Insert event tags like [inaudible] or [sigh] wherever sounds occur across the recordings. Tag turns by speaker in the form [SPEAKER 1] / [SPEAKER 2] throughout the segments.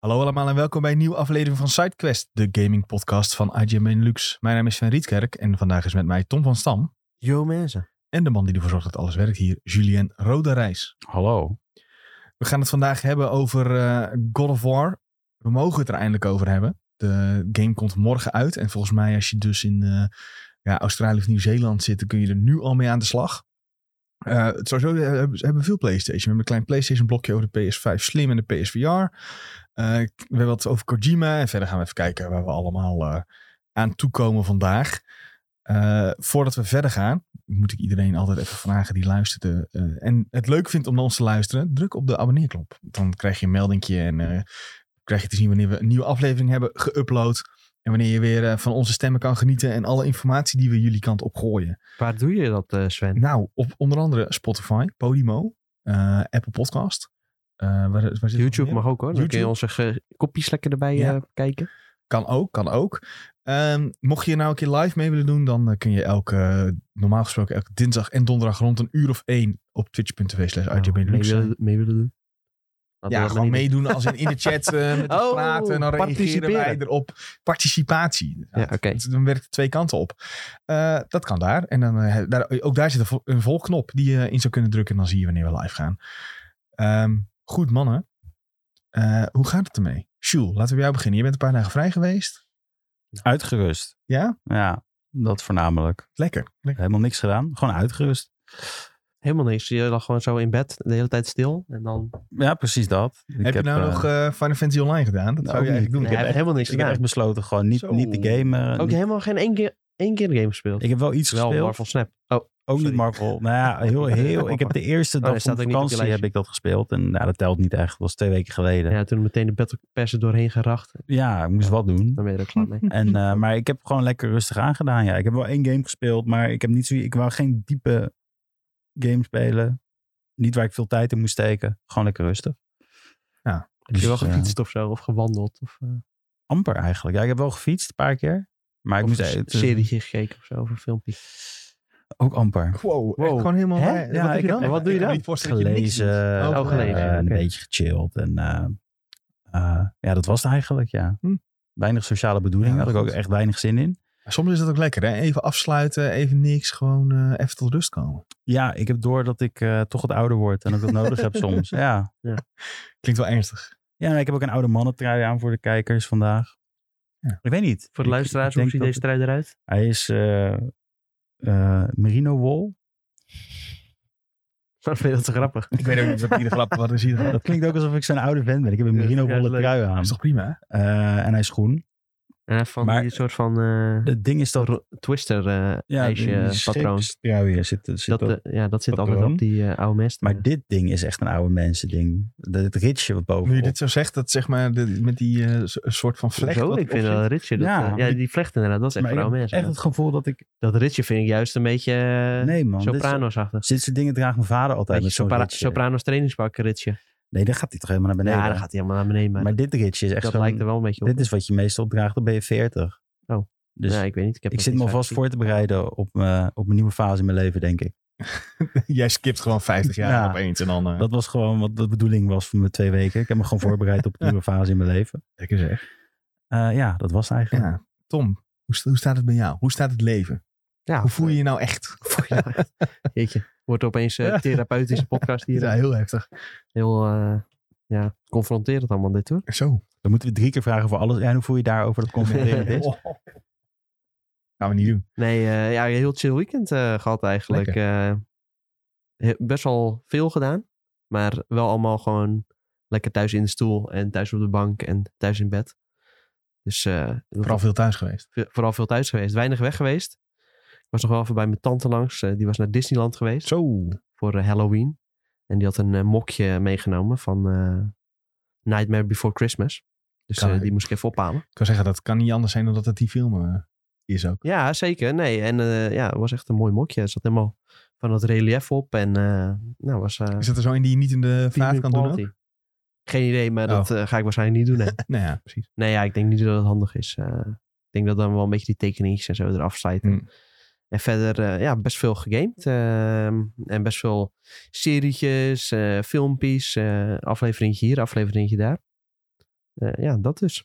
[SPEAKER 1] Hallo allemaal en welkom bij een nieuwe aflevering van SideQuest, de gaming podcast van IGMN Lux. Mijn naam is Sven Rietkerk en vandaag is met mij Tom van Stam
[SPEAKER 2] Yo mensen.
[SPEAKER 1] en de man die ervoor zorgt dat alles werkt hier, Julien Roderijs.
[SPEAKER 3] Hallo.
[SPEAKER 1] We gaan het vandaag hebben over eh, God of War. We mogen het er eindelijk over hebben. De game komt morgen uit en volgens mij als je dus in eh, ja, Australië of Nieuw-Zeeland zit, dan kun je er nu al mee aan de slag. Eh, het sowieso eh, hebben ze hebben veel PlayStation. We hebben een klein PlayStation blokje over de PS5 Slim en de PSVR. Eh, we hebben wat over Kojima en verder gaan we even kijken waar we allemaal eh, aan toekomen vandaag. Eh, voordat we verder gaan, moet ik iedereen altijd even vragen die luisterde eh, en het leuk vindt om naar ons te luisteren, druk op de abonneerknop. Dan krijg je een meldingje en eh, krijg je te zien wanneer we een nieuwe aflevering hebben geüpload. En wanneer je weer eh, van onze stemmen kan genieten en alle informatie die we jullie kant op gooien.
[SPEAKER 2] Waar doe je dat, eh, Sven?
[SPEAKER 1] Nou, op onder andere Spotify, Podimo, eh, Apple Podcast. Eh, waar, waar zit het nog
[SPEAKER 2] YouTube
[SPEAKER 1] meer?
[SPEAKER 2] mag ook hoor. Dan kun
[SPEAKER 1] YouTube?
[SPEAKER 2] je onze ge- kopjes lekker erbij
[SPEAKER 1] Ja.
[SPEAKER 2] eh, kijken.
[SPEAKER 1] Kan ook, kan ook. Ehm, mocht je nou een keer live mee willen doen, dan eh, kun je elke, eh, normaal gesproken elke dinsdag en donderdag rond een uur of één op twitch.tv slash
[SPEAKER 2] Nou,
[SPEAKER 1] IGB
[SPEAKER 2] mee,
[SPEAKER 1] Lux zijn.
[SPEAKER 2] willen, mee willen doen. Laten we
[SPEAKER 1] Ja,
[SPEAKER 2] dat
[SPEAKER 1] gewoon
[SPEAKER 2] maar niet
[SPEAKER 1] meedoen als in, in de chat eh,
[SPEAKER 2] [laughs]
[SPEAKER 1] met ons
[SPEAKER 2] Oh,
[SPEAKER 1] praten. En dan reageren wij
[SPEAKER 2] participeren.
[SPEAKER 1] erop. Participatie.
[SPEAKER 2] doen. Ja, oké.
[SPEAKER 1] Het- Dan werkt het twee kanten op. Eh, dat kan daar. En dan, eh, daar, ook daar zit een, vol- een volknop die je in zou kunnen drukken. En dan zie je wanneer we live gaan. Ehm, goed, mannen. Eh, hoe gaat het ermee? Sjoel, laten we bij jou beginnen. Je bent een paar dagen vrij geweest.
[SPEAKER 3] Uitgerust.
[SPEAKER 1] Ja?
[SPEAKER 3] Ja, dat voornamelijk.
[SPEAKER 1] Lekker. Lekker.
[SPEAKER 3] Helemaal niks gedaan. Gewoon uitgerust.
[SPEAKER 2] Helemaal niks. Je lag gewoon zo in bed de hele tijd stil. En dan...
[SPEAKER 3] Ja, precies dat. Ik
[SPEAKER 1] heb, je nou
[SPEAKER 3] eh,
[SPEAKER 1] nog eh Final Fantasy Online gedaan? Dat
[SPEAKER 3] nou,
[SPEAKER 1] zou je
[SPEAKER 3] ook
[SPEAKER 1] eigenlijk doen.
[SPEAKER 2] Nee, hij
[SPEAKER 3] niet. heb
[SPEAKER 2] heeft helemaal niks
[SPEAKER 3] Ik heb
[SPEAKER 2] gedaan.
[SPEAKER 3] echt besloten gewoon niet,
[SPEAKER 1] Zo.
[SPEAKER 3] niet de game. eh,
[SPEAKER 2] Ook
[SPEAKER 3] niet-
[SPEAKER 2] helemaal geen één keer, één keer game gespeeld.
[SPEAKER 3] ik heb wel iets
[SPEAKER 2] Wel
[SPEAKER 3] gespeeld.
[SPEAKER 2] Marvel Snap. Oh,
[SPEAKER 3] Ook
[SPEAKER 2] sorry.
[SPEAKER 3] niet Marvel. Nou ja,
[SPEAKER 2] [laughs]
[SPEAKER 3] heel, heel. Ik heb de eerste
[SPEAKER 2] Oh,
[SPEAKER 3] dag
[SPEAKER 2] dat
[SPEAKER 3] van
[SPEAKER 2] staat ook niet op je
[SPEAKER 3] vakantie heb
[SPEAKER 2] lijstje.
[SPEAKER 3] ik dat gespeeld. En nou, dat telt niet echt. Dat was twee weken geleden. Ja,
[SPEAKER 2] ja, toen meteen de Battle Pass er doorheen geracht.
[SPEAKER 3] ik moest wat doen.
[SPEAKER 2] Dan ben je er ook klaar mee.
[SPEAKER 3] En, eh, maar ik heb gewoon lekker rustig aangedaan. Ja, ik heb wel één game gespeeld, maar ik heb niet zo. Ik wou geen diepe game spelen. Niet waar ik veel tijd in moest steken. Gewoon lekker rustig.
[SPEAKER 2] heb je wel
[SPEAKER 3] Dus, ja.
[SPEAKER 2] gefietst of zo? Of gewandeld? Of eh,
[SPEAKER 3] Amper eigenlijk. Ja, ik heb wel gefietst een paar keer. Maar ik
[SPEAKER 2] of
[SPEAKER 3] moest
[SPEAKER 2] een
[SPEAKER 3] het-
[SPEAKER 2] serietje gekeken of zo? Of een filmpje?
[SPEAKER 3] Ook amper.
[SPEAKER 1] Wow, echt
[SPEAKER 2] Wow.
[SPEAKER 1] gewoon helemaal...
[SPEAKER 2] Hè?
[SPEAKER 1] eh,
[SPEAKER 3] Ja,
[SPEAKER 1] wat heb
[SPEAKER 3] ik
[SPEAKER 1] je
[SPEAKER 3] heb-
[SPEAKER 1] dan?
[SPEAKER 2] en wat doe je
[SPEAKER 1] Ik kan
[SPEAKER 2] dan?
[SPEAKER 1] me niet voorstellen dat je niks
[SPEAKER 3] Gelezen.
[SPEAKER 1] doet.
[SPEAKER 3] eh,
[SPEAKER 2] Oh, gelezen,
[SPEAKER 3] eh, Een
[SPEAKER 2] oké.
[SPEAKER 3] beetje gechilled. En eh, eh, ja, dat was het eigenlijk, ja.
[SPEAKER 1] Hm.
[SPEAKER 3] Weinig sociale bedoeling.
[SPEAKER 1] Ja,
[SPEAKER 3] had ik ook
[SPEAKER 1] goed.
[SPEAKER 3] echt weinig zin in.
[SPEAKER 1] Soms is dat ook lekker, hè? Even afsluiten, even niks, gewoon eh, even tot rust komen.
[SPEAKER 3] Ja, ik heb door dat ik eh, toch wat ouder word. En dat ik dat nodig heb
[SPEAKER 2] [laughs]
[SPEAKER 3] soms. Ja.
[SPEAKER 1] Klinkt wel ernstig.
[SPEAKER 3] Ja, nou, ik heb ook een oude mannentrui aan voor de kijkers vandaag.
[SPEAKER 1] Ja.
[SPEAKER 3] Ik weet niet.
[SPEAKER 2] Voor de
[SPEAKER 3] Ik-
[SPEAKER 2] luisteraars,
[SPEAKER 3] ik
[SPEAKER 2] hoe
[SPEAKER 3] denk
[SPEAKER 2] ziet
[SPEAKER 3] dat
[SPEAKER 2] deze trui
[SPEAKER 3] het- [laughs]
[SPEAKER 2] eruit? [laughs]
[SPEAKER 3] Hij is eh, eh, merino wol.
[SPEAKER 2] Ik vind je dat zo grappig.
[SPEAKER 1] Ik weet ook niet wat iedere grap wat is hier. Dat
[SPEAKER 3] Dat klinkt ook alsof ik zo'n oude vent ben. Ik heb een
[SPEAKER 2] Ja,
[SPEAKER 3] merino
[SPEAKER 2] ja, is
[SPEAKER 3] wollen
[SPEAKER 2] leuk.
[SPEAKER 3] trui aan.
[SPEAKER 1] is toch prima, hè?
[SPEAKER 3] Eh, en hij is groen.
[SPEAKER 2] Ja, Eh, van
[SPEAKER 3] Maar-
[SPEAKER 2] die soort van eh,
[SPEAKER 3] Het ding is dat...
[SPEAKER 2] ro- twister eh
[SPEAKER 3] Ja,
[SPEAKER 2] ijsje
[SPEAKER 3] die- die
[SPEAKER 2] patroon.
[SPEAKER 3] scheepstrui hier zit, zit
[SPEAKER 2] Dat,
[SPEAKER 3] op.
[SPEAKER 2] eh, ja, dat zit
[SPEAKER 3] dat
[SPEAKER 2] altijd
[SPEAKER 3] erom.
[SPEAKER 2] op die eh, oude mest.
[SPEAKER 3] Maar dit ding is echt een oude mensen ding. Dat- Het ritsje wat bovenop.
[SPEAKER 1] Nu je dit zo zegt, dat zeg maar de- met die eh, zo- een soort van vlecht.
[SPEAKER 2] Zo,
[SPEAKER 1] wat
[SPEAKER 2] ik vind
[SPEAKER 1] erop
[SPEAKER 2] dat
[SPEAKER 1] zit.
[SPEAKER 2] ritje. Dat,
[SPEAKER 3] Ja,
[SPEAKER 2] eh, ja,
[SPEAKER 3] die-
[SPEAKER 2] die vlecht inderdaad, dat is echt
[SPEAKER 3] maar
[SPEAKER 2] voor
[SPEAKER 3] ik
[SPEAKER 2] oude
[SPEAKER 3] heb
[SPEAKER 2] mensen.
[SPEAKER 3] echt het gevoel dat ik...
[SPEAKER 2] Dat ritje vind ik juist een beetje eh,
[SPEAKER 3] Nee man, dit, soort-
[SPEAKER 2] sopranosachtig.
[SPEAKER 3] dit soort dingen draagt mijn vader altijd
[SPEAKER 2] Beetje
[SPEAKER 3] met zo'n
[SPEAKER 2] sopra-
[SPEAKER 3] ritsje.
[SPEAKER 2] sopranos trainingspak ritje.
[SPEAKER 3] Nee, dan gaat hij toch helemaal naar beneden.
[SPEAKER 2] ja, dan gaat hij helemaal naar beneden. Maar,
[SPEAKER 3] maar dit ritsje is echt
[SPEAKER 2] dat
[SPEAKER 3] zo'n-
[SPEAKER 2] lijkt er wel een beetje op.
[SPEAKER 3] Dit is wat je meestal draagt, dan ben je 40.
[SPEAKER 2] Oh.
[SPEAKER 3] Dus
[SPEAKER 2] ja, ik weet niet. Ik, heb
[SPEAKER 3] ik
[SPEAKER 2] dat
[SPEAKER 3] zit
[SPEAKER 2] niet
[SPEAKER 3] me
[SPEAKER 2] vaak
[SPEAKER 3] alvast
[SPEAKER 2] gezien.
[SPEAKER 3] voor te bereiden op, mijn- op mijn nieuwe fase in mijn leven, denk ik.
[SPEAKER 1] [laughs] Jij skipt gewoon 50 jaar
[SPEAKER 3] Ja.
[SPEAKER 1] opeens en dan... eh
[SPEAKER 3] Dat was gewoon wat de bedoeling was van mijn twee weken. Ik heb
[SPEAKER 2] [laughs]
[SPEAKER 3] me gewoon voorbereid op de nieuwe fase in mijn leven.
[SPEAKER 1] lekker zeg.
[SPEAKER 3] Eh, ja, dat was het eigenlijk.
[SPEAKER 1] Ja. Tom, hoe, sta- hoe staat het bij jou? Hoe staat het leven?
[SPEAKER 2] Ja,
[SPEAKER 1] hoe voel
[SPEAKER 2] [laughs]
[SPEAKER 1] je je nou echt?
[SPEAKER 2] Jeetje, wordt opeens eh,
[SPEAKER 1] Ja.
[SPEAKER 3] [laughs]
[SPEAKER 2] therapeutische podcast hier.
[SPEAKER 1] [laughs]
[SPEAKER 2] eh,
[SPEAKER 1] Ja, heel heftig.
[SPEAKER 2] Heel eh, ja, confronterend allemaal dit hoor.
[SPEAKER 1] Zo.
[SPEAKER 3] Dan moeten we drie keer vragen voor alles. Ja, en hoe voel je
[SPEAKER 2] [laughs]
[SPEAKER 3] daarover dat confronterend is?
[SPEAKER 1] Oh. Gaan we niet doen.
[SPEAKER 2] Nee, eh, ja, een heel chill weekend eh, gehad eigenlijk. Eh, he- best wel veel gedaan. Maar wel allemaal gewoon lekker thuis in de stoel en thuis op de bank en thuis in bed. Dus eh, dat-
[SPEAKER 1] Vooral veel thuis geweest.
[SPEAKER 2] ve- vooral veel thuis geweest. Weinig weg geweest. Ik was nog wel even bij mijn tante langs. eh, die was naar Disneyland geweest
[SPEAKER 1] Zo.
[SPEAKER 2] voor eh, Halloween. En die had een eh, mokje meegenomen van eh, Nightmare Before Christmas. Dus
[SPEAKER 1] Kan
[SPEAKER 2] eh,
[SPEAKER 1] ik.
[SPEAKER 2] die moest ik even ophalen.
[SPEAKER 1] Ik kan zeggen, dat kan niet anders zijn dan dat het die film eh, is ook.
[SPEAKER 2] Ja, zeker. Nee, en eh, ja, het was echt een mooi mokje. Het zat helemaal van dat relief op. En eh, nou, was... eh,
[SPEAKER 1] Is dat er zo een die je niet in de vraag kan
[SPEAKER 2] premium
[SPEAKER 1] doen? ook?
[SPEAKER 2] quality. Geen idee, maar
[SPEAKER 1] Oh.
[SPEAKER 2] dat eh, ga ik waarschijnlijk niet
[SPEAKER 1] [laughs]
[SPEAKER 2] doen. hè.
[SPEAKER 1] Nou ja, precies.
[SPEAKER 2] nee, ja, ik denk niet dat het handig is. Eh, ik denk dat dan wel een beetje die tekeningetjes en zo eraf slijten.
[SPEAKER 1] Mm.
[SPEAKER 2] En verder, eh, ja, best veel gegamed. ehm, en best veel serietjes, eh, filmpjes, eh afleveringetje hier, afleveringetje daar. Eh, ja, dat dus.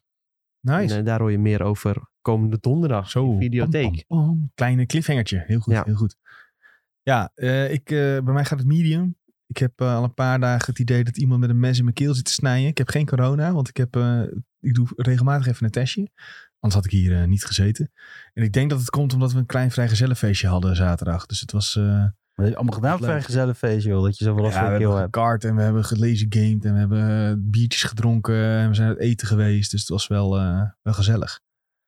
[SPEAKER 1] Nice.
[SPEAKER 2] En eh, daar hoor je meer over komende donderdag.
[SPEAKER 1] Zo,
[SPEAKER 2] in Videotheek.
[SPEAKER 1] pam, pam, pam. Kleine cliffhangertje. Heel goed,
[SPEAKER 2] Ja.
[SPEAKER 1] heel goed. Ja, eh, ik, eh, bij mij gaat het medium. Ik heb eh, al een paar dagen het idee dat iemand met een mes in mijn keel zit te snijden. Ik heb geen corona, want ik, heb, eh, ik doe regelmatig even een testje. Anders had ik hier eh, niet gezeten. En ik denk dat het komt omdat we een klein vrijgezellenfeestje hadden zaterdag. Dus het was... eh,
[SPEAKER 3] Wat heb je allemaal gedaan
[SPEAKER 1] Leuk.
[SPEAKER 3] voor een gezellig feestje, joh. Dat je zoveel last
[SPEAKER 1] ja,
[SPEAKER 3] van
[SPEAKER 1] we
[SPEAKER 3] je keel
[SPEAKER 1] hebben
[SPEAKER 3] hebt.
[SPEAKER 1] gekart en we hebben gelezen gamed en we hebben eh, biertjes gedronken en we zijn uit eten geweest. Dus het was wel, eh, wel gezellig.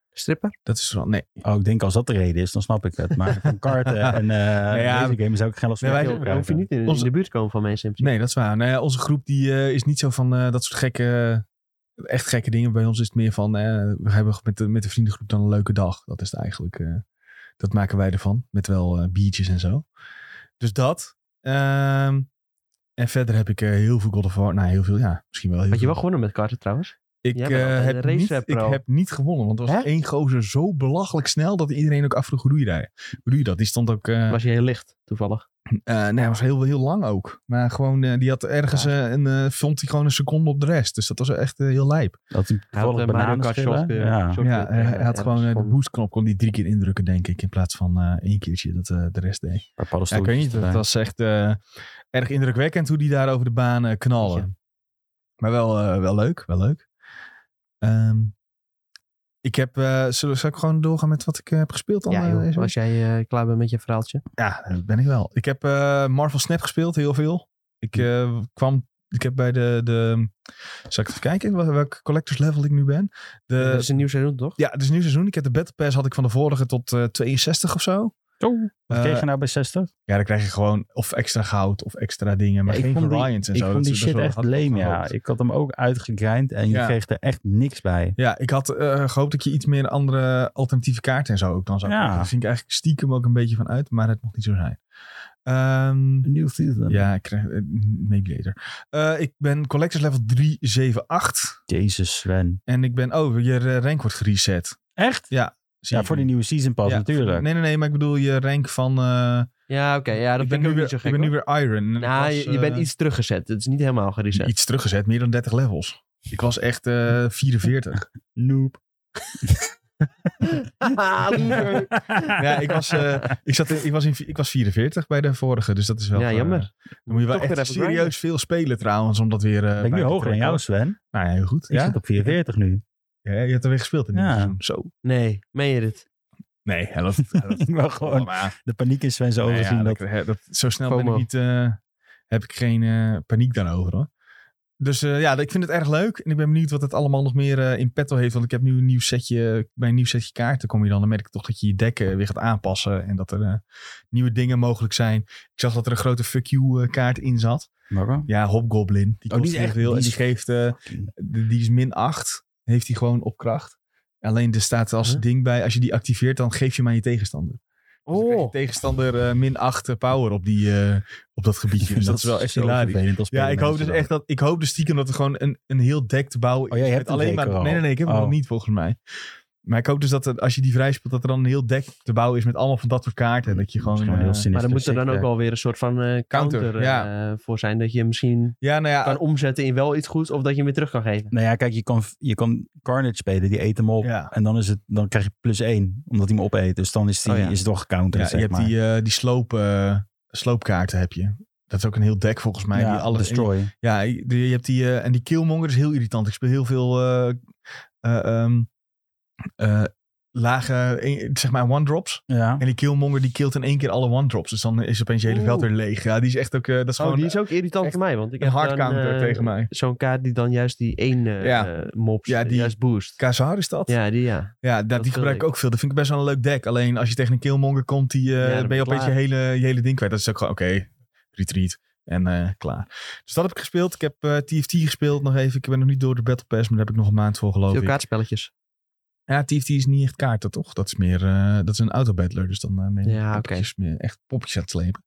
[SPEAKER 2] Stripper?
[SPEAKER 1] Dat is wel... Nee,
[SPEAKER 3] Oh, ik denk als dat de reden is, dan snap ik het. Maar van
[SPEAKER 2] [laughs]
[SPEAKER 3] karten en eh
[SPEAKER 1] ja,
[SPEAKER 3] deze game zou ik geen last van
[SPEAKER 1] nee,
[SPEAKER 3] je
[SPEAKER 1] wij-
[SPEAKER 3] keel
[SPEAKER 2] Dan hoef je
[SPEAKER 3] krijgen.
[SPEAKER 2] niet in, in
[SPEAKER 1] Onze-
[SPEAKER 2] de buurt te komen van mensen in principe.
[SPEAKER 1] Nee, dat is waar. Nou ja, onze groep die, eh, is niet zo van eh, dat soort gekke, echt gekke dingen. Bij ons is het meer van, eh, we hebben met de, met de vriendengroep dan een leuke dag. Dat is het eigenlijk. eh, dat maken wij ervan. Met wel eh, biertjes en zo. Dus dat. Ehm, en verder heb ik eh, heel veel God of War. Nou, heel veel, ja. Misschien wel heel
[SPEAKER 2] Had je
[SPEAKER 1] veel.
[SPEAKER 2] wel gewonnen met karten trouwens?
[SPEAKER 1] Ik,
[SPEAKER 2] Jij bent
[SPEAKER 1] eh,
[SPEAKER 2] altijd
[SPEAKER 1] heb
[SPEAKER 2] een
[SPEAKER 1] niet, ik
[SPEAKER 2] racerpro.
[SPEAKER 1] heb niet gewonnen. Want er was
[SPEAKER 2] Hè?
[SPEAKER 1] één gozer zo belachelijk snel dat iedereen ook afvroeg hoe doe je dat? Hoe doe je dat? Die stond ook... eh,
[SPEAKER 2] Was je heel licht, toevallig.
[SPEAKER 1] eh nee, hij was heel, heel lang ook. Maar gewoon, eh, die had ergens eh, een, eh, vond hij gewoon een seconde op de rest. Dus dat was echt eh, heel lijp.
[SPEAKER 3] Dat
[SPEAKER 2] Hij
[SPEAKER 3] hij
[SPEAKER 2] had
[SPEAKER 3] toevallig
[SPEAKER 2] eh, Mario
[SPEAKER 3] bananen
[SPEAKER 2] Kart
[SPEAKER 3] schillen.
[SPEAKER 2] shotgun.
[SPEAKER 3] Ja.
[SPEAKER 2] shotgun,
[SPEAKER 1] ja, hij, hij
[SPEAKER 2] eh,
[SPEAKER 1] had
[SPEAKER 2] ergens
[SPEAKER 1] gewoon eh, de
[SPEAKER 2] van-
[SPEAKER 1] boostknop, kon hij drie keer indrukken, denk ik. In plaats van eh, één keertje dat eh, de rest deed. Ja, ik
[SPEAKER 3] Een paar
[SPEAKER 1] weet
[SPEAKER 3] paddenstoeltjes
[SPEAKER 1] niet, dat
[SPEAKER 3] erbij.
[SPEAKER 1] was echt eh, erg indrukwekkend hoe die daar over de baan eh, knallen.
[SPEAKER 2] Ja.
[SPEAKER 1] Maar wel, eh, wel leuk, wel leuk. Ehm, ik heb, eh zullen, zal ik gewoon doorgaan met wat ik eh, heb gespeeld? Dan,
[SPEAKER 2] Ja,
[SPEAKER 1] eh,
[SPEAKER 2] joh,
[SPEAKER 1] deze
[SPEAKER 2] als jij eh, klaar bent met je verhaaltje.
[SPEAKER 1] Ja, dat ben ik wel. Ik heb eh, Marvel Snap gespeeld, heel veel. Ik
[SPEAKER 3] Hm.
[SPEAKER 1] eh, kwam, ik heb bij de, de, zal ik even kijken wel- welk collectors level ik nu ben?
[SPEAKER 2] dat
[SPEAKER 1] De,
[SPEAKER 3] dus-
[SPEAKER 2] is een nieuw seizoen,
[SPEAKER 1] Eh,
[SPEAKER 2] toch?
[SPEAKER 1] ja, het is een nieuw seizoen. Ik heb de Battle Pass, had ik van de vorige tot eh, 62 of zo.
[SPEAKER 3] Wat
[SPEAKER 1] Eh,
[SPEAKER 3] kreeg je nou bij 60?
[SPEAKER 1] Ja, dan krijg je gewoon of extra goud of extra dingen, maar
[SPEAKER 3] Ja, ik
[SPEAKER 1] geen
[SPEAKER 3] vond die-
[SPEAKER 1] variants en
[SPEAKER 3] ik
[SPEAKER 1] zo.
[SPEAKER 3] vond
[SPEAKER 1] Dat
[SPEAKER 3] die
[SPEAKER 1] is best
[SPEAKER 3] shit
[SPEAKER 1] wel-
[SPEAKER 3] echt
[SPEAKER 1] had ik wel
[SPEAKER 3] lame, ja.
[SPEAKER 1] gehoopt.
[SPEAKER 3] Ik had hem ook uitgegrind en je
[SPEAKER 1] Ja.
[SPEAKER 3] kreeg er echt niks bij.
[SPEAKER 1] Ja, ik had eh, gehoopt dat je iets meer andere alternatieve kaarten en zo ook dan zou
[SPEAKER 3] Ja.
[SPEAKER 1] krijgen. Daar ging ik eigenlijk stiekem ook een beetje van uit, maar het mocht niet zo zijn. Ehm,
[SPEAKER 3] Een nieuw season.
[SPEAKER 1] Ja, ik krijg, eh, maybe later. Eh, ik ben collectors level 378.
[SPEAKER 3] Jezus, Sven.
[SPEAKER 1] En ik ben, oh, je eh, rank wordt gereset.
[SPEAKER 3] Echt?
[SPEAKER 1] Zie
[SPEAKER 3] Ja,
[SPEAKER 1] ik
[SPEAKER 3] voor
[SPEAKER 1] nu.
[SPEAKER 3] die nieuwe season pas
[SPEAKER 1] Ja,
[SPEAKER 3] natuurlijk.
[SPEAKER 1] Nee, nee, nee, maar ik bedoel je rank van... eh,
[SPEAKER 2] Ja, oké. ja, dat
[SPEAKER 1] ik
[SPEAKER 2] ben ik
[SPEAKER 1] nu
[SPEAKER 2] ook
[SPEAKER 1] weer,
[SPEAKER 2] niet zo gek.
[SPEAKER 1] Ik ben nu
[SPEAKER 2] hoor.
[SPEAKER 1] weer Iron. En
[SPEAKER 2] Nou,
[SPEAKER 1] ik was,
[SPEAKER 2] je, je
[SPEAKER 1] eh,
[SPEAKER 2] bent iets teruggezet. Het is niet helemaal
[SPEAKER 1] [laughs]
[SPEAKER 2] gereset.
[SPEAKER 1] Iets teruggezet, meer dan 30 levels. Ik was echt eh
[SPEAKER 2] [laughs]
[SPEAKER 1] 44.
[SPEAKER 3] [laughs] Noob.
[SPEAKER 1] Ah, ja, ik was, eh, ik, zat in- ik, was in, ik was 44 bij de vorige, dus dat is wel...
[SPEAKER 2] Ja,
[SPEAKER 1] eh,
[SPEAKER 2] jammer.
[SPEAKER 1] dan moet je wel
[SPEAKER 2] Toch weer
[SPEAKER 1] echt
[SPEAKER 2] even grinden.
[SPEAKER 1] serieus veel spelen trouwens, om dat weer... eh,
[SPEAKER 3] Ben ik
[SPEAKER 1] bij
[SPEAKER 3] nu
[SPEAKER 1] te
[SPEAKER 3] hoger dan
[SPEAKER 1] trekken.
[SPEAKER 3] jou, Sven?
[SPEAKER 1] Nou ja, heel goed.
[SPEAKER 3] Ik
[SPEAKER 1] Ja?
[SPEAKER 3] zit op 44 nu.
[SPEAKER 1] Ja, je hebt er weer gespeeld in dit
[SPEAKER 3] Ja.
[SPEAKER 1] seizoen. Zo.
[SPEAKER 2] Nee, meen je dit?
[SPEAKER 1] Nee, helft. helft.
[SPEAKER 3] [laughs] Ik wil gewoon de paniek in Sven's ogen
[SPEAKER 1] Nee, ja,
[SPEAKER 3] zien.
[SPEAKER 1] dat,
[SPEAKER 3] Nou Dat...
[SPEAKER 1] hè, dat, zo snel ben ik
[SPEAKER 2] FOMO.
[SPEAKER 1] niet, eh, heb ik geen eh, paniek daarover hoor. Dus eh, ja, ik vind het erg leuk. En ik ben benieuwd wat het allemaal nog meer eh, in petto heeft. Want ik heb nu een nieuw setje, bij een nieuw setje kaarten kom je dan. Dan merk ik toch dat je je dekken weer gaat aanpassen. En dat er eh, nieuwe dingen mogelijk zijn. Ik zag dat er een grote fuck you eh, kaart in zat.
[SPEAKER 3] [laughs] Waarom?
[SPEAKER 1] Ja, Hobgoblin. Die,
[SPEAKER 3] Oh, die is
[SPEAKER 1] kost heel
[SPEAKER 3] echt-
[SPEAKER 1] veel.
[SPEAKER 3] die
[SPEAKER 1] En die
[SPEAKER 3] is-
[SPEAKER 1] geeft, eh, de- die is min 8. Heeft hij gewoon op kracht. Alleen er staat als
[SPEAKER 2] Huh?
[SPEAKER 1] ding bij, als je die activeert, dan geef je maar je tegenstander. Dus dan krijg je
[SPEAKER 2] Oh,
[SPEAKER 1] tegenstander eh, min 8 power op, die, eh, op dat
[SPEAKER 3] [laughs]
[SPEAKER 1] gebiedje. Dus dat is wel echt
[SPEAKER 3] zo
[SPEAKER 1] hilarisch.
[SPEAKER 3] vervelend als
[SPEAKER 1] Ja, ik hoop dus
[SPEAKER 3] mensen
[SPEAKER 1] echt dat. Ik hoop dus stiekem dat er gewoon een, een heel deck te bouwen
[SPEAKER 3] Oh, jij
[SPEAKER 1] is
[SPEAKER 3] hebt hem
[SPEAKER 1] alleen
[SPEAKER 3] zeker
[SPEAKER 1] maar.
[SPEAKER 3] al?
[SPEAKER 1] Nee, nee, nee, ik heb hem
[SPEAKER 3] Oh.
[SPEAKER 1] nog niet volgens mij. Maar ik hoop dus dat er, als je die vrij speelt, dat er dan een heel deck te bouwen is met allemaal van dat soort kaarten. En dat je gewoon.
[SPEAKER 3] Mm, Misschien wel heel
[SPEAKER 1] eh,
[SPEAKER 3] sinister
[SPEAKER 2] maar er moet er dan ook
[SPEAKER 3] sick,
[SPEAKER 2] wel weer een soort van eh, counter,
[SPEAKER 1] Counter,
[SPEAKER 2] eh,
[SPEAKER 1] ja.
[SPEAKER 2] voor zijn. Dat je hem misschien
[SPEAKER 1] ja, nou
[SPEAKER 2] kan
[SPEAKER 1] ja.
[SPEAKER 2] omzetten in wel iets goeds of dat je hem weer terug kan geven.
[SPEAKER 3] Nou ja, kijk, je kan, je kan Carnage spelen, die eet hem op.
[SPEAKER 1] Ja.
[SPEAKER 3] En dan, is het, dan krijg je plus 1, omdat hij hem opeet. Dus dan is, die,
[SPEAKER 2] Oh ja.
[SPEAKER 3] is het wel gecounterd,
[SPEAKER 1] ja,
[SPEAKER 3] zeg
[SPEAKER 1] je hebt
[SPEAKER 3] maar.
[SPEAKER 1] die, eh, die sloop, eh, sloopkaarten heb je. Dat is ook een heel deck volgens mij.
[SPEAKER 3] ja,
[SPEAKER 1] die alles,
[SPEAKER 3] Destroy.
[SPEAKER 1] Ja, je je hebt die. eh, en die Killmonger is heel irritant. Ik speel heel veel. eh, eh, ehm, eh, lage. eh, zeg maar one-drops.
[SPEAKER 3] Ja.
[SPEAKER 1] En die Killmonger die killt in één keer alle one-drops. Dus dan is opeens je hele
[SPEAKER 2] Oeh.
[SPEAKER 1] veld weer leeg. Ja, die is echt ook. eh, dat is
[SPEAKER 2] oh,
[SPEAKER 1] gewoon
[SPEAKER 2] die is ook irritant
[SPEAKER 1] echt
[SPEAKER 2] voor mij. Want ik
[SPEAKER 1] een
[SPEAKER 2] heb
[SPEAKER 1] hard
[SPEAKER 2] dan,
[SPEAKER 1] counter
[SPEAKER 2] eh,
[SPEAKER 1] tegen mij.
[SPEAKER 2] Zo'n kaart die dan juist die één eh
[SPEAKER 1] Ja.
[SPEAKER 2] eh, mops,
[SPEAKER 1] Ja, die-
[SPEAKER 2] juist boost.
[SPEAKER 1] Kazar is dat? Ja,
[SPEAKER 2] Ja, die ja.
[SPEAKER 1] dat,
[SPEAKER 2] dat
[SPEAKER 1] die gebruik ik
[SPEAKER 2] wil ik.
[SPEAKER 1] ook veel. Dat vind ik best wel een leuk deck. Alleen als je tegen een Killmonger komt, die, eh,
[SPEAKER 2] Ja, dan
[SPEAKER 1] ben je
[SPEAKER 2] ben je
[SPEAKER 1] opeens je hele, je hele ding kwijt. Dat is ook gewoon, oké, retreat. En eh, klaar. Dus dat heb ik gespeeld. Ik heb eh, TFT gespeeld nog even. Ik ben nog niet door de Battle Pass, maar daar heb ik nog een maand voor geloof
[SPEAKER 2] Veel
[SPEAKER 1] ik.
[SPEAKER 2] kaartspelletjes.
[SPEAKER 1] Ja, TFT is niet echt kaarten, toch? Dat is meer, eh, dat is een autobattler. Dus dan eh ben je
[SPEAKER 2] Ja, oké.
[SPEAKER 1] poppetjes meer echt poppetjes aan het slepen.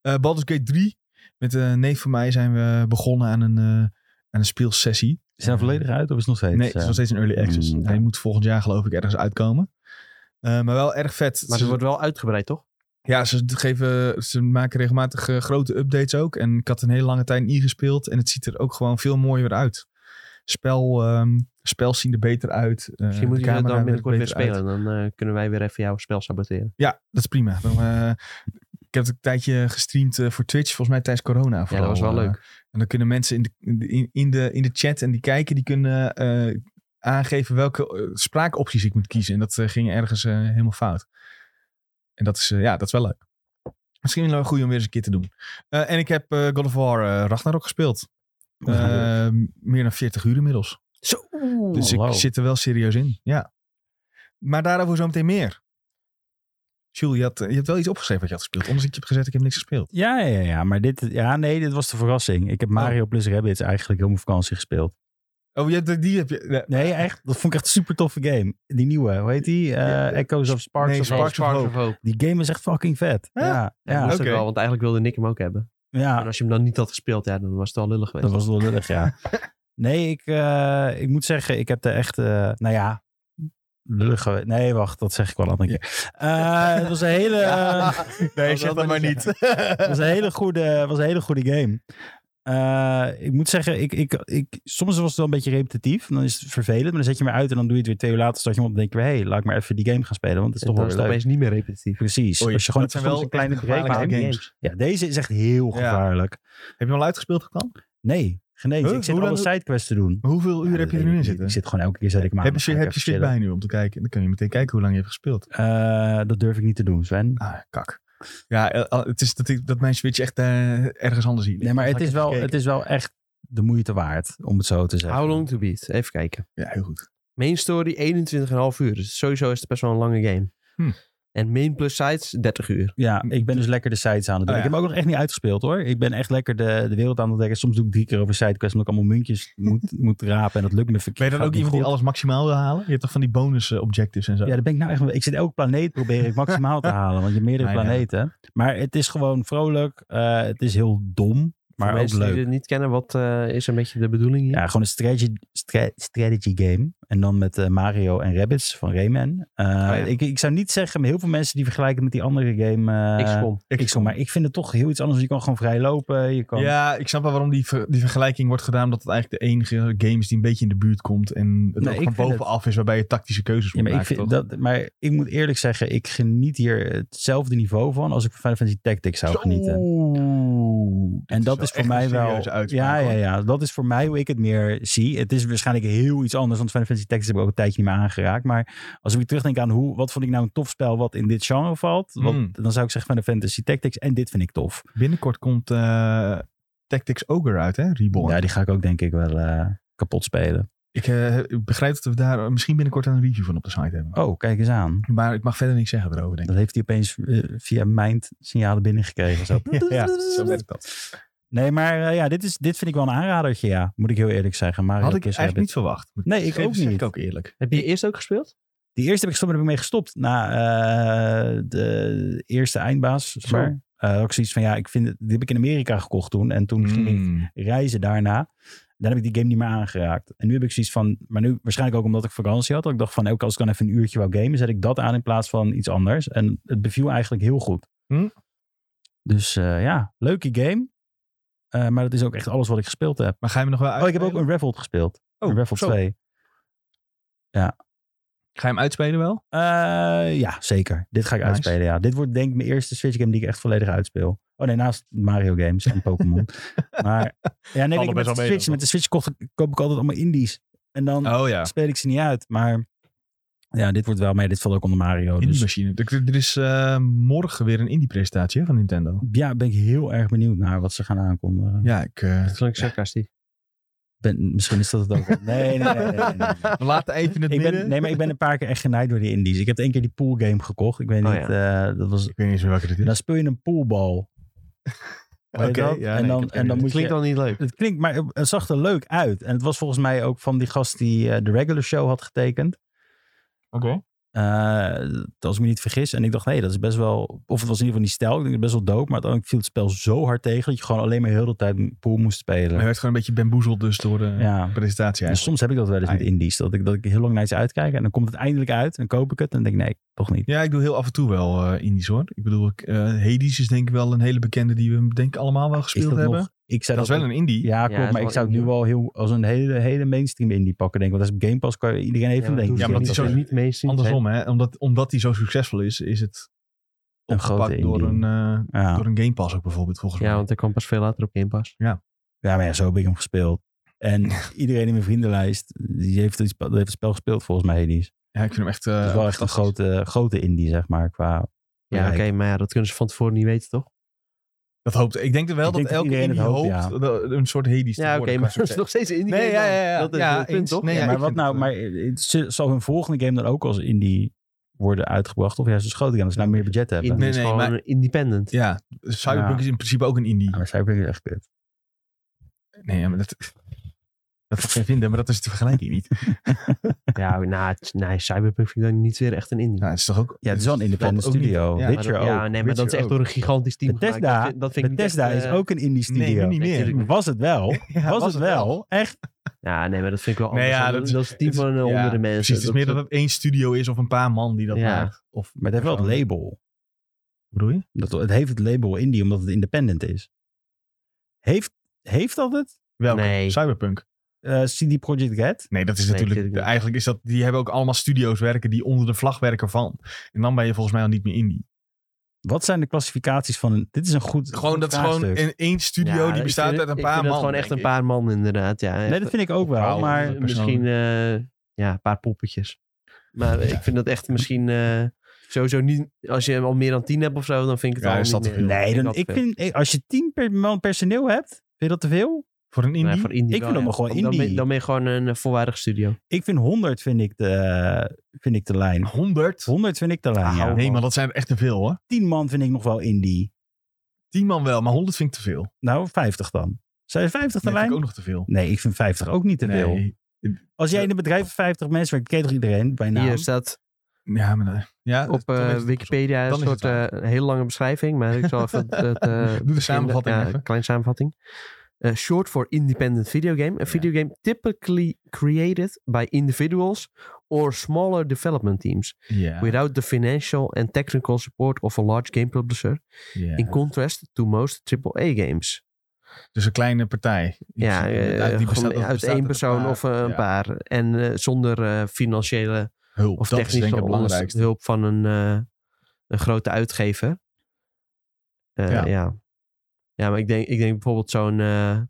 [SPEAKER 1] Eh Baldur's Gate 3. Met een neef van mij zijn we begonnen aan een, eh, aan een speelsessie.
[SPEAKER 3] Is hij volledig uit of is het nog steeds?
[SPEAKER 1] Nee, het is
[SPEAKER 3] eh,
[SPEAKER 1] nog steeds een early access.
[SPEAKER 3] mm, ja.
[SPEAKER 1] Hij moet volgend jaar geloof ik ergens uitkomen. Eh, maar wel erg vet.
[SPEAKER 2] Maar
[SPEAKER 1] Ze-
[SPEAKER 2] ze wordt wel uitgebreid, toch?
[SPEAKER 1] ja, ze, geven, ze maken regelmatig eh, grote updates ook. En ik had een hele lange tijd niet gespeeld. En het ziet er ook gewoon veel mooier uit. spel, ehm spels zien er beter uit. eh,
[SPEAKER 2] Misschien moet
[SPEAKER 1] de
[SPEAKER 2] je het
[SPEAKER 1] camera werkt
[SPEAKER 2] dan binnenkort weer
[SPEAKER 1] beter uit.
[SPEAKER 2] spelen. Dan eh, kunnen wij weer even jouw spel saboteren.
[SPEAKER 1] Ja, dat is prima. Dan, eh, ik heb het een tijdje gestreamd eh, voor Twitch, volgens mij tijdens corona.
[SPEAKER 2] Ja, dat
[SPEAKER 1] vooral,
[SPEAKER 2] was wel
[SPEAKER 1] eh.
[SPEAKER 2] leuk.
[SPEAKER 1] En dan kunnen mensen in de, in de- in de, in de chat en die kijken, die kunnen eh, aangeven welke eh, spraakopties ik moet kiezen. En dat eh, ging ergens eh, helemaal fout. En dat is, eh, ja, dat is wel leuk. Misschien wel een goede om weer eens een keer te doen. Eh, en ik heb eh, God of War eh, Ragnarok gespeeld.
[SPEAKER 3] [laughs]
[SPEAKER 1] Eh, meer dan 40 uur inmiddels.
[SPEAKER 2] Zo.
[SPEAKER 1] Dus
[SPEAKER 3] Hallo.
[SPEAKER 1] ik zit er wel serieus in, ja. Maar daarover zometeen meer. Jules, je, had, eh, je hebt wel iets opgeschreven wat je had gespeeld. Anders had je gezegd, ik heb niks gespeeld.
[SPEAKER 3] Ja, ja, ja, maar dit, ja, nee, dit was de verrassing. Ik heb Mario plus Rabbids eigenlijk heel mijn vakantie gespeeld.
[SPEAKER 1] Oh, je, hebt- die heb je... Nee,
[SPEAKER 3] Nee, echt, dat vond ik echt een super toffe game. Die nieuwe, hoe heet die? Eh,
[SPEAKER 1] Ja, de-
[SPEAKER 3] Echoes of Sparks
[SPEAKER 1] nee,
[SPEAKER 3] of
[SPEAKER 1] Sparks
[SPEAKER 3] Hope.
[SPEAKER 1] of Hope.
[SPEAKER 3] Die game is echt fucking vet.
[SPEAKER 1] Huh?
[SPEAKER 3] Ja,
[SPEAKER 2] Ja,
[SPEAKER 3] ja,
[SPEAKER 2] moest
[SPEAKER 1] oké. Ah.
[SPEAKER 2] ook wel, want eigenlijk wilde Nick hem ook hebben. En
[SPEAKER 3] ja,
[SPEAKER 2] als je hem dan niet had gespeeld, ja, dan was het wel lullig
[SPEAKER 3] dat
[SPEAKER 2] geweest.
[SPEAKER 3] was wel lullig, [laughs] ja. Nee, ik, eh, ik moet zeggen, ik heb de echte, nou ja, lullig gewe- Nee, wacht, dat zeg ik wel een andere keer. Eh, het was een [laughs] hele...
[SPEAKER 1] [laughs]
[SPEAKER 3] eh,
[SPEAKER 1] nee
[SPEAKER 2] dat
[SPEAKER 1] zeg
[SPEAKER 2] wil
[SPEAKER 1] dat maar
[SPEAKER 2] ik
[SPEAKER 1] niet. [laughs]
[SPEAKER 3] Het [laughs] was een hele goede, was een hele goede game. Eh, ik moet zeggen, ik, ik, ik, soms was het wel een beetje repetitief. En dan is het vervelend, maar dan zet je hem uit en dan doe je het weer twee uur later. Start je hem op en denk je, hé, hey, laat ik maar even die game gaan spelen, want het is
[SPEAKER 2] En
[SPEAKER 3] toch
[SPEAKER 2] dan
[SPEAKER 3] wel
[SPEAKER 2] is
[SPEAKER 3] weer
[SPEAKER 2] het
[SPEAKER 3] leuk.
[SPEAKER 2] opeens niet meer repetitief.
[SPEAKER 3] Precies.
[SPEAKER 1] Oei,
[SPEAKER 3] als je gewoon
[SPEAKER 1] dat zijn
[SPEAKER 3] soms
[SPEAKER 1] wel
[SPEAKER 3] een kleine
[SPEAKER 1] echt
[SPEAKER 3] break
[SPEAKER 1] gevaarlijke
[SPEAKER 3] maakt.
[SPEAKER 1] games.
[SPEAKER 3] Ja, deze is echt heel
[SPEAKER 1] Ja.
[SPEAKER 3] gevaarlijk.
[SPEAKER 1] Heb je hem al uitgespeeld dan?
[SPEAKER 3] Nee, geen eens.
[SPEAKER 1] Huh?
[SPEAKER 3] Ik zit
[SPEAKER 1] Hoe
[SPEAKER 3] alle
[SPEAKER 1] lang-
[SPEAKER 3] sidequests te doen.
[SPEAKER 1] Hoeveel uur
[SPEAKER 3] Ja,
[SPEAKER 1] heb je er
[SPEAKER 3] dat weet
[SPEAKER 1] nu
[SPEAKER 3] ik
[SPEAKER 1] in
[SPEAKER 3] niet.
[SPEAKER 1] zitten?
[SPEAKER 3] Ik zit gewoon elke keer zet ik hem aan.
[SPEAKER 1] heb je,
[SPEAKER 3] Dan ga
[SPEAKER 1] shit- heb
[SPEAKER 3] ik
[SPEAKER 1] je
[SPEAKER 3] even
[SPEAKER 1] shit bij
[SPEAKER 3] chillen.
[SPEAKER 1] nu om te kijken? Dan kun je meteen kijken hoe lang je hebt gespeeld.
[SPEAKER 3] Eh, dat durf ik niet te doen, Sven.
[SPEAKER 1] Ah, kak. Ja, eh, al- het is dat, ik, dat mijn Switch echt eh, ergens anders hier ligt.
[SPEAKER 3] Nee, maar
[SPEAKER 1] Dan
[SPEAKER 3] het
[SPEAKER 1] ga ik
[SPEAKER 3] is,
[SPEAKER 1] even
[SPEAKER 3] wel,
[SPEAKER 1] kijken.
[SPEAKER 3] het is wel echt de moeite waard, om het zo te zeggen.
[SPEAKER 2] How long to beat? Even kijken.
[SPEAKER 1] Ja, heel goed.
[SPEAKER 2] Main story 21,5 uur. Dus sowieso is het best wel een lange game.
[SPEAKER 3] Hm.
[SPEAKER 1] Hmm.
[SPEAKER 2] En main plus sides 30 uur.
[SPEAKER 3] Ja, ik ben dus lekker de sites aan het doen.
[SPEAKER 1] Oh, ja.
[SPEAKER 3] Ik heb hem ook nog echt niet uitgespeeld hoor. Ik ben echt lekker de, de wereld aan het ontdekken. Soms doe ik drie keer over sidequests omdat ik allemaal muntjes
[SPEAKER 1] [laughs]
[SPEAKER 3] moet, moet rapen. En dat lukt me
[SPEAKER 1] Ben
[SPEAKER 3] verkeerd.
[SPEAKER 1] je dan ook
[SPEAKER 3] Gaat
[SPEAKER 1] iemand
[SPEAKER 3] niet
[SPEAKER 1] die
[SPEAKER 3] goed.
[SPEAKER 1] alles maximaal wil halen? Je hebt toch van die bonus eh, objectives en zo?
[SPEAKER 3] Ja, daar ben ik nou echt... mee- Ik zit elke planeet probeer ik
[SPEAKER 1] [laughs]
[SPEAKER 3] maximaal te halen. Want je hebt meerdere
[SPEAKER 1] Ah, ja.
[SPEAKER 3] planeten. Maar het is gewoon vrolijk. eh, het is heel dom.
[SPEAKER 2] Voor
[SPEAKER 3] Maar ook
[SPEAKER 2] mensen
[SPEAKER 3] leuk.
[SPEAKER 2] die dit niet kennen, wat eh, is een beetje de bedoeling hier?
[SPEAKER 3] Ja, gewoon een strategy, stra- strategy game. En dan met eh, Mario en Rabbids van Rayman. Eh,
[SPEAKER 1] Oh
[SPEAKER 3] ik, ik zou niet zeggen, maar heel veel mensen die vergelijken het met die andere game. eh,
[SPEAKER 2] XCOM.
[SPEAKER 1] Ik-
[SPEAKER 3] XCOM. Maar ik vind het toch heel iets anders. Je kan gewoon vrij lopen. Je kan...
[SPEAKER 1] Ja, ik snap wel waarom die, ver- die vergelijking wordt gedaan. Dat het eigenlijk de enige game is die een beetje in de buurt komt. En het
[SPEAKER 3] Nee,
[SPEAKER 1] ook
[SPEAKER 3] ik
[SPEAKER 1] van
[SPEAKER 3] vind
[SPEAKER 1] bovenaf is waarbij je tactische keuzes
[SPEAKER 3] Ja,
[SPEAKER 1] moet
[SPEAKER 3] maar, ik
[SPEAKER 1] maken.
[SPEAKER 3] vind
[SPEAKER 1] toch?
[SPEAKER 3] dat, maar ik moet eerlijk zeggen, ik geniet hier hetzelfde niveau van als ik van Final Fantasy Tactics zou
[SPEAKER 1] Zo,
[SPEAKER 3] genieten.
[SPEAKER 1] dit
[SPEAKER 3] En dat
[SPEAKER 1] wel
[SPEAKER 3] is voor
[SPEAKER 1] echt
[SPEAKER 3] mij
[SPEAKER 1] een
[SPEAKER 3] wel.
[SPEAKER 1] serieuze uitspraak,
[SPEAKER 3] Ja, ja,
[SPEAKER 1] hoor.
[SPEAKER 3] ja. Dat is voor mij hoe ik het meer zie. Het is waarschijnlijk heel iets anders. Want Final Fantasy Tactics heb ik ook een tijdje niet meer aangeraakt. Maar als ik weer terugdenk aan hoe, wat vond ik nou een tof spel wat in dit genre valt. Wat,
[SPEAKER 1] Mm.
[SPEAKER 3] Dan zou ik zeggen Final Fantasy Tactics. En dit vind ik tof.
[SPEAKER 1] Binnenkort komt eh, Tactics Ogre uit, hè? Reborn.
[SPEAKER 3] Ja, die ga ik ook denk ik wel eh, kapot spelen.
[SPEAKER 1] Ik eh, ik begrijp dat we daar misschien binnenkort een review van op de site hebben.
[SPEAKER 3] Oh, kijk eens aan.
[SPEAKER 1] Maar ik mag verder niks zeggen erover, denk ik.
[SPEAKER 3] [laughs] Dat heeft hij opeens eh, via mind signalen binnengekregen. Zo.
[SPEAKER 1] Ja, zo werkt dat.
[SPEAKER 3] Nee, maar eh, ja, dit, is, dit vind ik wel een aanradertje, ja. Moet ik heel eerlijk zeggen. Mario
[SPEAKER 1] Had ik
[SPEAKER 3] Plus
[SPEAKER 1] eigenlijk niet verwacht.
[SPEAKER 3] Rabbit. eh, Nee, ik
[SPEAKER 1] Geef-
[SPEAKER 3] ook
[SPEAKER 1] zeg
[SPEAKER 3] niet.
[SPEAKER 1] ik ook eerlijk.
[SPEAKER 2] Heb je eerst ook gespeeld?
[SPEAKER 3] Die eerste heb ik gestopt, maar heb ik mee gestopt. Na eh, de eerste eindbaas, zeg
[SPEAKER 1] Zo.
[SPEAKER 3] maar. Eh, ook zoiets van, ja, ik vind het, die heb ik in Amerika gekocht toen. En toen ging ik
[SPEAKER 1] Mm.
[SPEAKER 3] reizen daarna. Dan heb ik die game niet meer aangeraakt. En nu heb ik zoiets van, maar nu waarschijnlijk ook omdat ik vakantie had. Dat ik dacht van, ook als ik dan even een uurtje wou gamen, zet ik dat aan in plaats van iets anders. En het beviel eigenlijk heel goed.
[SPEAKER 1] Hm.
[SPEAKER 3] Dus eh, ja, leuke game. Eh, maar dat is ook echt alles wat ik gespeeld heb.
[SPEAKER 1] Maar ga je me nog wel
[SPEAKER 3] Oh, ik heb
[SPEAKER 1] uitspelen?
[SPEAKER 3] ook een Revolt gespeeld.
[SPEAKER 1] Oh,
[SPEAKER 3] een Revolt
[SPEAKER 1] zo.
[SPEAKER 3] 2.
[SPEAKER 1] Ga je hem uitspelen wel?
[SPEAKER 3] Eh, ja, zeker. Dit ga ik
[SPEAKER 1] Nice.
[SPEAKER 3] uitspelen, ja. Dit wordt denk ik mijn eerste Switch game die ik echt volledig uitspeel. Oh nee, naast Mario games
[SPEAKER 1] [laughs]
[SPEAKER 3] en Pokémon. maar ja, nee,
[SPEAKER 1] best
[SPEAKER 3] ik,
[SPEAKER 1] wel
[SPEAKER 3] met, de
[SPEAKER 1] mee
[SPEAKER 3] Switch,
[SPEAKER 1] dan.
[SPEAKER 3] met de Switch kocht, koop ik altijd allemaal indies. En dan
[SPEAKER 1] Oh ja.
[SPEAKER 3] speel ik ze niet uit. Maar ja, dit wordt wel mee. Dit valt ook onder Mario.
[SPEAKER 1] Indie
[SPEAKER 3] Dus
[SPEAKER 1] machine. Er- Er is eh, morgen weer een indie presentatie hè, van Nintendo.
[SPEAKER 3] ja, ben ik heel erg benieuwd naar wat ze gaan aankondigen.
[SPEAKER 1] Ja, ik. eh,
[SPEAKER 2] Dat klinkt sarcastisch.
[SPEAKER 3] Ben, misschien is dat het
[SPEAKER 1] [laughs]
[SPEAKER 3] ook. wel. Nee, nee, nee. nee, nee, nee.
[SPEAKER 1] We laten even het
[SPEAKER 3] Ik ben,
[SPEAKER 1] midden.
[SPEAKER 3] nee, maar ik ben een paar keer echt genaaid door die indies. Ik heb één keer die pool game gekocht. Ik weet
[SPEAKER 2] Oh,
[SPEAKER 3] niet, eh, dat was...
[SPEAKER 1] Ik weet niet eens meer welke dit
[SPEAKER 3] Dan
[SPEAKER 1] is.
[SPEAKER 3] speel je een poolbal. Weet je
[SPEAKER 1] Oké,
[SPEAKER 3] dat?
[SPEAKER 1] ja,
[SPEAKER 3] en
[SPEAKER 1] nee,
[SPEAKER 3] dan,
[SPEAKER 1] ik heb
[SPEAKER 3] en dan
[SPEAKER 1] geen
[SPEAKER 3] moet
[SPEAKER 2] Klinkt
[SPEAKER 3] je...
[SPEAKER 2] al niet leuk.
[SPEAKER 3] Het klinkt, maar het zag er leuk uit. En het was volgens mij ook van die gast die eh, de regular show had getekend.
[SPEAKER 1] Oké.
[SPEAKER 3] Eh, als ik me niet vergis. En ik dacht, hé, dat is best wel... Of het was in ieder geval niet stijl. Ik denk, best wel dope. Maar uiteindelijk viel het spel zo hard tegen... dat je gewoon alleen maar heel de tijd pool moest
[SPEAKER 1] Maar je
[SPEAKER 3] spelen.
[SPEAKER 1] werd gewoon een beetje bamboezeld dus door de
[SPEAKER 3] Ja.
[SPEAKER 1] presentatie
[SPEAKER 3] En
[SPEAKER 1] eigenlijk.
[SPEAKER 3] soms heb ik dat wel eens met
[SPEAKER 1] Ah,
[SPEAKER 3] indies. Dat ik, dat ik heel lang naar iets uitkijk. En dan komt het eindelijk uit. En dan koop ik het. En dan denk ik, nee, toch niet.
[SPEAKER 1] Ja, ik doe heel af en toe wel eh indies hoor. Ik bedoel, ik, eh, Hades is denk ik wel een hele bekende die we denk ik allemaal wel
[SPEAKER 3] Is
[SPEAKER 1] gespeeld
[SPEAKER 3] dat
[SPEAKER 1] hebben.
[SPEAKER 3] nog ik zei
[SPEAKER 1] Dat is wel een indie.
[SPEAKER 3] Ja,
[SPEAKER 2] Ja,
[SPEAKER 3] klopt.
[SPEAKER 2] is
[SPEAKER 3] maar
[SPEAKER 2] wel
[SPEAKER 3] ik zou het nu
[SPEAKER 2] indie.
[SPEAKER 3] wel heel, als een hele, hele mainstream indie pakken, denk ik. Want als Game Pass kan je- iedereen heeft hem, denk ik.
[SPEAKER 1] Ja, maar
[SPEAKER 2] maar
[SPEAKER 1] dat
[SPEAKER 2] dat
[SPEAKER 1] is
[SPEAKER 2] is niet mainstream.
[SPEAKER 1] Andersom, hè? Omdat, omdat die zo succesvol is, is het
[SPEAKER 3] Een
[SPEAKER 1] opgepakt
[SPEAKER 3] grote
[SPEAKER 1] door een,
[SPEAKER 3] indie.
[SPEAKER 1] eh,
[SPEAKER 3] Ja.
[SPEAKER 1] door een Game Pass ook bijvoorbeeld, volgens
[SPEAKER 2] Ja,
[SPEAKER 1] mij.
[SPEAKER 2] want er kwam pas veel later op Game Pass.
[SPEAKER 3] Ja, maar ja, zo heb ik hem gespeeld. En iedereen in mijn vriendenlijst, die heeft het, spe- heeft het spel gespeeld volgens mij, Hades.
[SPEAKER 1] Ja, ik vind hem echt... eh,
[SPEAKER 3] Het is wel echt een
[SPEAKER 1] fantastisch.
[SPEAKER 3] grote, grote indie, zeg maar, qua...
[SPEAKER 2] Ja,
[SPEAKER 3] bereik.
[SPEAKER 2] oké, maar ja, dat kunnen ze van tevoren niet weten, toch?
[SPEAKER 1] Dat hoopt. Ik denk wel
[SPEAKER 3] Ik
[SPEAKER 1] dat
[SPEAKER 3] denk dat
[SPEAKER 1] elke
[SPEAKER 3] iedereen
[SPEAKER 1] indie
[SPEAKER 3] het
[SPEAKER 1] hoopt
[SPEAKER 3] hoopt, ja.
[SPEAKER 1] dat- een soort Hades te
[SPEAKER 2] Ja, oké,
[SPEAKER 1] worden qua
[SPEAKER 2] maar dat is
[SPEAKER 1] succes.
[SPEAKER 2] nog steeds een indie
[SPEAKER 1] Nee,
[SPEAKER 2] game
[SPEAKER 1] ja,
[SPEAKER 2] dan.
[SPEAKER 1] ja, ja.
[SPEAKER 2] Dat is
[SPEAKER 1] Ja,
[SPEAKER 2] het punt,
[SPEAKER 1] eens.
[SPEAKER 2] toch?
[SPEAKER 1] Nee, ja,
[SPEAKER 3] maar
[SPEAKER 1] ik
[SPEAKER 3] wat
[SPEAKER 1] vind
[SPEAKER 3] nou,
[SPEAKER 1] het, eh,
[SPEAKER 3] maar het- z- zal hun volgende game dan ook als indie worden uitgebracht? Of juist als grote game, als ze nou meer budget hebben?
[SPEAKER 2] Indie
[SPEAKER 1] Nee,
[SPEAKER 2] is
[SPEAKER 1] nee,
[SPEAKER 2] gewoon
[SPEAKER 1] maar-
[SPEAKER 2] een independent.
[SPEAKER 1] Ja, Cyberpunk
[SPEAKER 3] Ja.
[SPEAKER 1] is in principe ook een indie.
[SPEAKER 3] Ja, Nou, maar Cyberpunk is echt kut.
[SPEAKER 1] Nee, ja, maar dat... Dat [laughs] mag je vinden, maar dat is de vergelijking niet.
[SPEAKER 2] Ja, nou, het- nee, Cyberpunk vind ik dan niet weer echt een indie.
[SPEAKER 1] Nou, het is toch ook...
[SPEAKER 3] Ja, het is wel een independent
[SPEAKER 1] ook niet.
[SPEAKER 3] studio.
[SPEAKER 1] Ja,
[SPEAKER 2] Maar
[SPEAKER 3] Witcher
[SPEAKER 2] dat-
[SPEAKER 3] ook.
[SPEAKER 2] ja, nee, maar dat is
[SPEAKER 1] Witcher
[SPEAKER 2] echt
[SPEAKER 1] ook.
[SPEAKER 2] door een gigantisch team gemaakt.
[SPEAKER 3] Bethesda-
[SPEAKER 2] Dat vind- dat vind ik niet
[SPEAKER 3] Bethesda
[SPEAKER 2] echt,
[SPEAKER 3] is
[SPEAKER 2] eh,
[SPEAKER 3] ook een indie
[SPEAKER 1] Nee, nu
[SPEAKER 3] studio.
[SPEAKER 1] niet meer.
[SPEAKER 2] natuurlijk.
[SPEAKER 3] was het
[SPEAKER 1] [laughs]
[SPEAKER 3] wel?
[SPEAKER 1] Ja,
[SPEAKER 3] was, het wel? Echt?
[SPEAKER 2] Ja, nee, maar dat vind ik wel
[SPEAKER 1] Nee,
[SPEAKER 2] anders.
[SPEAKER 1] ja,
[SPEAKER 2] want
[SPEAKER 1] dat is-
[SPEAKER 2] dat is het team
[SPEAKER 1] het is-
[SPEAKER 2] van eh,
[SPEAKER 1] ja,
[SPEAKER 2] honderden mensen.
[SPEAKER 1] Precies, het is meer dat het één studio is of een paar man die dat
[SPEAKER 2] Ja.
[SPEAKER 1] maakt. Of,
[SPEAKER 3] Maar het heeft wel het label.
[SPEAKER 1] bedoel je?
[SPEAKER 3] Dat, het heeft het label indie, omdat het independent is. Heeft, heeft dat het?
[SPEAKER 1] Welke?
[SPEAKER 2] Nee.
[SPEAKER 1] Cyberpunk?
[SPEAKER 3] Eh, CD Projekt Red?
[SPEAKER 1] Nee, dat is
[SPEAKER 2] Nee,
[SPEAKER 1] natuurlijk...
[SPEAKER 2] natuurlijk niet.
[SPEAKER 1] Eigenlijk is dat... Die hebben ook allemaal studio's werken die onder de vlag werken van. En dan ben je volgens mij al niet meer indie.
[SPEAKER 3] Wat zijn de klassificaties van... een- Dit is een goed
[SPEAKER 1] Gewoon,
[SPEAKER 3] goed
[SPEAKER 1] dat is gewoon
[SPEAKER 3] vraagstuk.
[SPEAKER 1] een, één studio die bestaat uit een paar man.
[SPEAKER 2] Ik vind dat gewoon echt een
[SPEAKER 1] denk ik.
[SPEAKER 2] paar man, inderdaad. Ja,
[SPEAKER 3] Nee, dat vind ik ook wel,
[SPEAKER 1] Vrouwen.
[SPEAKER 3] maar...
[SPEAKER 1] Personen.
[SPEAKER 2] Misschien eh, ja, een paar poppetjes. Maar ik vind dat echt misschien eh, sowieso niet... Als je al meer dan tien hebt of zo, dan vind ik het
[SPEAKER 1] Ja,
[SPEAKER 2] al
[SPEAKER 1] is dat
[SPEAKER 2] niet
[SPEAKER 1] te
[SPEAKER 2] meer.
[SPEAKER 1] veel?
[SPEAKER 3] Nee, dan,
[SPEAKER 2] dat
[SPEAKER 3] ik
[SPEAKER 2] veel.
[SPEAKER 3] vind... eh, Als je tien per man personeel hebt, vind je dat te veel?
[SPEAKER 1] Voor een indie?
[SPEAKER 2] Nee, voor indie
[SPEAKER 3] Ik
[SPEAKER 2] wel,
[SPEAKER 3] vind
[SPEAKER 2] ja.
[SPEAKER 3] hem gewoon
[SPEAKER 2] Dan ben-
[SPEAKER 3] indie.
[SPEAKER 2] Dan ben je gewoon een eh, volwaardig studio.
[SPEAKER 3] Ik vind 100 vind ik de, vind ik de lijn.
[SPEAKER 1] 100?
[SPEAKER 3] 100 vind ik de lijn, ja.
[SPEAKER 1] Nee, maar dat zijn er echt te veel hoor.
[SPEAKER 3] 10 man vind ik nog wel indie.
[SPEAKER 1] 10 man wel, maar 100 vind ik te veel. Nee,
[SPEAKER 3] Nou, 50 dan. Zijn je 50 de
[SPEAKER 1] vind ik
[SPEAKER 3] lijn?
[SPEAKER 1] ook nog te veel.
[SPEAKER 3] Nee, ik vind 50 ook niet te veel.
[SPEAKER 1] Nee.
[SPEAKER 3] Als jij in een bedrijf van 50 mensen werkt, ken je toch iedereen bijna?
[SPEAKER 2] Hier staat
[SPEAKER 1] Ja, maar nee. Nou, ja,
[SPEAKER 2] op
[SPEAKER 1] dan
[SPEAKER 2] eh,
[SPEAKER 1] heeft het
[SPEAKER 2] Wikipedia
[SPEAKER 1] Dan
[SPEAKER 2] een
[SPEAKER 1] is
[SPEAKER 2] soort
[SPEAKER 1] het waar.
[SPEAKER 2] eh, een hele lange beschrijving, maar ik zal even het,
[SPEAKER 1] [laughs]
[SPEAKER 2] het, eh,
[SPEAKER 1] Doe de
[SPEAKER 2] begin-
[SPEAKER 1] samenvatting
[SPEAKER 2] ja,
[SPEAKER 1] even.
[SPEAKER 2] Een kleine samenvatting. Eh, short for independent video game. A video game typically created by individuals or smaller development teams
[SPEAKER 1] Ja,
[SPEAKER 2] without the financial and technical support of a large game publisher.
[SPEAKER 1] ja.
[SPEAKER 2] In contrast to most AAA games.
[SPEAKER 1] Dus een kleine partij. Die-
[SPEAKER 2] ja, eh,
[SPEAKER 1] die bestaat-
[SPEAKER 2] gewoon
[SPEAKER 1] dat
[SPEAKER 2] uit
[SPEAKER 1] bestaat
[SPEAKER 2] één persoon
[SPEAKER 1] paar.
[SPEAKER 2] of eh, een
[SPEAKER 1] Ja,
[SPEAKER 2] paar. En eh, zonder eh, financiële
[SPEAKER 1] Hulp,
[SPEAKER 2] of
[SPEAKER 1] dat is
[SPEAKER 2] technische
[SPEAKER 1] denk ik het
[SPEAKER 2] onder-
[SPEAKER 1] belangrijkste.
[SPEAKER 2] hulp van een, eh, een grote uitgever. Eh,
[SPEAKER 1] Ja.
[SPEAKER 2] ja. ja. maar ik denk, ik denk bijvoorbeeld zo'n eh,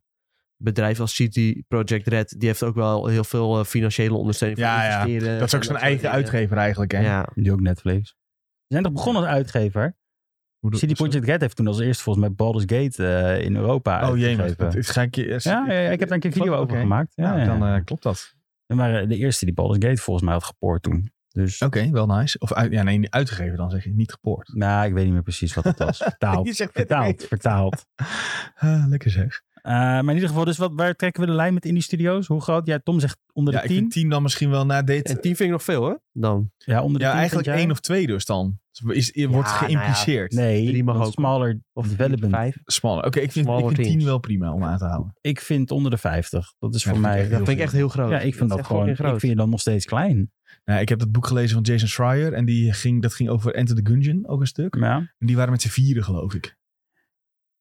[SPEAKER 2] bedrijf als City Project Red, die heeft ook wel heel veel eh, financiële ondersteuning.
[SPEAKER 1] Ja, ja. Dat is ook zijn eigen
[SPEAKER 2] uitgever.
[SPEAKER 1] uitgever eigenlijk. Hè?
[SPEAKER 2] Ja,
[SPEAKER 3] Die ook Netflix. Ze zijn toch begonnen als uitgever?
[SPEAKER 1] Hoe doe-
[SPEAKER 3] CD Projekt Red heeft toen als eerste volgens mij Baldur's Gate eh, in Europa
[SPEAKER 1] Oh jee, maar
[SPEAKER 3] uitgegeven.
[SPEAKER 1] dat is- ga ik je...
[SPEAKER 3] Ja, ja, ja, ik heb daar een keer een video
[SPEAKER 1] Oké.
[SPEAKER 3] over gemaakt. Ja,
[SPEAKER 1] Nou,
[SPEAKER 3] ja.
[SPEAKER 1] dan eh, klopt dat.
[SPEAKER 3] We waren de eerste die Baldur's Gate volgens mij had gepoord toen. Dus,
[SPEAKER 1] Oké, wel nice. Of uit, ja, nee, uitgegeven dan zeg je, niet gepoord.
[SPEAKER 3] nou, ik weet niet meer precies wat het was. [laughs] Vertaald,
[SPEAKER 1] Je zegt het
[SPEAKER 3] vertaald,
[SPEAKER 1] niet.
[SPEAKER 3] vertaald.
[SPEAKER 1] [laughs] Ah, lekker zeg.
[SPEAKER 3] Eh, maar in ieder geval, dus wat, waar trekken we de lijn met indie studios? Hoe groot? Ja, Tom zegt onder
[SPEAKER 1] Ja,
[SPEAKER 3] de
[SPEAKER 1] ik
[SPEAKER 3] 10.
[SPEAKER 1] vind 10 dan misschien wel na dit.
[SPEAKER 2] en tien vind ik nog veel hoor. Dan.
[SPEAKER 3] Ja, onder de
[SPEAKER 1] Ja,
[SPEAKER 3] 10
[SPEAKER 1] eigenlijk
[SPEAKER 3] vind jij?
[SPEAKER 1] één of twee dus dan. Is, is- wordt
[SPEAKER 2] Ja,
[SPEAKER 1] geïmpliceerd.
[SPEAKER 3] nou Nee,
[SPEAKER 2] Drie mag
[SPEAKER 3] want
[SPEAKER 2] ook.
[SPEAKER 3] smaller
[SPEAKER 2] Of
[SPEAKER 3] development.
[SPEAKER 2] vijf.
[SPEAKER 1] Smaller. Oké, ik vind, ik
[SPEAKER 2] Smaller
[SPEAKER 1] vind 10
[SPEAKER 2] teams.
[SPEAKER 1] wel prima om aan te houden.
[SPEAKER 3] Ik vind onder de 50. Dat is
[SPEAKER 1] Ja,
[SPEAKER 3] voor
[SPEAKER 1] dat
[SPEAKER 3] mij...
[SPEAKER 1] vind ik
[SPEAKER 2] Dat vind ik echt heel groot.
[SPEAKER 3] ja, ik vind
[SPEAKER 2] is
[SPEAKER 3] dat,
[SPEAKER 2] echt
[SPEAKER 3] gewoon... Ik
[SPEAKER 2] fucking
[SPEAKER 3] vind je dan nog steeds klein.
[SPEAKER 1] Nou, ik heb dat boek gelezen van Jason Schreier. En die ging, dat ging over Enter the Gungeon ook een stuk.
[SPEAKER 3] Ja,
[SPEAKER 1] En die waren met z'n vieren, geloof ik.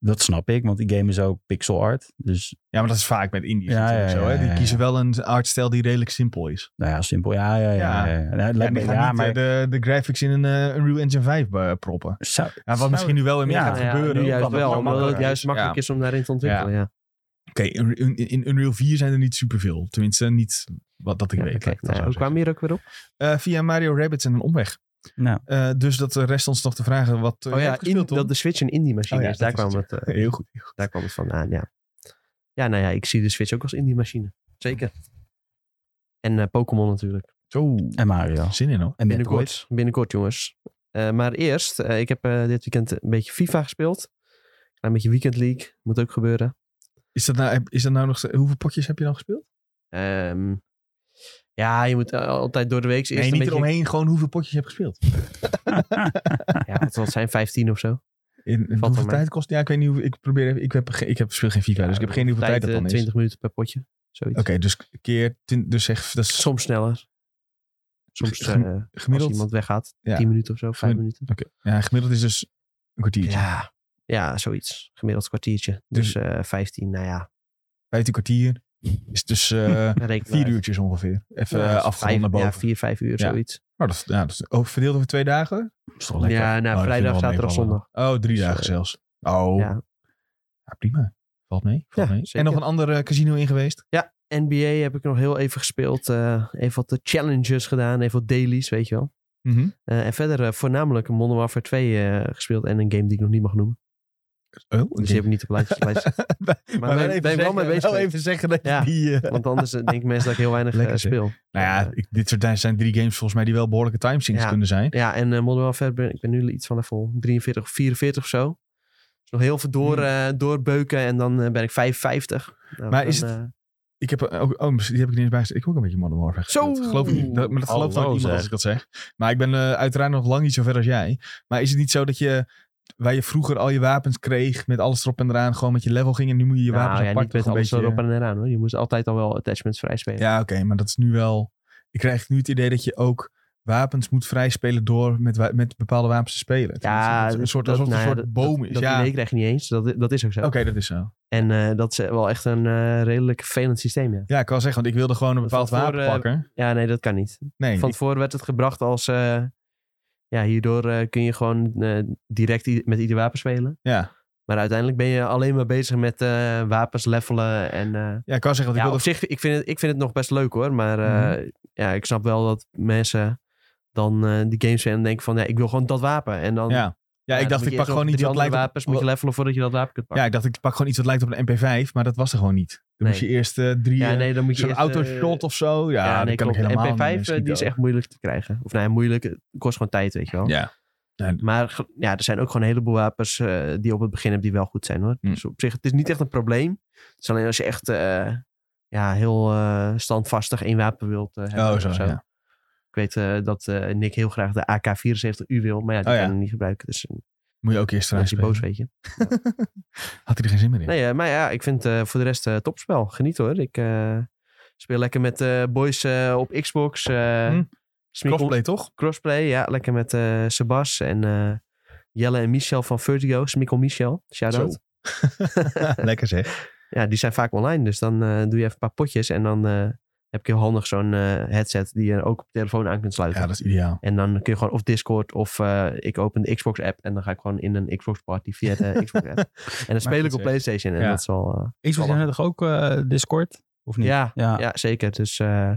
[SPEAKER 3] dat snap ik, want die game is ook pixel art. Dus,
[SPEAKER 1] Ja, maar dat is vaak met Indiërs
[SPEAKER 3] Ja,
[SPEAKER 1] natuurlijk
[SPEAKER 3] ja,
[SPEAKER 1] zo. Hè?
[SPEAKER 3] ja,
[SPEAKER 1] Die
[SPEAKER 3] ja,
[SPEAKER 1] kiezen wel een artstijl die redelijk simpel is.
[SPEAKER 3] nou ja, simpel. Ja, ja, ja.
[SPEAKER 1] Ja.
[SPEAKER 3] ja, ja. Nou, het lijkt
[SPEAKER 1] ja, die
[SPEAKER 3] me,
[SPEAKER 1] gaan
[SPEAKER 3] ja
[SPEAKER 1] niet, eh,
[SPEAKER 3] maar...
[SPEAKER 1] de, de graphics in een eh, Unreal Engine 5 be- proppen.
[SPEAKER 3] zou-
[SPEAKER 1] Ja, wat
[SPEAKER 3] zou-
[SPEAKER 1] misschien nu wel weer meer
[SPEAKER 3] Ja,
[SPEAKER 1] gaat
[SPEAKER 2] Ja,
[SPEAKER 1] gebeuren.
[SPEAKER 2] nu
[SPEAKER 1] omdat
[SPEAKER 2] juist
[SPEAKER 1] het
[SPEAKER 2] wel,
[SPEAKER 1] makkelijker
[SPEAKER 2] omdat het juist
[SPEAKER 1] is.
[SPEAKER 2] makkelijk
[SPEAKER 1] Ja.
[SPEAKER 2] is om daarin te ontwikkelen. Ja.
[SPEAKER 1] Oké, in, in, in Unreal 4 zijn er niet superveel. Tenminste, niet wat dat ik
[SPEAKER 2] Ja,
[SPEAKER 1] weet. laat
[SPEAKER 2] Kijk,
[SPEAKER 1] ik dat
[SPEAKER 2] nou,
[SPEAKER 1] zo
[SPEAKER 2] hoe
[SPEAKER 1] zeggen.
[SPEAKER 2] kwam je er ook weer op?
[SPEAKER 1] Eh, via Mario Rabbits en een omweg.
[SPEAKER 3] Nou,
[SPEAKER 1] Eh, dus dat eh, rest ons nog te vragen wat eh,
[SPEAKER 2] Oh
[SPEAKER 1] jij
[SPEAKER 2] ja,
[SPEAKER 1] hebt gespeeld,
[SPEAKER 2] in-
[SPEAKER 1] Tom?
[SPEAKER 2] dat de Switch een indie machine
[SPEAKER 1] Oh ja,
[SPEAKER 2] is. Daar
[SPEAKER 1] dat is
[SPEAKER 2] kwam het, eh,
[SPEAKER 1] Heel goed. heel goed.
[SPEAKER 2] Daar kwam het vandaan, ja. Ja, nou ja, ik zie de Switch ook als indie-machine. Zeker. En eh, Pokémon natuurlijk.
[SPEAKER 1] Zo,
[SPEAKER 3] en Mario.
[SPEAKER 1] zin in hoor.
[SPEAKER 3] En Metroid.
[SPEAKER 2] Binnenkort, binnenkort jongens. Eh, maar eerst, eh, ik heb eh, dit weekend een beetje FIFA gespeeld. Een beetje Weekend League, moet ook gebeuren.
[SPEAKER 1] Is dat nou, is dat nou nog, st- hoeveel potjes heb je dan gespeeld?
[SPEAKER 2] Ehm, ja, je moet eh, altijd door de week eerst
[SPEAKER 1] nee,
[SPEAKER 2] een
[SPEAKER 1] niet
[SPEAKER 2] beetje...
[SPEAKER 1] eromheen, gewoon hoeveel potjes je hebt gespeeld.
[SPEAKER 2] Ja, wat zal het zijn 15 of zo.
[SPEAKER 1] In, in
[SPEAKER 2] Valt wel
[SPEAKER 1] hoeveel
[SPEAKER 2] mee.
[SPEAKER 1] tijd kost Ja, ik weet niet hoe, ik probeer even, ik, heb, ge- ik heb, speel geen FIFA, dus ik heb geen idee hoeveel tijd dat
[SPEAKER 2] eh,
[SPEAKER 1] dan is.
[SPEAKER 2] 20 minuten per potje, zoiets.
[SPEAKER 1] Oké, dus keer, twin- dus zeg, dat is
[SPEAKER 2] Soms sneller. Soms
[SPEAKER 1] Gem-
[SPEAKER 2] eh, als
[SPEAKER 1] gemiddeld.
[SPEAKER 2] iemand weggaat,
[SPEAKER 1] Ja.
[SPEAKER 2] 10 minuten of zo, 5
[SPEAKER 1] Gemiddeld-
[SPEAKER 2] minuten.
[SPEAKER 1] Oké, Ja, gemiddeld is dus een kwartiertje.
[SPEAKER 2] Ja, Ja, zoiets. Gemiddeld kwartiertje.
[SPEAKER 1] Dus-
[SPEAKER 2] Dus eh 15, nou ja.
[SPEAKER 1] 15 kwartier. Is dus
[SPEAKER 2] [laughs]
[SPEAKER 1] eh,
[SPEAKER 2] reken
[SPEAKER 1] vier
[SPEAKER 2] maar.
[SPEAKER 1] uurtjes ongeveer. Even
[SPEAKER 2] Ja,
[SPEAKER 1] eh,
[SPEAKER 2] dus
[SPEAKER 1] afgerond
[SPEAKER 2] vijf-
[SPEAKER 1] naar boven.
[SPEAKER 2] Ja, vier, vijf uur,
[SPEAKER 1] Ja.
[SPEAKER 2] zoiets.
[SPEAKER 1] Maar dat, ja, dat is ook verdeeld over twee dagen? Dat is toch lekker?
[SPEAKER 2] Ja, nou,
[SPEAKER 1] dat vind ik
[SPEAKER 2] vrijdag,
[SPEAKER 1] wel
[SPEAKER 2] zaterdag,
[SPEAKER 1] meevallen. Oh, drie
[SPEAKER 2] Dus,
[SPEAKER 1] dagen
[SPEAKER 2] eh,
[SPEAKER 1] zelfs. Oh, ja.
[SPEAKER 2] ja.
[SPEAKER 1] prima. Valt mee. Valt
[SPEAKER 2] Ja,
[SPEAKER 1] mee. En
[SPEAKER 2] zeker.
[SPEAKER 1] nog een andere eh, casino in geweest?
[SPEAKER 2] NBA heb ik nog heel even gespeeld. eh, even wat de challenges gedaan. Even wat dailies, weet je wel.
[SPEAKER 1] Mhm.
[SPEAKER 2] Eh, en verder eh, voornamelijk Modern Warfare 2 eh, gespeeld. En een game die ik nog niet mag noemen.
[SPEAKER 1] Oh,
[SPEAKER 2] Dus die heb ik niet op
[SPEAKER 1] [laughs]
[SPEAKER 2] lijst. lijst.
[SPEAKER 1] maar even
[SPEAKER 2] ben- ben ik wel
[SPEAKER 1] zeggen-
[SPEAKER 2] mee bezig
[SPEAKER 1] wel
[SPEAKER 2] geweest.
[SPEAKER 1] even zeggen dat je
[SPEAKER 2] Ja.
[SPEAKER 1] die... eh,
[SPEAKER 2] Want anders eh, denken mensen dat ik heel weinig eh,
[SPEAKER 1] Lekker zeg.
[SPEAKER 2] speel.
[SPEAKER 1] nou ja,
[SPEAKER 2] Eh,
[SPEAKER 1] ik- dit soort dingen zijn drie games volgens mij die wel behoorlijke timesinks
[SPEAKER 2] Ja.
[SPEAKER 1] kunnen zijn.
[SPEAKER 2] ja, en eh, Modern Warfare, ben, ik ben nu iets van level 43 of 44 of zo. Dus nog heel veel door,
[SPEAKER 1] Hmm.
[SPEAKER 2] eh, doorbeuken en dan eh, ben ik 55. Nou,
[SPEAKER 1] Maar is
[SPEAKER 2] dan, eh,
[SPEAKER 1] Ik heb eh, ook, oh, die heb ik er niet bij. Ik heb ook een beetje Modern Warfare gespeeld.
[SPEAKER 2] Zo!
[SPEAKER 1] Geloof ik niet. Dat, maar dat gelooft nooit
[SPEAKER 3] Hallo,
[SPEAKER 1] iemand als
[SPEAKER 3] zeg.
[SPEAKER 1] ik dat zeg. Maar ik ben eh, uiteraard nog lang niet zo ver als jij. Maar is het niet zo dat je, waar je vroeger al je wapens kreeg, met alles erop en eraan, gewoon met je level ging en nu moet je je wapens
[SPEAKER 2] nou, ja,
[SPEAKER 1] apart
[SPEAKER 2] niet met
[SPEAKER 1] nog een
[SPEAKER 2] alles
[SPEAKER 1] beetje... eh?
[SPEAKER 2] erop en eraan hoor. Je moest altijd al wel attachments vrij spelen.
[SPEAKER 1] Ja, oké, maar dat is nu wel... Ik krijg nu het idee dat je ook wapens moet vrijspelen door met, wa- met bepaalde wapens te spelen.
[SPEAKER 2] Ja,
[SPEAKER 1] Het is een soort, alsof het
[SPEAKER 2] nou
[SPEAKER 1] een
[SPEAKER 2] ja,
[SPEAKER 1] soort boom is.
[SPEAKER 2] Dat
[SPEAKER 1] ja,
[SPEAKER 2] idee
[SPEAKER 1] oké,
[SPEAKER 2] krijg je niet eens. Dat, dat is ook zo.
[SPEAKER 1] dat is zo.
[SPEAKER 2] En eh, dat is eh, wel echt een eh, redelijk vervelend systeem. Ja.
[SPEAKER 1] Ja, ik kan zeggen, want ik wilde gewoon een
[SPEAKER 2] Van
[SPEAKER 1] bepaald wapen
[SPEAKER 2] tevoren, eh,
[SPEAKER 1] pakken.
[SPEAKER 2] ja, nee, dat kan niet.
[SPEAKER 1] Nee,
[SPEAKER 2] Van
[SPEAKER 1] ik-
[SPEAKER 2] tevoren werd het gebracht als... eh, ja, hierdoor eh, kun je gewoon eh, direct i- met ieder wapen spelen.
[SPEAKER 1] ja.
[SPEAKER 2] Maar uiteindelijk ben je alleen maar bezig met eh, wapens levelen. En, eh,
[SPEAKER 1] ja, ik kan zeggen, want ik
[SPEAKER 2] ja,
[SPEAKER 1] wilde...
[SPEAKER 2] op zich, ik vind, het, ik vind het nog best leuk hoor. Maar eh,
[SPEAKER 1] Mhm.
[SPEAKER 2] ja, ik snap wel dat mensen dan eh, die games spelen en denken van... Ja, ik wil gewoon dat wapen. En dan...
[SPEAKER 1] Ja. Ja, ik dacht, ik pak gewoon iets
[SPEAKER 2] die
[SPEAKER 1] wat lijkt op...
[SPEAKER 2] wapens moet je levelen voordat je dat wapen kunt
[SPEAKER 1] Ja,
[SPEAKER 2] pakken.
[SPEAKER 1] ik dacht, ik pak gewoon iets wat lijkt op een MP5, maar dat was er gewoon niet. Dan
[SPEAKER 2] Nee.
[SPEAKER 1] moest je eerst eh, drie, eh,
[SPEAKER 2] nee, dan moet
[SPEAKER 1] zo'n
[SPEAKER 2] eerst, eh,
[SPEAKER 1] autoshot of zo. Ja,
[SPEAKER 2] Ja,
[SPEAKER 1] dat kan
[SPEAKER 2] nee, klopt.
[SPEAKER 1] ik helemaal
[SPEAKER 2] En
[SPEAKER 1] niet
[SPEAKER 2] MP5
[SPEAKER 1] meer
[SPEAKER 2] eh, die is
[SPEAKER 1] schieten.
[SPEAKER 2] echt moeilijk te krijgen. Of nou ja, moeilijk. Het kost gewoon tijd, weet je wel.
[SPEAKER 1] Ja,
[SPEAKER 2] Maar ge- ja, er zijn ook gewoon een heleboel wapens eh, die je op het begin hebt die wel goed zijn hoor.
[SPEAKER 1] Hm.
[SPEAKER 2] Dus op zich, het is niet echt een probleem. Het is alleen als je echt eh, ja, heel eh, standvastig één wapen wilt eh, hebben.
[SPEAKER 1] oh
[SPEAKER 2] of
[SPEAKER 1] zo,
[SPEAKER 2] zo.
[SPEAKER 1] ja.
[SPEAKER 2] Ik weet eh, dat eh, Nick heel graag de AK-74U wil, maar ja, die
[SPEAKER 1] Oh, ja.
[SPEAKER 2] kan hij niet gebruiken. Dus eh,
[SPEAKER 1] Moet je ook eerst
[SPEAKER 2] dan
[SPEAKER 1] eruit
[SPEAKER 2] is hij boos,
[SPEAKER 1] spelen.
[SPEAKER 2] weet je.
[SPEAKER 1] Had hij er geen zin meer in?
[SPEAKER 2] Nee, eh, maar ja, ik vind eh, voor de rest eh, topspel. Geniet hoor. Ik eh, speel lekker met eh, boys eh, op Xbox. eh
[SPEAKER 1] Hm.
[SPEAKER 2] Smeek ons-
[SPEAKER 1] Crossplay
[SPEAKER 2] [laughs]
[SPEAKER 1] toch?
[SPEAKER 2] crossplay, ja. Lekker met eh, Sebas en eh, Jelle en Michel van Vertigo. Smikkel Michel, shout-out.
[SPEAKER 1] Lekker zeg.
[SPEAKER 2] Ja, die zijn vaak online. Dus dan eh, doe je even een paar potjes. En dan eh, heb je heel handig zo'n eh, headset die je ook op je telefoon aan kunt sluiten.
[SPEAKER 1] Ja, dat is ideaal.
[SPEAKER 2] En dan kun je gewoon of Discord of eh, ik open de Xbox app. En dan ga ik gewoon in een Xbox party via
[SPEAKER 1] [laughs]
[SPEAKER 2] de Xbox app. En dan speel
[SPEAKER 1] goed
[SPEAKER 2] ik op
[SPEAKER 1] zeg.
[SPEAKER 2] Playstation. En
[SPEAKER 1] Ja.
[SPEAKER 2] dat is wel... eh,
[SPEAKER 3] Xbox heeft toch ook eh, Discord? Of niet?
[SPEAKER 2] ja,
[SPEAKER 3] Ja.
[SPEAKER 2] ja. zeker. Dus eh,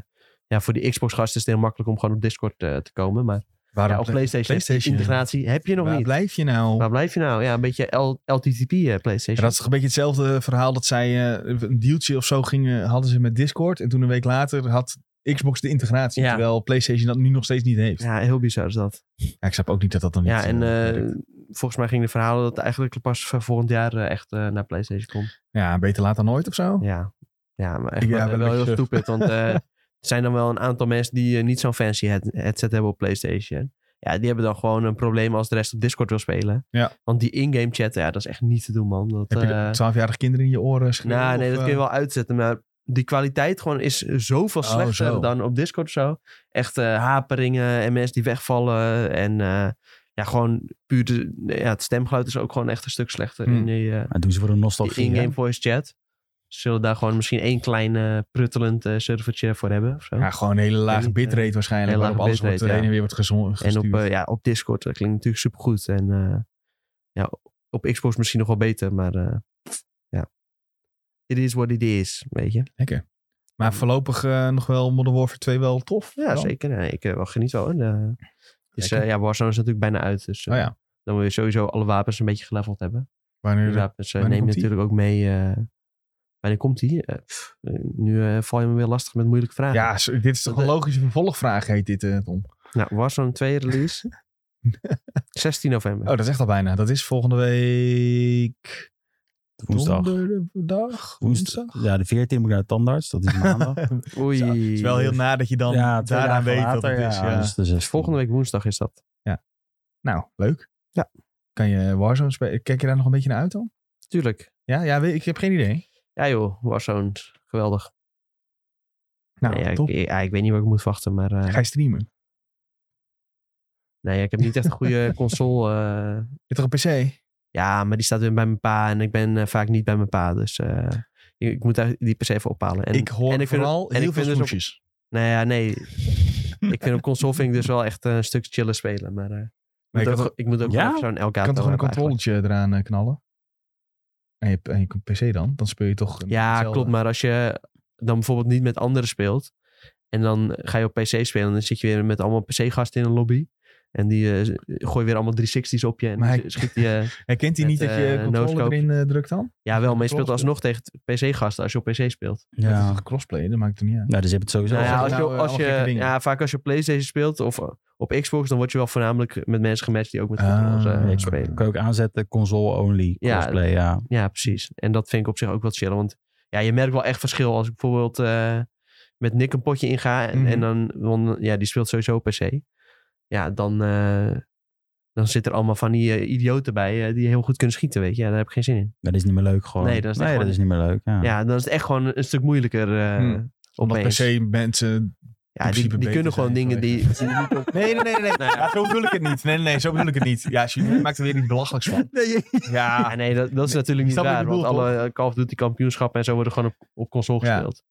[SPEAKER 2] ja, voor die Xbox gasten is het heel makkelijk om gewoon op Discord eh, te komen. Maar
[SPEAKER 1] Waarom
[SPEAKER 2] ja, op
[SPEAKER 1] ble-
[SPEAKER 2] Playstation,
[SPEAKER 1] PlayStation?
[SPEAKER 2] integratie heb je nog
[SPEAKER 1] Waar
[SPEAKER 2] niet.
[SPEAKER 1] blijf je nou?
[SPEAKER 2] Waar blijf je nou? Ja, een beetje L- LTTP eh,
[SPEAKER 1] Ja,
[SPEAKER 2] PlayStation.
[SPEAKER 1] dat is toch een beetje hetzelfde verhaal dat zij eh, een dealtje of zo gingen, hadden ze met Discord. En toen een week later had Xbox de integratie.
[SPEAKER 2] Ja.
[SPEAKER 1] Terwijl PlayStation dat nu nog steeds niet heeft.
[SPEAKER 2] Ja, heel bizar is dat.
[SPEAKER 1] Ja, ik snap ook niet dat dat dan niet
[SPEAKER 2] Ja, en
[SPEAKER 1] eh,
[SPEAKER 2] eh,
[SPEAKER 1] werkt.
[SPEAKER 2] volgens mij ging de verhalen dat het eigenlijk pas voor volgend jaar eh, echt eh, naar PlayStation komt.
[SPEAKER 1] Ja, beter laat dan nooit of zo.
[SPEAKER 2] Ja, ja maar echt
[SPEAKER 1] Ja,
[SPEAKER 2] wel-
[SPEAKER 1] wel
[SPEAKER 2] wel heel
[SPEAKER 1] leuk.
[SPEAKER 2] stupid.
[SPEAKER 1] [laughs]
[SPEAKER 2] Want eh, er zijn dan wel een aantal mensen die eh, niet zo'n fancy head headset hebben op PlayStation. Ja, die hebben dan gewoon een probleem als de rest op Discord wil spelen.
[SPEAKER 1] Ja.
[SPEAKER 2] Want die in-game chat, ja, dat is echt niet te doen, man. Dat,
[SPEAKER 1] Heb je
[SPEAKER 2] eh,
[SPEAKER 1] de 12-jarige kinderen in je oren schreeuwen?
[SPEAKER 2] Nou, nee,
[SPEAKER 1] of, eh,
[SPEAKER 2] dat kun je wel uitzetten. Maar die kwaliteit gewoon is zoveel
[SPEAKER 1] Oh,
[SPEAKER 2] slechter
[SPEAKER 1] zo.
[SPEAKER 2] dan op Discord of zo. Echt eh, haperingen en mensen die wegvallen. En eh, ja, gewoon puur de, ja, het stemgeluid is ook gewoon echt een stuk slechter
[SPEAKER 1] Hmm.
[SPEAKER 2] in die, eh,
[SPEAKER 3] Maar doen ze voor de
[SPEAKER 2] die
[SPEAKER 3] nostalgie.
[SPEAKER 2] in-game
[SPEAKER 3] hè?
[SPEAKER 2] voice chat. Ze zullen daar gewoon misschien één klein eh, pruttelend eh, servertje voor hebben of zo.
[SPEAKER 1] eh, Ja, gewoon een hele
[SPEAKER 2] Weet
[SPEAKER 1] lage
[SPEAKER 2] niet, eh,
[SPEAKER 1] bitrate waarschijnlijk.
[SPEAKER 2] hele
[SPEAKER 1] Waarop
[SPEAKER 2] lage
[SPEAKER 1] alles wordt eh,
[SPEAKER 2] bitrate,
[SPEAKER 1] heen en
[SPEAKER 2] ja.
[SPEAKER 1] weer wordt gezon,
[SPEAKER 2] en
[SPEAKER 1] gestuurd.
[SPEAKER 2] op, eh, ja, op Discord dat klinkt natuurlijk supergoed. En eh, ja, op Xbox misschien nog wel beter, maar eh, ja. It is what it is, weet je.
[SPEAKER 1] Lekker. Maar voorlopig eh, nog wel Modern Warfare 2 wel tof.
[SPEAKER 2] Ja,
[SPEAKER 1] Dan.
[SPEAKER 2] zeker. Nee, ik eh, wel geniet wel. hoor. De- het is,
[SPEAKER 1] Lekker.
[SPEAKER 2] eh, ja, Warzone is natuurlijk bijna uit. Dus eh,
[SPEAKER 1] Oh ja,
[SPEAKER 2] dan wil je sowieso alle wapens een beetje geleveld hebben. Die
[SPEAKER 1] wanneer...
[SPEAKER 2] wapens eh,
[SPEAKER 1] wanneer
[SPEAKER 2] neem je
[SPEAKER 1] komt-ie?
[SPEAKER 2] natuurlijk ook mee. eh wanneer komt die? Eh, pff, eh, nu eh, val je me weer lastig met moeilijke vragen.
[SPEAKER 1] Ja, zo- dit is toch een
[SPEAKER 2] Want,
[SPEAKER 1] logische vervolgvraag heet dit, eh, Tom.
[SPEAKER 2] Nou, Warzone 2 release.
[SPEAKER 1] [laughs]
[SPEAKER 2] 16 november.
[SPEAKER 1] Oh, dat is echt al bijna. Dat is volgende week...
[SPEAKER 3] Woensdag.
[SPEAKER 1] Donderdag?
[SPEAKER 3] Woensdag.
[SPEAKER 1] Woensdag?
[SPEAKER 3] Ja, de 14 moet ik naar de tandarts. Dat
[SPEAKER 2] [laughs]
[SPEAKER 3] is maandag.
[SPEAKER 2] Oei.
[SPEAKER 1] Zo, [laughs] Het is wel heel na dat je dan
[SPEAKER 3] ja, twee
[SPEAKER 1] daaraan
[SPEAKER 3] dagen
[SPEAKER 1] weet
[SPEAKER 3] later,
[SPEAKER 1] dat het is. ja.
[SPEAKER 3] dus de 16e.
[SPEAKER 2] Volgende week woensdag is dat.
[SPEAKER 1] Nou, leuk.
[SPEAKER 2] Ja.
[SPEAKER 1] Kan je Warzone spelen? Kijk je daar nog een beetje naar uit dan?
[SPEAKER 2] Tuurlijk.
[SPEAKER 1] Ja, ja weet- ik heb geen idee.
[SPEAKER 2] Ja joh, Warzone. Geweldig.
[SPEAKER 1] Nou,
[SPEAKER 2] Nee, ja,
[SPEAKER 1] top.
[SPEAKER 2] ik, ja, ik weet niet wat ik moet wachten, maar... eh,
[SPEAKER 1] Ga je streamen? [laughs]
[SPEAKER 2] nee, ik heb niet echt een goede console... eh,
[SPEAKER 1] Je hebt toch een PC?
[SPEAKER 2] Ja, maar die staat weer bij mijn pa en ik ben eh, vaak niet bij mijn pa. Dus eh, ik, ik moet daar die per se even ophalen. En,
[SPEAKER 1] ik hoor
[SPEAKER 2] en ik vind
[SPEAKER 1] vooral
[SPEAKER 2] het- en
[SPEAKER 1] heel
[SPEAKER 2] ik
[SPEAKER 1] veel
[SPEAKER 2] vind het ook-
[SPEAKER 1] smoesjes.
[SPEAKER 2] Nou ja, nee. ik vind op console vind ik dus wel echt eh, een stuk chiller spelen. Maar eh,
[SPEAKER 1] Maar je
[SPEAKER 2] ik, moet
[SPEAKER 1] kan
[SPEAKER 2] ook,
[SPEAKER 1] toch-
[SPEAKER 2] ik moet ook
[SPEAKER 3] Ja?
[SPEAKER 2] wel even zo'n elkaar
[SPEAKER 1] je kan toch een controletje eraan eh, knallen? En je, en je PC dan? Dan speel je toch...
[SPEAKER 2] Ja,
[SPEAKER 1] hetzelfde.
[SPEAKER 2] klopt. Maar als je dan bijvoorbeeld niet met anderen speelt. En dan ga je op PC spelen. En dan zit je weer met allemaal PC-gasten in een lobby. En die eh, gooi weer allemaal 360's op je. En
[SPEAKER 1] Maar
[SPEAKER 2] dan
[SPEAKER 1] hij-
[SPEAKER 2] schiet je.
[SPEAKER 1] Herkent hij
[SPEAKER 2] Met,
[SPEAKER 1] niet dat
[SPEAKER 2] eh,
[SPEAKER 1] je controller
[SPEAKER 2] no-scope.
[SPEAKER 1] erin eh, drukt dan? [laughs]
[SPEAKER 2] Ja, wel. Maar je
[SPEAKER 1] Klopt,
[SPEAKER 2] speelt alsnog tegen PC-gasten als je op PC speelt.
[SPEAKER 1] Dat is
[SPEAKER 3] Ja.
[SPEAKER 1] toch crossplay, dat maakt het niet uit.
[SPEAKER 3] Nou, dus je hebt het sowieso.
[SPEAKER 2] Nou ja,
[SPEAKER 1] zeggen
[SPEAKER 2] als je,
[SPEAKER 1] nou, eh,
[SPEAKER 2] als
[SPEAKER 1] allemaal gekke
[SPEAKER 2] je,
[SPEAKER 1] dingen.
[SPEAKER 2] ja, vaak als je op PlayStation speelt of eh, op Xbox, dan word je wel voornamelijk met mensen gematcht die ook met controllers eh,
[SPEAKER 1] Ah,
[SPEAKER 3] Ja,
[SPEAKER 2] spelen.
[SPEAKER 3] Kan je ook aanzetten, console only,
[SPEAKER 2] Ja.
[SPEAKER 3] crossplay, ja.
[SPEAKER 2] Ja, precies. En dat vind ik op zich ook wel chill. Want ja, je merkt wel echt verschil als ik bijvoorbeeld eh, met Nick een potje inga. En,
[SPEAKER 1] Mhm.
[SPEAKER 2] en dan, want, ja, die speelt sowieso PC. Ja, dan, eh, dan zit er allemaal van die eh, idioten bij eh, die heel goed kunnen schieten, weet je. Ja, daar heb ik geen zin in.
[SPEAKER 3] Maar dat is niet meer leuk gewoon.
[SPEAKER 2] Nee, dat is echt gewoon-
[SPEAKER 3] niet meer leuk, ja.
[SPEAKER 2] Ja, dan is het echt gewoon een stuk moeilijker eh
[SPEAKER 1] Hm. Omdat
[SPEAKER 2] opeens.
[SPEAKER 1] PC mensen...
[SPEAKER 2] ja, die,
[SPEAKER 1] principe
[SPEAKER 2] die
[SPEAKER 1] beter
[SPEAKER 2] kunnen gewoon
[SPEAKER 1] zijn
[SPEAKER 2] dingen die... die
[SPEAKER 1] [laughs]
[SPEAKER 2] niet op-
[SPEAKER 1] Nee, nee, nee, nee.
[SPEAKER 2] Nee. Ja,
[SPEAKER 1] zo bedoel ik het niet. Nee, nee, zo bedoel ik het niet. Ja, je maakt er weer iets belachelijks van.
[SPEAKER 2] Ja,
[SPEAKER 1] Ja,
[SPEAKER 2] Ah, nee, dat, dat is natuurlijk niet
[SPEAKER 1] snap wat je
[SPEAKER 2] waar. Want
[SPEAKER 1] bedoelt,
[SPEAKER 2] alle eh, Call of Duty kampioenschappen en zo worden gewoon op, op console
[SPEAKER 1] Ja.
[SPEAKER 2] gespeeld.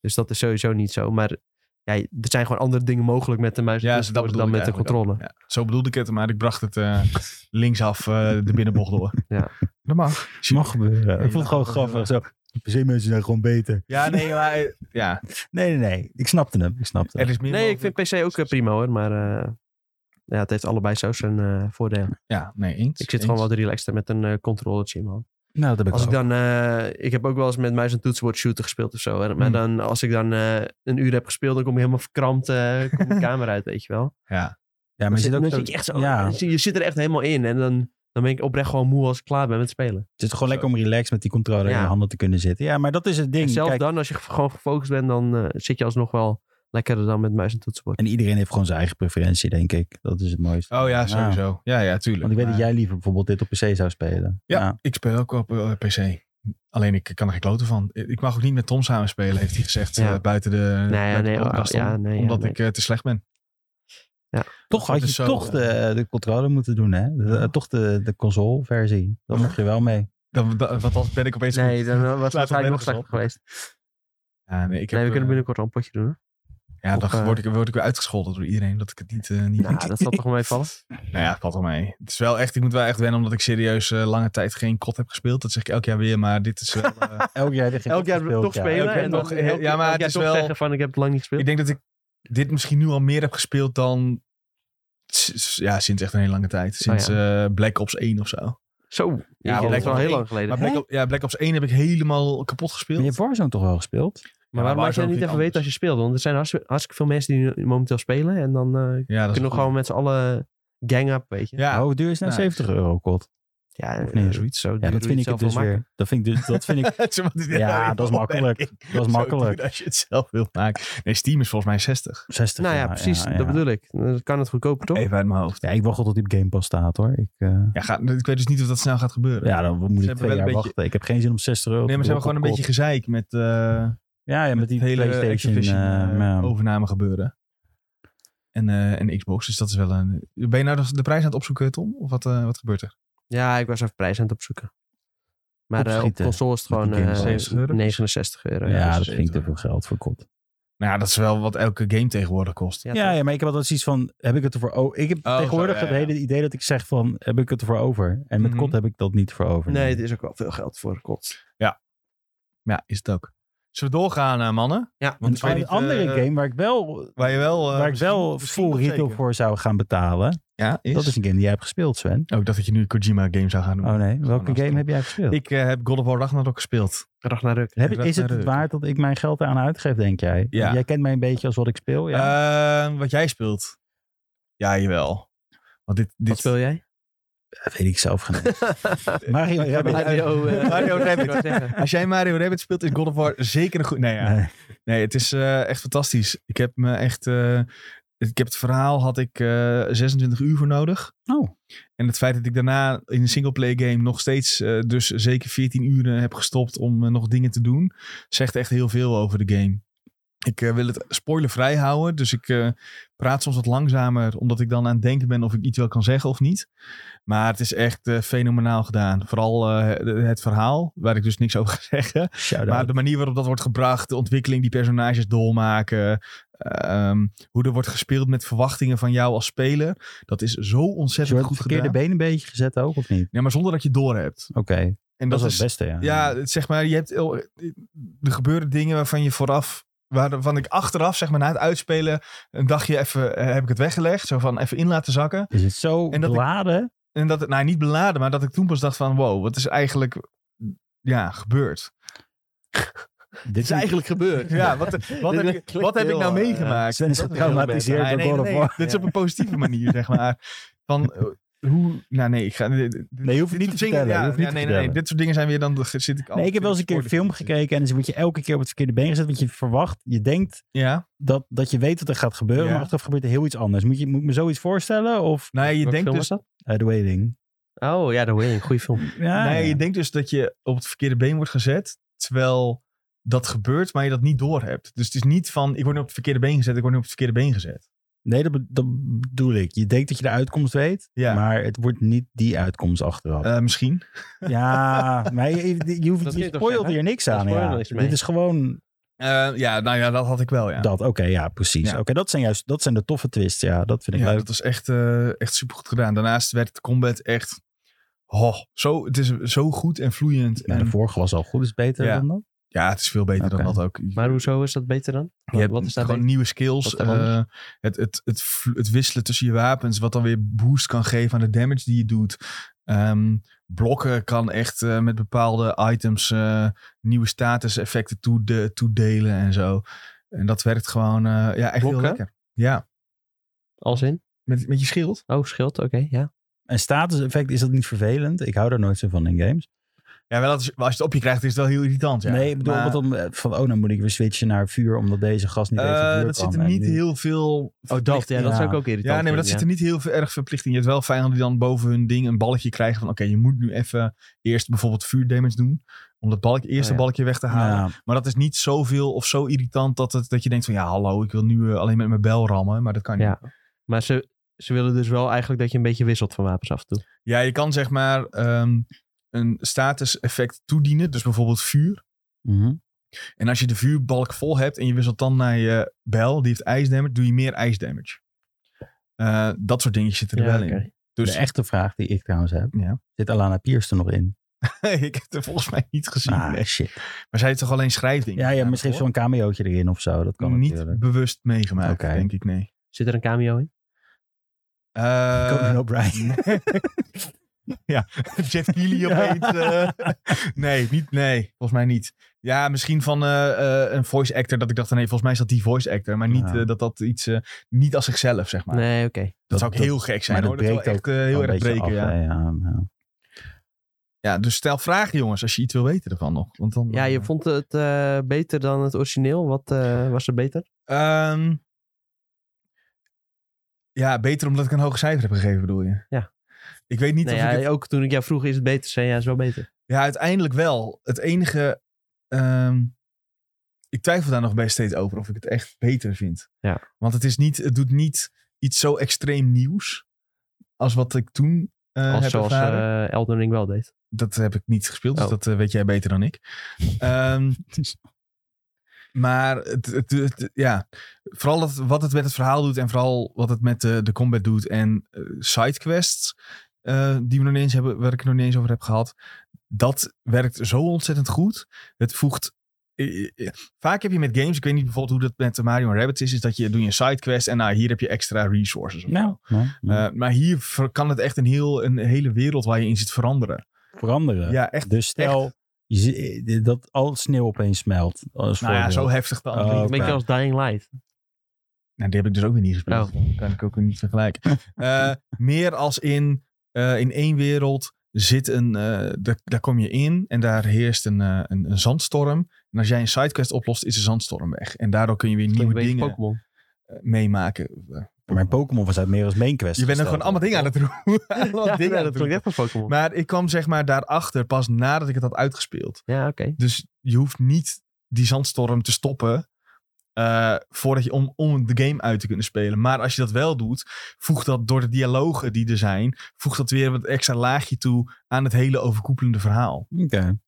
[SPEAKER 2] Dus dat is sowieso niet zo. Maar ja, er zijn gewoon andere dingen mogelijk met de muis en
[SPEAKER 1] Ja,
[SPEAKER 2] toetsenbord
[SPEAKER 1] dat bedoel
[SPEAKER 2] dan
[SPEAKER 1] ik
[SPEAKER 2] met de
[SPEAKER 1] eigenlijk
[SPEAKER 2] controle.
[SPEAKER 1] ja, zo bedoelde ik het, maar ik bracht het
[SPEAKER 2] [laughs]
[SPEAKER 1] eh, linksaf eh, de binnenbocht door.
[SPEAKER 2] Ja.
[SPEAKER 1] Dat mag.
[SPEAKER 3] mag gebeuren. Ik vond het gewoon
[SPEAKER 1] Ja.
[SPEAKER 3] grappig. Zo, PC-mensen zijn gewoon beter.
[SPEAKER 1] Ja, nee, maar... eh, Ja,
[SPEAKER 3] Nee, nee, nee. Ik snapte hem. Ik snapte hem.
[SPEAKER 1] er is meer
[SPEAKER 2] Nee, ik
[SPEAKER 1] mogelijk.
[SPEAKER 2] vind PC ook eh, prima hoor. Maar eh, ja, het heeft allebei zo zijn eh, voordelen.
[SPEAKER 1] Ja, nee, eens.
[SPEAKER 2] Ik zit
[SPEAKER 1] eens.
[SPEAKER 2] gewoon wat relaxter met een eh controllertje in mijn hand.
[SPEAKER 3] Nou, dat heb ik
[SPEAKER 2] Als ik
[SPEAKER 3] ook.
[SPEAKER 2] dan, eh, ik heb ook wel eens met muis en toetsenbord shooter gespeeld of zo. Hè? Maar
[SPEAKER 1] Hmm.
[SPEAKER 2] dan, als ik dan eh, een uur heb gespeeld, dan kom je helemaal verkrampt eh
[SPEAKER 1] [laughs]
[SPEAKER 2] kom de kamer uit, weet je wel.
[SPEAKER 1] Ja.
[SPEAKER 3] Ja, maar je zit
[SPEAKER 2] Dan
[SPEAKER 3] ook
[SPEAKER 2] zit
[SPEAKER 3] zo-
[SPEAKER 2] je echt zo,
[SPEAKER 3] Ja,
[SPEAKER 2] je- je zit er echt helemaal in. En dan, dan ben ik oprecht gewoon moe als ik klaar ben met spelen.
[SPEAKER 3] het is gewoon lekker om relaxed met die controller in
[SPEAKER 2] Ja.
[SPEAKER 3] je handen te kunnen zitten. Ja, maar dat is het
[SPEAKER 2] En
[SPEAKER 3] ding.
[SPEAKER 2] zelfs
[SPEAKER 3] Kijk,
[SPEAKER 2] dan, als je ge- gewoon gefocust bent, dan eh, zit je alsnog wel lekkerder dan met muis en toetsenbord.
[SPEAKER 3] en iedereen heeft gewoon zijn eigen preferentie, denk ik. Dat is het mooiste.
[SPEAKER 1] Oh ja, sowieso. Ja, ja, tuurlijk.
[SPEAKER 3] Want ik weet
[SPEAKER 1] Maar-
[SPEAKER 3] dat jij liever bijvoorbeeld dit op PC zou spelen.
[SPEAKER 1] Ja, ik speel ook op eh, PC. Alleen ik kan er geen kloten van. Ik mag ook niet met Tom samen spelen, heeft hij gezegd.
[SPEAKER 2] Ja.
[SPEAKER 1] eh, buiten de,
[SPEAKER 2] Nee,
[SPEAKER 1] buiten de
[SPEAKER 2] nee, oh,
[SPEAKER 1] podcast om.
[SPEAKER 2] ja, nee, ja,
[SPEAKER 1] omdat
[SPEAKER 2] nee.
[SPEAKER 1] ik eh, te slecht ben.
[SPEAKER 3] Toch
[SPEAKER 1] Dat
[SPEAKER 3] had je
[SPEAKER 1] is zo,
[SPEAKER 3] toch
[SPEAKER 1] eh,
[SPEAKER 3] de, de controller moeten doen, hè? De-
[SPEAKER 1] Ja.
[SPEAKER 3] Toch de, de console-versie. Daar mocht je wel
[SPEAKER 1] [laughs]
[SPEAKER 3] mee.
[SPEAKER 1] Dan, dan, want dan ben ik opeens...
[SPEAKER 2] Nee, dan eh, was het
[SPEAKER 1] Slaat op
[SPEAKER 2] waarschijnlijk nog
[SPEAKER 1] nergens
[SPEAKER 2] slechter
[SPEAKER 1] op.
[SPEAKER 2] geweest.
[SPEAKER 1] Ja, nee, ik heb,
[SPEAKER 2] nee, we kunnen
[SPEAKER 1] eh,
[SPEAKER 2] binnenkort al een potje doen. [laughs] hoor.
[SPEAKER 1] ja, dan
[SPEAKER 2] op, eh,
[SPEAKER 1] word ik, word ik weer uitgescholden door iedereen. Dat ik het niet... eh, niet
[SPEAKER 2] Nou, dat zal toch wel meevallen?
[SPEAKER 1] Nou ja, het valt wel mee. Het is wel echt... Ik moet wel echt wennen, omdat ik serieus eh, lange tijd geen kot heb gespeeld. Dat zeg ik elk jaar weer, maar dit is wel...
[SPEAKER 3] [laughs]
[SPEAKER 1] eh,
[SPEAKER 3] Elk jaar, heb je
[SPEAKER 2] Elk jaar
[SPEAKER 3] gespeeld,
[SPEAKER 2] toch
[SPEAKER 3] ja.
[SPEAKER 2] spelen
[SPEAKER 1] Elk jaar
[SPEAKER 2] en dan
[SPEAKER 1] toch, eh,
[SPEAKER 2] elk,
[SPEAKER 1] ja, maar
[SPEAKER 2] elk
[SPEAKER 1] het
[SPEAKER 2] jaar
[SPEAKER 1] is
[SPEAKER 2] toch
[SPEAKER 1] wel-
[SPEAKER 2] zeggen van ik heb het lang niet gespeeld.
[SPEAKER 1] ik denk dat ik dit misschien nu al meer heb gespeeld dan... s- Ja, sinds echt een hele lange tijd.
[SPEAKER 3] Oh
[SPEAKER 1] Sinds eh, Black Ops 1 of zo.
[SPEAKER 2] Zo, ja, dat is
[SPEAKER 1] Black
[SPEAKER 2] wel
[SPEAKER 1] Ops
[SPEAKER 2] heel
[SPEAKER 1] één.
[SPEAKER 2] lang geleden.
[SPEAKER 1] Maar
[SPEAKER 2] Maar,
[SPEAKER 1] Black, Ops, ja, Black Ops 1 heb ik helemaal kapot
[SPEAKER 3] Maar
[SPEAKER 1] gespeeld.
[SPEAKER 3] je hebt Warzone toch wel gespeeld?
[SPEAKER 2] waarom laat
[SPEAKER 1] Warzone
[SPEAKER 2] jij niet even
[SPEAKER 1] vind ik
[SPEAKER 2] weten als je speelt? Want er zijn hartstikke, hartstikke veel mensen die nu momenteel spelen. En dan eh,
[SPEAKER 1] Ja, dat is
[SPEAKER 2] kunnen we
[SPEAKER 1] goed.
[SPEAKER 2] gewoon met z'n allen gang up, weet je.
[SPEAKER 1] Ja, [laughs]
[SPEAKER 3] Hoe duur is nou
[SPEAKER 1] Nou,
[SPEAKER 3] 70 euro, kot?
[SPEAKER 2] Ja,
[SPEAKER 3] Of niet?
[SPEAKER 2] eh, zoiets. Zo
[SPEAKER 3] Ja, dat vind ik het dus weer. Dat vind ik dus, dat vind ik,
[SPEAKER 1] Zo moet je-
[SPEAKER 3] ja, dat is makkelijk. Dat is
[SPEAKER 1] [laughs] Zo
[SPEAKER 3] makkelijk.
[SPEAKER 1] doen als je het zelf wilt maken. Nee, Steam is volgens mij 60.
[SPEAKER 3] 60
[SPEAKER 2] Nou ja, precies. Dat bedoel ik. Dan kan het goedkoper, toch?
[SPEAKER 1] Even uit mijn hoofd.
[SPEAKER 3] Ja, ik wacht tot die op Game Pass staat, hoor. Ik, eh,
[SPEAKER 1] Ja, ga, ik weet dus niet of dat snel gaat gebeuren.
[SPEAKER 3] ja, dan moet ik
[SPEAKER 1] hebben wel
[SPEAKER 3] twee
[SPEAKER 1] een
[SPEAKER 3] jaar
[SPEAKER 1] beetje-
[SPEAKER 3] wachten. Ik heb geen zin om 60 euro
[SPEAKER 1] nee, maar ze
[SPEAKER 3] te
[SPEAKER 1] hebben gewoon een
[SPEAKER 3] blokken
[SPEAKER 1] beetje gezeik
[SPEAKER 3] op
[SPEAKER 1] met, eh,
[SPEAKER 3] kot. Ja, ja, met
[SPEAKER 1] met
[SPEAKER 3] die
[SPEAKER 1] het hele
[SPEAKER 3] PlayStation.
[SPEAKER 1] Activision
[SPEAKER 3] eh,
[SPEAKER 1] eh,
[SPEAKER 3] ja.
[SPEAKER 1] overname gebeuren. En, eh, en Xbox, dus dat is wel een... Ben je nou de- de prijs aan het opzoeken, Tom? Of wat, eh, wat gebeurt er?
[SPEAKER 2] Ja, ik was even prijs aan het opzoeken. Maar eh, op
[SPEAKER 3] Opschieten.
[SPEAKER 2] console is het
[SPEAKER 3] Met
[SPEAKER 2] gewoon
[SPEAKER 3] die
[SPEAKER 2] eh,
[SPEAKER 3] games.
[SPEAKER 1] 70 euro?
[SPEAKER 2] 69 euro. Dus
[SPEAKER 3] ja,
[SPEAKER 1] dat
[SPEAKER 3] dat
[SPEAKER 1] is
[SPEAKER 3] vind ik te
[SPEAKER 1] eten.
[SPEAKER 3] veel geld voor kot.
[SPEAKER 1] Nou ja, dat is wel wat elke game tegenwoordig kost.
[SPEAKER 2] Ja,
[SPEAKER 3] Ja,
[SPEAKER 2] toch?
[SPEAKER 3] ja, maar ik heb altijd zoiets van, heb ik het ervoor over? Ik heb
[SPEAKER 1] zo,
[SPEAKER 3] tegenwoordig
[SPEAKER 1] ja,
[SPEAKER 3] het
[SPEAKER 1] Oh, ja.
[SPEAKER 3] hele idee dat ik zeg van, heb ik het ervoor over? En met
[SPEAKER 1] Mhm.
[SPEAKER 3] kot heb ik dat niet voor over.
[SPEAKER 2] Nee, het is ook wel veel geld voor kot.
[SPEAKER 1] Ja, is het ook. Zullen we doorgaan, eh, mannen?
[SPEAKER 2] Ja, dus
[SPEAKER 1] Want ik
[SPEAKER 3] een
[SPEAKER 1] weet niet,
[SPEAKER 3] andere
[SPEAKER 1] eh,
[SPEAKER 3] game waar ik wel,
[SPEAKER 1] Waar je wel... eh,
[SPEAKER 3] waar ik
[SPEAKER 1] misschien-
[SPEAKER 3] wel
[SPEAKER 1] misschien
[SPEAKER 3] full
[SPEAKER 1] nog
[SPEAKER 3] retail
[SPEAKER 1] zeker.
[SPEAKER 3] voor zou gaan betalen,
[SPEAKER 1] Ja, is...
[SPEAKER 3] dat is een game die jij hebt gespeeld, Sven.
[SPEAKER 1] Ook dat je nu een Kojima game zou gaan doen.
[SPEAKER 3] Oh nee,
[SPEAKER 1] Gewoon
[SPEAKER 3] welke game
[SPEAKER 1] afstroom.
[SPEAKER 3] heb jij gespeeld?
[SPEAKER 1] Ik eh, heb God of War Ragnarok gespeeld.
[SPEAKER 2] Ragnarok.
[SPEAKER 3] Heb ik- is het het
[SPEAKER 1] Ragnarök.
[SPEAKER 3] waard dat ik mijn geld eraan uitgeef, denk jij?
[SPEAKER 1] Ja.
[SPEAKER 3] Want Jij kent mij een beetje als wat ik speel. Ja.
[SPEAKER 1] Eh, wat jij speelt. Ja, jawel. Want dit, dit
[SPEAKER 2] Wat speel jij?
[SPEAKER 3] dat weet ik zelf genoeg. [laughs] Mario
[SPEAKER 1] Ik
[SPEAKER 3] Rabbit.
[SPEAKER 1] ben- [laughs] Mario, eh, [laughs] Mario Rabbit.
[SPEAKER 2] Ik wou zeggen.
[SPEAKER 1] Als jij Mario Rabbit speelt, is God of War zeker een goed... Nee, ja.
[SPEAKER 3] Nee.
[SPEAKER 1] nee het is eh, echt fantastisch. Ik heb me echt... eh, ik heb het verhaal, had ik eh, 26 uur voor nodig.
[SPEAKER 3] Oh.
[SPEAKER 1] En het feit dat ik daarna in een singleplay game nog steeds eh, dus zeker 14 uren heb gestopt om eh, nog dingen te doen, zegt echt heel veel over de game. Ik eh, wil het spoilervrij houden, dus ik eh, praat soms wat langzamer, omdat ik dan aan het denken ben of ik iets wel kan zeggen of niet. Maar het is echt eh, fenomenaal gedaan. Vooral eh, het verhaal, waar ik dus niks over ga zeggen. Maar
[SPEAKER 3] Shout-out.
[SPEAKER 1] de manier waarop dat wordt gebracht, de ontwikkeling die personages dolmaken, ehm, hoe er wordt gespeeld met verwachtingen van jou als speler, dat is zo
[SPEAKER 3] Je
[SPEAKER 1] ontzettend
[SPEAKER 3] wordt
[SPEAKER 1] goed
[SPEAKER 3] verkeerde
[SPEAKER 1] gedaan.
[SPEAKER 3] been een beetje gezet ook, of niet?
[SPEAKER 1] Ja, maar zonder dat je door hebt.
[SPEAKER 3] Oké,
[SPEAKER 1] En
[SPEAKER 3] dat,
[SPEAKER 1] dat,
[SPEAKER 3] is
[SPEAKER 1] is
[SPEAKER 3] het beste, ja.
[SPEAKER 1] ja, het- zeg maar, je hebt, er gebeuren dingen waarvan je vooraf, waarvan ik achteraf, zeg maar, na het uitspelen, een dagje even, eh, heb ik het weggelegd, zo van even in laten zakken.
[SPEAKER 3] Is het zo
[SPEAKER 1] En dat ik-
[SPEAKER 3] beladen?
[SPEAKER 1] En dat, het- nou niet beladen, maar dat ik toen pas dacht van, wow, wat is eigenlijk, ja, gebeurd?
[SPEAKER 3] Dit
[SPEAKER 2] is eigenlijk gebeurd.
[SPEAKER 1] Ja, wat,
[SPEAKER 3] [laughs]
[SPEAKER 1] wat, heb, ik, wat heb ik nou meegemaakt?
[SPEAKER 3] eh, Sven is
[SPEAKER 1] Dat
[SPEAKER 3] getraumatiseerd
[SPEAKER 1] Nee,
[SPEAKER 3] door
[SPEAKER 1] nee,
[SPEAKER 3] God of
[SPEAKER 1] nee,
[SPEAKER 3] War.
[SPEAKER 1] Dit is op een positieve manier, zeg maar. Van eh, hoe. Nou, nee, ik ga. Nee,
[SPEAKER 3] Nee, je hoeft het niet te vertellen. je
[SPEAKER 1] Ja,
[SPEAKER 3] hoeft het
[SPEAKER 1] ja, nee, nee,
[SPEAKER 3] niet te
[SPEAKER 1] nee,
[SPEAKER 3] vertellen.
[SPEAKER 1] dit soort dingen zijn weer dan. Zit ik
[SPEAKER 3] Nee, ik heb wel eens een keer een film gekeken en dan word je elke keer op het verkeerde been gezet. Want je verwacht, je denkt
[SPEAKER 1] Ja.
[SPEAKER 3] dat, dat je weet wat er gaat gebeuren,
[SPEAKER 1] Ja.
[SPEAKER 3] maar achteraf gebeurt er heel iets anders. Moet, je, moet ik me zoiets voorstellen? Of
[SPEAKER 1] Nou, je denkt dus.
[SPEAKER 2] dat?
[SPEAKER 3] eh, The Waiting?
[SPEAKER 2] Oh ja, The Wailing. Goeie film.
[SPEAKER 3] Ja,
[SPEAKER 1] nee,
[SPEAKER 3] Ah, ja.
[SPEAKER 1] je denkt dus dat je op het verkeerde been wordt gezet. Terwijl dat gebeurt, maar je dat niet doorhebt. Dus het is niet van. Ik word nu op het verkeerde been gezet. Ik word nu op het verkeerde been gezet.
[SPEAKER 3] nee dat, be- dat bedoel ik. Je denkt dat je de uitkomst weet,
[SPEAKER 1] Ja.
[SPEAKER 3] maar het wordt niet die uitkomst achteraf.
[SPEAKER 1] Eh, misschien.
[SPEAKER 3] ja, maar je, je, je hoeft
[SPEAKER 2] Dat
[SPEAKER 3] je
[SPEAKER 2] kun je toch
[SPEAKER 3] spoilt
[SPEAKER 2] zeggen?
[SPEAKER 3] er niks
[SPEAKER 2] Daar
[SPEAKER 3] aan.
[SPEAKER 2] spoil je
[SPEAKER 3] Ja.
[SPEAKER 2] niks mee.
[SPEAKER 3] Dit is gewoon
[SPEAKER 1] Eh, ja, nou ja, dat had ik wel. Ja.
[SPEAKER 3] dat. Oké, ja, precies.
[SPEAKER 1] Ja.
[SPEAKER 3] Oké, dat zijn juist dat zijn de toffe twists. Ja, dat vind ik
[SPEAKER 1] Ja,
[SPEAKER 3] leuk.
[SPEAKER 1] dat was echt, eh, echt supergoed gedaan. Daarnaast werd de combat echt. Oh, zo, het is zo goed en vloeiend.
[SPEAKER 3] Nou,
[SPEAKER 1] en,
[SPEAKER 3] de vorige was al goed, is beter
[SPEAKER 1] Ja.
[SPEAKER 3] dan dat.
[SPEAKER 1] ja, het is veel beter
[SPEAKER 3] Oké.
[SPEAKER 1] dan dat ook.
[SPEAKER 2] Maar hoezo is dat beter dan?
[SPEAKER 1] je hebt
[SPEAKER 2] wat is daar
[SPEAKER 1] gewoon
[SPEAKER 2] beter?
[SPEAKER 1] nieuwe skills.
[SPEAKER 2] Wat is daar anders?
[SPEAKER 1] eh, het, het, het, vl- het wisselen tussen je wapens, wat dan weer boost kan geven aan de damage die je doet. Ehm, blokken kan echt eh, met bepaalde items eh, nieuwe status effecten toede- toedelen en zo. En dat werkt gewoon eh, ja, echt
[SPEAKER 2] Blokken?
[SPEAKER 1] heel lekker. Ja,
[SPEAKER 2] Als in?
[SPEAKER 1] met, met je schild.
[SPEAKER 2] Oh, schild. Oké, ja.
[SPEAKER 3] En status effect, is dat niet vervelend? Ik hou daar nooit zo van in games.
[SPEAKER 1] Ja, wel als, als je het op je krijgt, is het wel heel irritant. Ja.
[SPEAKER 3] nee, ik bedoel,
[SPEAKER 1] Maar-
[SPEAKER 3] want dan, eh, van oh, dan moet ik weer switchen naar vuur, omdat deze gast niet
[SPEAKER 1] Eh,
[SPEAKER 3] weet dat vuur
[SPEAKER 1] dat
[SPEAKER 3] kwam.
[SPEAKER 1] zit er
[SPEAKER 3] En
[SPEAKER 1] niet
[SPEAKER 3] die-
[SPEAKER 1] heel veel.
[SPEAKER 2] Oh, dat. Ja, dat
[SPEAKER 3] Ja.
[SPEAKER 2] zou ik ook irritant
[SPEAKER 1] Ja, nee, maar dat zit er niet heel veel, erg verplichting. Je hebt wel vijanden die dan boven hun ding een balkje krijgen. Van oké, je moet nu even eerst bijvoorbeeld vuurdamage doen. Om dat balk, eerste
[SPEAKER 2] Oh, ja.
[SPEAKER 1] balkje weg te halen.
[SPEAKER 3] Ja,
[SPEAKER 1] Maar dat is niet zoveel of zo irritant dat, het, dat je denkt van ja, hallo, ik wil nu eh, alleen met mijn bel rammen. Maar dat kan niet.
[SPEAKER 2] Ja. Maar ze, ze willen dus wel eigenlijk dat je een beetje wisselt van wapens af en toe.
[SPEAKER 1] Ja, je kan zeg maar ehm, een status effect toedienen. Dus bijvoorbeeld vuur.
[SPEAKER 3] mhm.
[SPEAKER 1] En als je de vuurbalk vol hebt en je wisselt dan naar je bel, die heeft ijsdamage, doe je meer ijsdamage. Eh, dat soort dingetjes zitten er
[SPEAKER 2] Ja,
[SPEAKER 1] wel in.
[SPEAKER 2] oké.
[SPEAKER 1] Dus
[SPEAKER 3] De echte vraag die ik trouwens heb,
[SPEAKER 1] Ja.
[SPEAKER 3] zit Alana Pierce er nog in?
[SPEAKER 1] [laughs] ik heb het volgens mij niet gezien.
[SPEAKER 3] Ah,
[SPEAKER 1] nee.
[SPEAKER 3] shit.
[SPEAKER 1] Maar zij heeft toch alleen schrijving?
[SPEAKER 3] Ja, ja, misschien zo'n cameootje erin of zo, dat kan
[SPEAKER 1] Niet
[SPEAKER 3] natuurlijk.
[SPEAKER 1] bewust meegemaakt,
[SPEAKER 3] Oké.
[SPEAKER 1] denk ik,
[SPEAKER 3] [laughs]
[SPEAKER 1] nee.
[SPEAKER 2] Zit er een cameo in?
[SPEAKER 1] Eh, [laughs]
[SPEAKER 3] Conan O'Brien.
[SPEAKER 1] Jeff
[SPEAKER 3] [laughs]
[SPEAKER 1] Keighley opeens. eh. [laughs] nee, niet, nee, volgens mij niet. Ja, misschien van eh, eh, een voice actor. Dat ik dacht, nee, volgens mij is dat die voice actor. Maar niet
[SPEAKER 3] Ja.
[SPEAKER 1] eh, dat dat iets, eh, niet als zichzelf, zeg maar.
[SPEAKER 2] Nee, oké.
[SPEAKER 1] Dat,
[SPEAKER 3] Dat-
[SPEAKER 1] zou ook
[SPEAKER 3] dat-
[SPEAKER 1] heel gek zijn
[SPEAKER 3] maar
[SPEAKER 1] hoor.
[SPEAKER 3] dat
[SPEAKER 1] Dat zou
[SPEAKER 3] breekt
[SPEAKER 1] echt eh, heel
[SPEAKER 3] Een
[SPEAKER 1] erg
[SPEAKER 3] beetje
[SPEAKER 1] breken,
[SPEAKER 3] af,
[SPEAKER 1] ja.
[SPEAKER 3] hè, ja, ja.
[SPEAKER 1] ja. Dus stel vragen jongens, als je iets wil weten ervan nog. Want dan,
[SPEAKER 2] Ja, je
[SPEAKER 1] eh,
[SPEAKER 2] vond het eh, beter dan het origineel. Wat eh, was er beter?
[SPEAKER 1] Ehm, ja, beter omdat ik een hoog cijfer heb gegeven, bedoel je?
[SPEAKER 2] Ja.
[SPEAKER 1] Ik weet niet
[SPEAKER 2] Nee,
[SPEAKER 1] of ik
[SPEAKER 2] Nou ja,
[SPEAKER 1] het...
[SPEAKER 2] Ook toen ik jou vroeg, is het beter? Zei jij, is wel beter.
[SPEAKER 1] Ja, uiteindelijk wel. Het enige... ehm, ik twijfel daar nog bij steeds over of ik het echt beter vind.
[SPEAKER 2] Ja.
[SPEAKER 1] Want het, is niet, het doet niet iets zo extreem nieuws als wat ik toen eh,
[SPEAKER 2] Als
[SPEAKER 1] heb
[SPEAKER 2] zoals
[SPEAKER 1] ervaren.
[SPEAKER 2] eh Elden Ring wel deed.
[SPEAKER 1] Dat heb ik niet gespeeld, dus
[SPEAKER 2] Oh.
[SPEAKER 1] dat eh, weet jij beter dan ik. Ehm, maar het, het, het- ja, vooral het, wat het met het verhaal doet en vooral wat het met de, de combat doet en eh, sidequests eh, die we nog niet eens hebben, waar ik het nog niet eens over heb gehad, dat werkt zo ontzettend goed. Het voegt. eh, eh, eh, Vaak heb je met games, ik weet niet bijvoorbeeld hoe dat met Mario Rabbits is, is dat je doe je een sidequest en nou, hier heb je extra resources. of
[SPEAKER 3] Nou,
[SPEAKER 1] zo.
[SPEAKER 3] nou, nou.
[SPEAKER 1] Eh, maar hier ver- kan het echt een, heel, een hele wereld waar je in zit veranderen.
[SPEAKER 3] veranderen.
[SPEAKER 1] Ja, echt
[SPEAKER 3] dus stel, je zi- dat al sneeuw opeens smelt. Als
[SPEAKER 1] Nou ja,
[SPEAKER 3] voorbeeld.
[SPEAKER 1] zo heftig dan.
[SPEAKER 3] Oh,
[SPEAKER 1] niet,
[SPEAKER 2] Een
[SPEAKER 3] oké.
[SPEAKER 2] beetje
[SPEAKER 1] maar-
[SPEAKER 2] als Dying Light.
[SPEAKER 1] Nou, die heb ik dus ook weer niet gespeeld.
[SPEAKER 2] Oh.
[SPEAKER 1] Dan kan ik ook weer niet
[SPEAKER 2] [laughs]
[SPEAKER 1] vergelijken. Eh, meer als in, eh, in één wereld zit een, eh, daar, daar kom je in en daar heerst een, eh, een, een zandstorm. En als jij een sidequest oplost, is de zandstorm weg. En daardoor kun je weer
[SPEAKER 2] Klinkt
[SPEAKER 1] nieuwe
[SPEAKER 2] een beetje
[SPEAKER 1] dingen
[SPEAKER 2] Pokémon.
[SPEAKER 1] eh, meemaken.
[SPEAKER 3] Maar Pokémon was uit meer als main quest.
[SPEAKER 1] Je bent er gewoon
[SPEAKER 3] gesteld.
[SPEAKER 1] allemaal dingen aan het [laughs] roepen. Allemaal
[SPEAKER 2] Ja,
[SPEAKER 1] dingen
[SPEAKER 2] nee,
[SPEAKER 1] aan
[SPEAKER 2] dat
[SPEAKER 1] het
[SPEAKER 2] klinkt
[SPEAKER 1] roepen.
[SPEAKER 2] echt als Pokémon.
[SPEAKER 1] Maar ik kwam zeg maar daarachter pas nadat ik het had uitgespeeld.
[SPEAKER 2] Ja, oké.
[SPEAKER 1] Dus je hoeft niet die zandstorm te stoppen eh, voordat je om, om de game uit te kunnen spelen. Maar als je dat wel doet, voegt dat door de dialogen die er zijn, voegt dat weer wat extra laagje toe aan het hele overkoepelende verhaal.
[SPEAKER 3] Oké.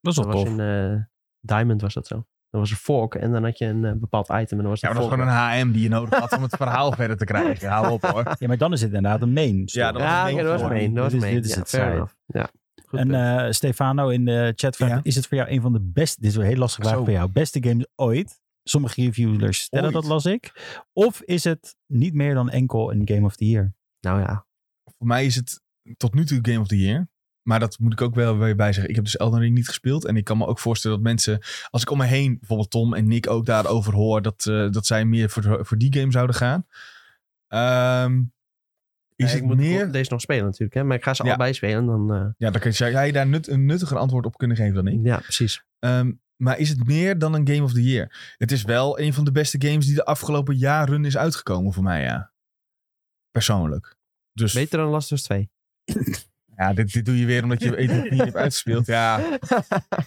[SPEAKER 3] Dat is
[SPEAKER 2] Dat
[SPEAKER 3] wel
[SPEAKER 2] was
[SPEAKER 3] tof.
[SPEAKER 2] in eh, Diamond was dat zo. Dan was er fork en dan had je een eh, bepaald item en dan was
[SPEAKER 1] Ja,
[SPEAKER 2] dat
[SPEAKER 1] maar dat is
[SPEAKER 2] fork.
[SPEAKER 1] gewoon een HM die je nodig had om het verhaal verder te krijgen. Hou op hoor.
[SPEAKER 3] Ja, maar dan is het inderdaad een main. story.
[SPEAKER 1] Ja, dat was
[SPEAKER 2] ja,
[SPEAKER 1] een
[SPEAKER 2] oké, dat was
[SPEAKER 1] main.
[SPEAKER 2] main. Dat was
[SPEAKER 3] Dit is-
[SPEAKER 2] main.
[SPEAKER 3] dit is
[SPEAKER 2] Ja,
[SPEAKER 3] het
[SPEAKER 2] fair
[SPEAKER 3] side.
[SPEAKER 2] enough. Ja, goed
[SPEAKER 3] en
[SPEAKER 2] punt.
[SPEAKER 3] eh, Stefano in de chat vraagt,
[SPEAKER 1] Ja.
[SPEAKER 3] is het voor jou een van de beste, dit is wel een heel lastig vraag
[SPEAKER 1] Zo.
[SPEAKER 3] voor jou, beste games ooit? Sommige reviewers stellen
[SPEAKER 1] Ooit?
[SPEAKER 3] dat, las ik. Of is het niet meer dan enkel een Game of the Year?
[SPEAKER 2] nou ja,
[SPEAKER 1] Voor mij is het tot nu toe Game of the Year. Maar dat moet ik ook wel weer bij zeggen. Ik heb dus Elden Ring niet gespeeld. En ik kan me ook voorstellen dat mensen... Als ik om me heen, bijvoorbeeld Tom en Nick ook daarover hoor... dat, eh, dat zij meer voor, voor die game zouden gaan. Ehm, is
[SPEAKER 2] Ja, ik
[SPEAKER 1] het
[SPEAKER 2] moet
[SPEAKER 1] meer...
[SPEAKER 2] deze nog spelen natuurlijk. Hè? Maar ik ga ze
[SPEAKER 1] Ja.
[SPEAKER 2] allebei spelen. Dan, eh,
[SPEAKER 1] Ja, dan kun je, zou jij daar nut, een nuttiger antwoord op kunnen geven dan ik.
[SPEAKER 2] ja, precies.
[SPEAKER 1] Ehm, maar is het meer dan een Game of the Year? Het is wel een van de beste games die de afgelopen jaren is uitgekomen voor mij, ja. Persoonlijk. Dus
[SPEAKER 2] Beter dan Last of Us 2.
[SPEAKER 1] ja, dit, dit doe je weer omdat
[SPEAKER 2] [laughs]
[SPEAKER 1] je het niet hebt uitgespeeld. Ja,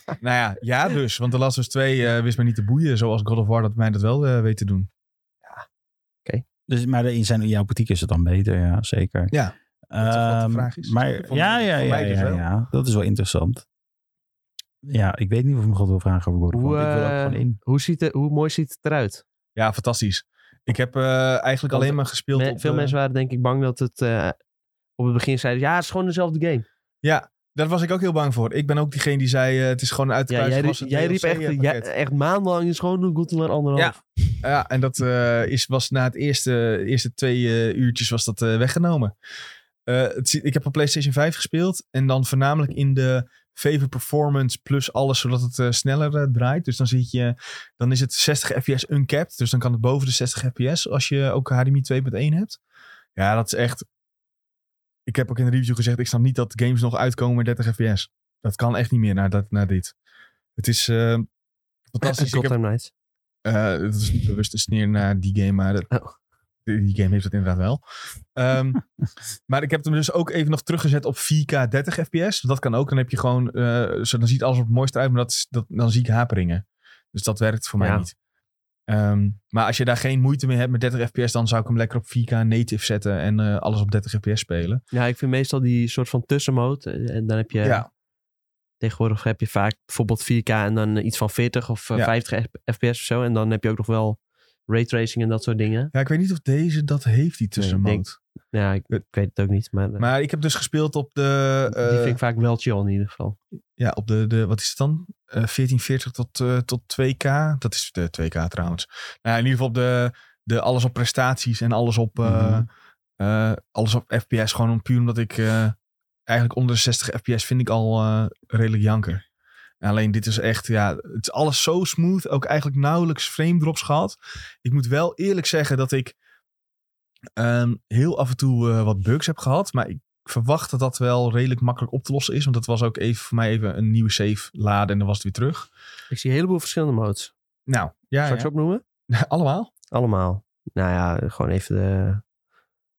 [SPEAKER 1] nou ja, ja dus. Want The Last of Us 2 eh, wist mij niet te boeien zoals God of War dat mij dat wel eh, weet te doen.
[SPEAKER 3] Dus, maar in zijn, in jouw boutique is het dan beter, ja, zeker.
[SPEAKER 1] Ja.
[SPEAKER 3] Ehm,
[SPEAKER 1] is wat de vraag is.
[SPEAKER 3] Maar
[SPEAKER 1] Voor-
[SPEAKER 3] ja,
[SPEAKER 1] voor
[SPEAKER 3] ja, ja,
[SPEAKER 1] mij dus
[SPEAKER 3] ja,
[SPEAKER 1] wel.
[SPEAKER 3] ja. dat is wel interessant. Ja, ik weet niet of ik me God wil vragen over God of
[SPEAKER 2] Hoe,
[SPEAKER 3] War. Ik wil
[SPEAKER 2] eh,
[SPEAKER 3] ook gewoon in.
[SPEAKER 2] hoe, ziet het, hoe mooi ziet het eruit?
[SPEAKER 1] Ja, fantastisch. Ik heb eh, eigenlijk
[SPEAKER 2] Want
[SPEAKER 1] alleen maar gespeeld
[SPEAKER 2] Me-
[SPEAKER 1] op...
[SPEAKER 2] veel
[SPEAKER 1] eh,
[SPEAKER 2] mensen waren denk ik bang dat het eh, op het begin zeiden... Ja, het is gewoon dezelfde game.
[SPEAKER 1] Daar was ik ook heel bang voor. Ik ben ook diegene die zei, eh, het is gewoon uit de
[SPEAKER 2] Ja, jij, riep,
[SPEAKER 1] kluis gewassen
[SPEAKER 2] jij riep echt,
[SPEAKER 1] DLC
[SPEAKER 2] jij-
[SPEAKER 1] pakket.
[SPEAKER 2] echt maandenlang is gewoon een Godzilla [laughs] anderhalf.
[SPEAKER 1] Ja, en dat eh, is, was na het eerste, eerste twee eh, uurtjes was dat eh, weggenomen. Eh, het, zie- ik heb op PlayStation 5 gespeeld. En dan voornamelijk in de Favor Performance plus alles, zodat het eh, sneller eh, draait. Dus dan, zit je, dan is het 60 fps uncapped. Dus dan kan het boven de 60 fps als je ook HDMI 2.1 hebt. Ja, dat is echt... Ik heb ook in de review gezegd, ik snap niet dat games nog uitkomen met 30 fps. Dat kan echt niet meer naar, dat, naar dit. Het is eh, fantastisch. Ik heb-
[SPEAKER 2] Gotham Knights.
[SPEAKER 1] eh, dat is niet bewust een sneer naar die game, maar dat-
[SPEAKER 2] Oh.
[SPEAKER 1] die die game heeft dat inderdaad wel.
[SPEAKER 2] [laughs]
[SPEAKER 1] Ehm, maar ik heb hem dus ook even nog teruggezet op 4K 30 fps. Dat kan ook. Dan heb je gewoon, eh, zo, dan ziet alles op het mooiste uit, maar dat, is- dat, dan zie ik haperingen. Dus dat werkt voor mij
[SPEAKER 2] Ja.
[SPEAKER 1] niet. Ehm, maar als je daar geen moeite mee hebt met 30 fps, dan zou ik hem lekker op 4K native zetten en eh, alles op 30 fps spelen.
[SPEAKER 2] Ja, ik vind meestal die soort van tussenmode. eh, En dan heb je... Tegenwoordig heb je vaak bijvoorbeeld 4K en dan eh, iets van 40 of eh,
[SPEAKER 1] Ja.
[SPEAKER 2] 50 F- fps of zo. En dan heb je ook nog wel raytracing en dat soort dingen.
[SPEAKER 1] ja, ik weet niet of deze dat heeft, die
[SPEAKER 2] Nee, ik
[SPEAKER 1] tussenmode.
[SPEAKER 2] denk- Ja, ik, ik weet het ook niet. Maar, eh,
[SPEAKER 1] maar ik heb dus gespeeld op de... eh,
[SPEAKER 2] die vind ik vaak wel chill in ieder geval.
[SPEAKER 1] Ja, op de, de wat is het dan? Eh, 1440 tot, eh, tot 2K. Dat is de 2K trouwens. Nou ja, in ieder geval op de, de alles op prestaties en alles op, eh,
[SPEAKER 3] Mhm.
[SPEAKER 1] eh, alles op FPS. Gewoon om, puur omdat ik eh, eigenlijk onder de 60 FPS vind ik al eh, redelijk janker. En alleen dit is echt, ja, het is alles zo smooth. Ook eigenlijk nauwelijks frame drops gehad. Ik moet wel eerlijk zeggen dat ik ehm, heel af en toe eh, wat bugs heb gehad. Maar ik verwacht dat dat wel redelijk makkelijk op te lossen is. Want dat was ook even voor mij even een nieuwe save laden en dan was het weer terug.
[SPEAKER 2] Ik zie een heleboel verschillende modes.
[SPEAKER 1] Nou, ja,
[SPEAKER 2] Zou ik ze
[SPEAKER 1] ja.
[SPEAKER 2] opnoemen?
[SPEAKER 1] [laughs] allemaal.
[SPEAKER 2] Allemaal. Nou ja, gewoon even de...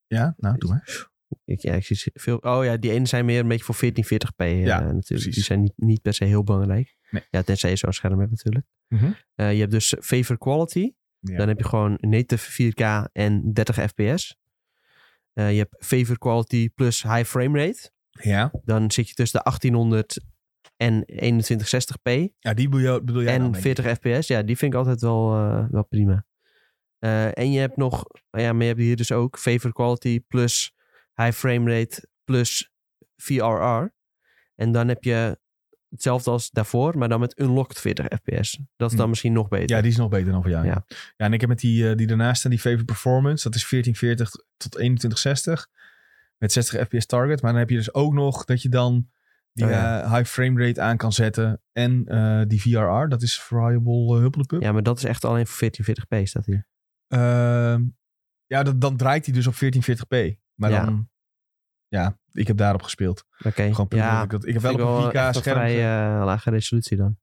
[SPEAKER 1] Ja, nou, doe maar.
[SPEAKER 2] Ik, ja, ik zie veel... Oh ja, die ene zijn meer een beetje voor 1440p eh,
[SPEAKER 1] Ja,
[SPEAKER 2] natuurlijk.
[SPEAKER 1] precies.
[SPEAKER 2] Die zijn niet, niet per se heel belangrijk.
[SPEAKER 1] Nee.
[SPEAKER 2] Ja, tenzij je zo'n scherm hebt natuurlijk.
[SPEAKER 1] Mhm.
[SPEAKER 2] Eh, je hebt dus favor quality.
[SPEAKER 1] Ja.
[SPEAKER 2] Dan heb je gewoon native 4K en 30 fps. Eh, je hebt favor quality plus high frame rate.
[SPEAKER 1] Ja.
[SPEAKER 2] Dan zit je tussen de 1800 en 2160p.
[SPEAKER 1] ja, die bedoel, je- bedoel jij nou dan,
[SPEAKER 2] en
[SPEAKER 1] denk ik.
[SPEAKER 2] 40 fps. Ja, die vind ik altijd wel, eh, wel prima. Eh, en je hebt nog... Ja, maar je hebt hier dus ook favor quality plus high frame rate plus VRR. En dan heb je hetzelfde als daarvoor, maar dan met unlocked 40 fps. Dat is dan
[SPEAKER 1] Hm.
[SPEAKER 2] misschien nog beter.
[SPEAKER 1] Ja, die is nog beter dan voor jou. Ja,
[SPEAKER 2] Ja.
[SPEAKER 1] ja. en ik heb met die, eh, die daarnaast staan, die Favor Performance. Dat is 1440 tot 2160. Met 60 fps target. Maar dan heb je dus ook nog dat je dan die
[SPEAKER 2] Oh ja.
[SPEAKER 1] eh, high frame rate aan kan zetten. En eh, die VRR, dat is Variable eh, Huppelepup.
[SPEAKER 2] ja, maar dat is echt alleen voor 1440p staat hier.
[SPEAKER 1] Ehm, ja, dat, dan draait hij dus op 1440p. Maar
[SPEAKER 2] Ja.
[SPEAKER 1] dan... Ja, ik heb daarop gespeeld.
[SPEAKER 2] Oké.
[SPEAKER 1] Gewoon puur omdat
[SPEAKER 2] ja,
[SPEAKER 1] ik, dat, ik heb
[SPEAKER 2] vind
[SPEAKER 1] wel
[SPEAKER 2] ik
[SPEAKER 1] op een 4K
[SPEAKER 2] echt
[SPEAKER 1] scherm...
[SPEAKER 2] vrij
[SPEAKER 1] ge-
[SPEAKER 2] eh, lage resolutie dan.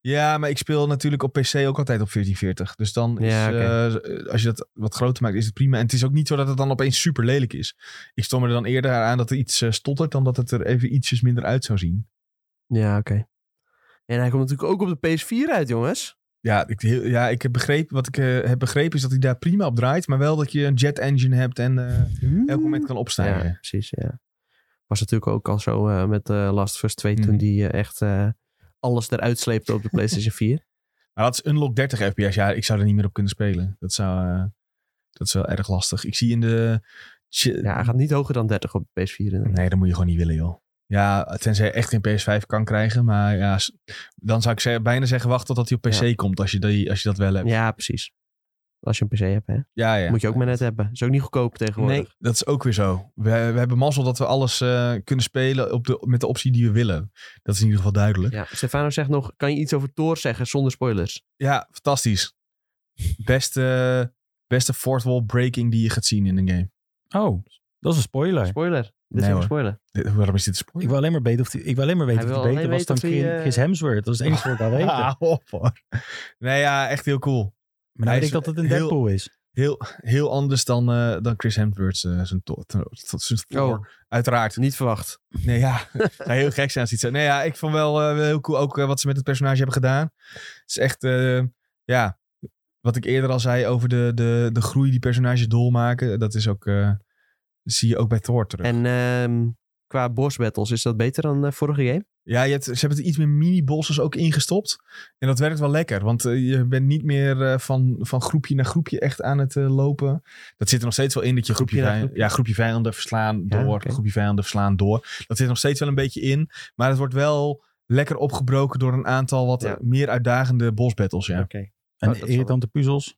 [SPEAKER 1] Ja, maar ik speel natuurlijk op PC ook altijd op 1440. Dus dan is,
[SPEAKER 2] Ja, oké.
[SPEAKER 1] eh, als je dat wat groter maakt, is het prima. En het is ook niet zo dat het dan opeens super lelijk is. Ik stom er dan eerder aan dat er iets eh, stottert dan dat het er even ietsjes minder uit zou zien.
[SPEAKER 2] Ja, oké. En hij komt natuurlijk ook op de PS4 uit, jongens.
[SPEAKER 1] Ja, ik, heel- ja ik heb begrepen, wat ik eh, heb begrepen is dat hij daar prima op draait. Maar wel dat je een jet engine hebt en eh, elk moment kan
[SPEAKER 2] Ja,
[SPEAKER 1] opstijgen.
[SPEAKER 2] precies, ja. Was natuurlijk ook al zo eh, met eh, Last of Us 2 toen
[SPEAKER 1] Mhm.
[SPEAKER 2] die eh, echt eh, alles eruit
[SPEAKER 1] [laughs]
[SPEAKER 2] sleepte op de PlayStation 4.
[SPEAKER 1] Maar dat is unlock 30 fps. Ja, ik zou er niet meer op kunnen spelen. Dat, zou, eh, dat is wel erg lastig. Ik zie in de... ch-
[SPEAKER 2] Ja, hij gaat niet hoger dan 30 op de PS4. inderdaad.
[SPEAKER 1] Nee, dat moet je gewoon niet willen, joh. Ja, tenzij je echt geen PS5 kan krijgen. Maar ja, s- dan zou ik ze- bijna zeggen, wacht totdat hij op PC
[SPEAKER 2] Ja.
[SPEAKER 1] komt. Als je, die, als je dat wel hebt.
[SPEAKER 2] Ja, precies. Als je een PC hebt, hè?
[SPEAKER 1] Ja, ja.
[SPEAKER 2] moet je ook maar net hebben. Is ook niet goedkoop tegenwoordig.
[SPEAKER 1] Nee, dat is ook weer zo. We, we hebben mazzel dat we alles eh, kunnen spelen op de, met de optie die we willen. Dat is in ieder geval duidelijk. Ja,
[SPEAKER 2] Ja, Stefano zegt nog, kan je iets over Thor zeggen zonder spoilers?
[SPEAKER 1] fantastisch. Beste, beste fourth wall breaking die je gaat zien in een game.
[SPEAKER 3] Oh, dat is een spoiler.
[SPEAKER 2] Spoiler. Dit
[SPEAKER 1] Nee,
[SPEAKER 2] is
[SPEAKER 1] hoor.
[SPEAKER 2] een spoiler.
[SPEAKER 1] Dit- Eh, waarom is dit een
[SPEAKER 3] Ik
[SPEAKER 1] spoiler?
[SPEAKER 3] wil alleen maar, weten of die, ik wil alleen maar weten
[SPEAKER 2] Hij
[SPEAKER 3] of
[SPEAKER 2] wil
[SPEAKER 3] die beter
[SPEAKER 2] alleen
[SPEAKER 3] was dan
[SPEAKER 2] weten of hij,
[SPEAKER 3] Chris
[SPEAKER 2] eh,
[SPEAKER 3] Hemsworth. Dat is het enige wat ik al
[SPEAKER 1] [laughs]
[SPEAKER 3] weet. Maar
[SPEAKER 1] Ah, op hoor. Nee, ja, echt heel cool.
[SPEAKER 3] dan
[SPEAKER 1] Hij
[SPEAKER 3] weet
[SPEAKER 1] is
[SPEAKER 3] ik dat het een
[SPEAKER 1] heel-
[SPEAKER 3] Deadpool is.
[SPEAKER 1] Heel, heel anders dan, eh, dan Chris Hemsworth eh, zijn to- to- to- zijn
[SPEAKER 2] Oh.
[SPEAKER 1] Thor. Uiteraard.
[SPEAKER 2] Niet verwacht.
[SPEAKER 1] Nee, ja. Het zou heel gek zijn als iets. Nee, ja, ik vond wel eh, wel heel cool ook eh, wat ze met het personage hebben gedaan. Het is echt, eh, ja, wat ik eerder al zei over de, de, de groei die personages dolmaken. Dat is ook, eh, zie je ook bij Thor terug.
[SPEAKER 2] En ehm, qua boss battles, is dat beter dan eh, vorige game?
[SPEAKER 1] Ja, je hebt, ze hebben er iets meer mini-bosses ook ingestopt. En dat werkt wel lekker, want eh, je bent niet meer eh, van, van groepje naar groepje echt aan het eh, lopen. Dat zit er nog steeds wel in dat je groepje,
[SPEAKER 2] Groepje naar
[SPEAKER 1] vij-
[SPEAKER 2] groepje.
[SPEAKER 1] Ja, groepje vijanden verslaan
[SPEAKER 2] Ja,
[SPEAKER 1] door,
[SPEAKER 2] oké.
[SPEAKER 1] groepje vijanden verslaan door. Dat zit er nog steeds wel een beetje in, maar het wordt wel lekker opgebroken door een aantal wat
[SPEAKER 2] Ja.
[SPEAKER 1] eh, meer uitdagende boss battles. Ja. Oh,
[SPEAKER 3] En
[SPEAKER 2] dat zal
[SPEAKER 3] irritante puzzels.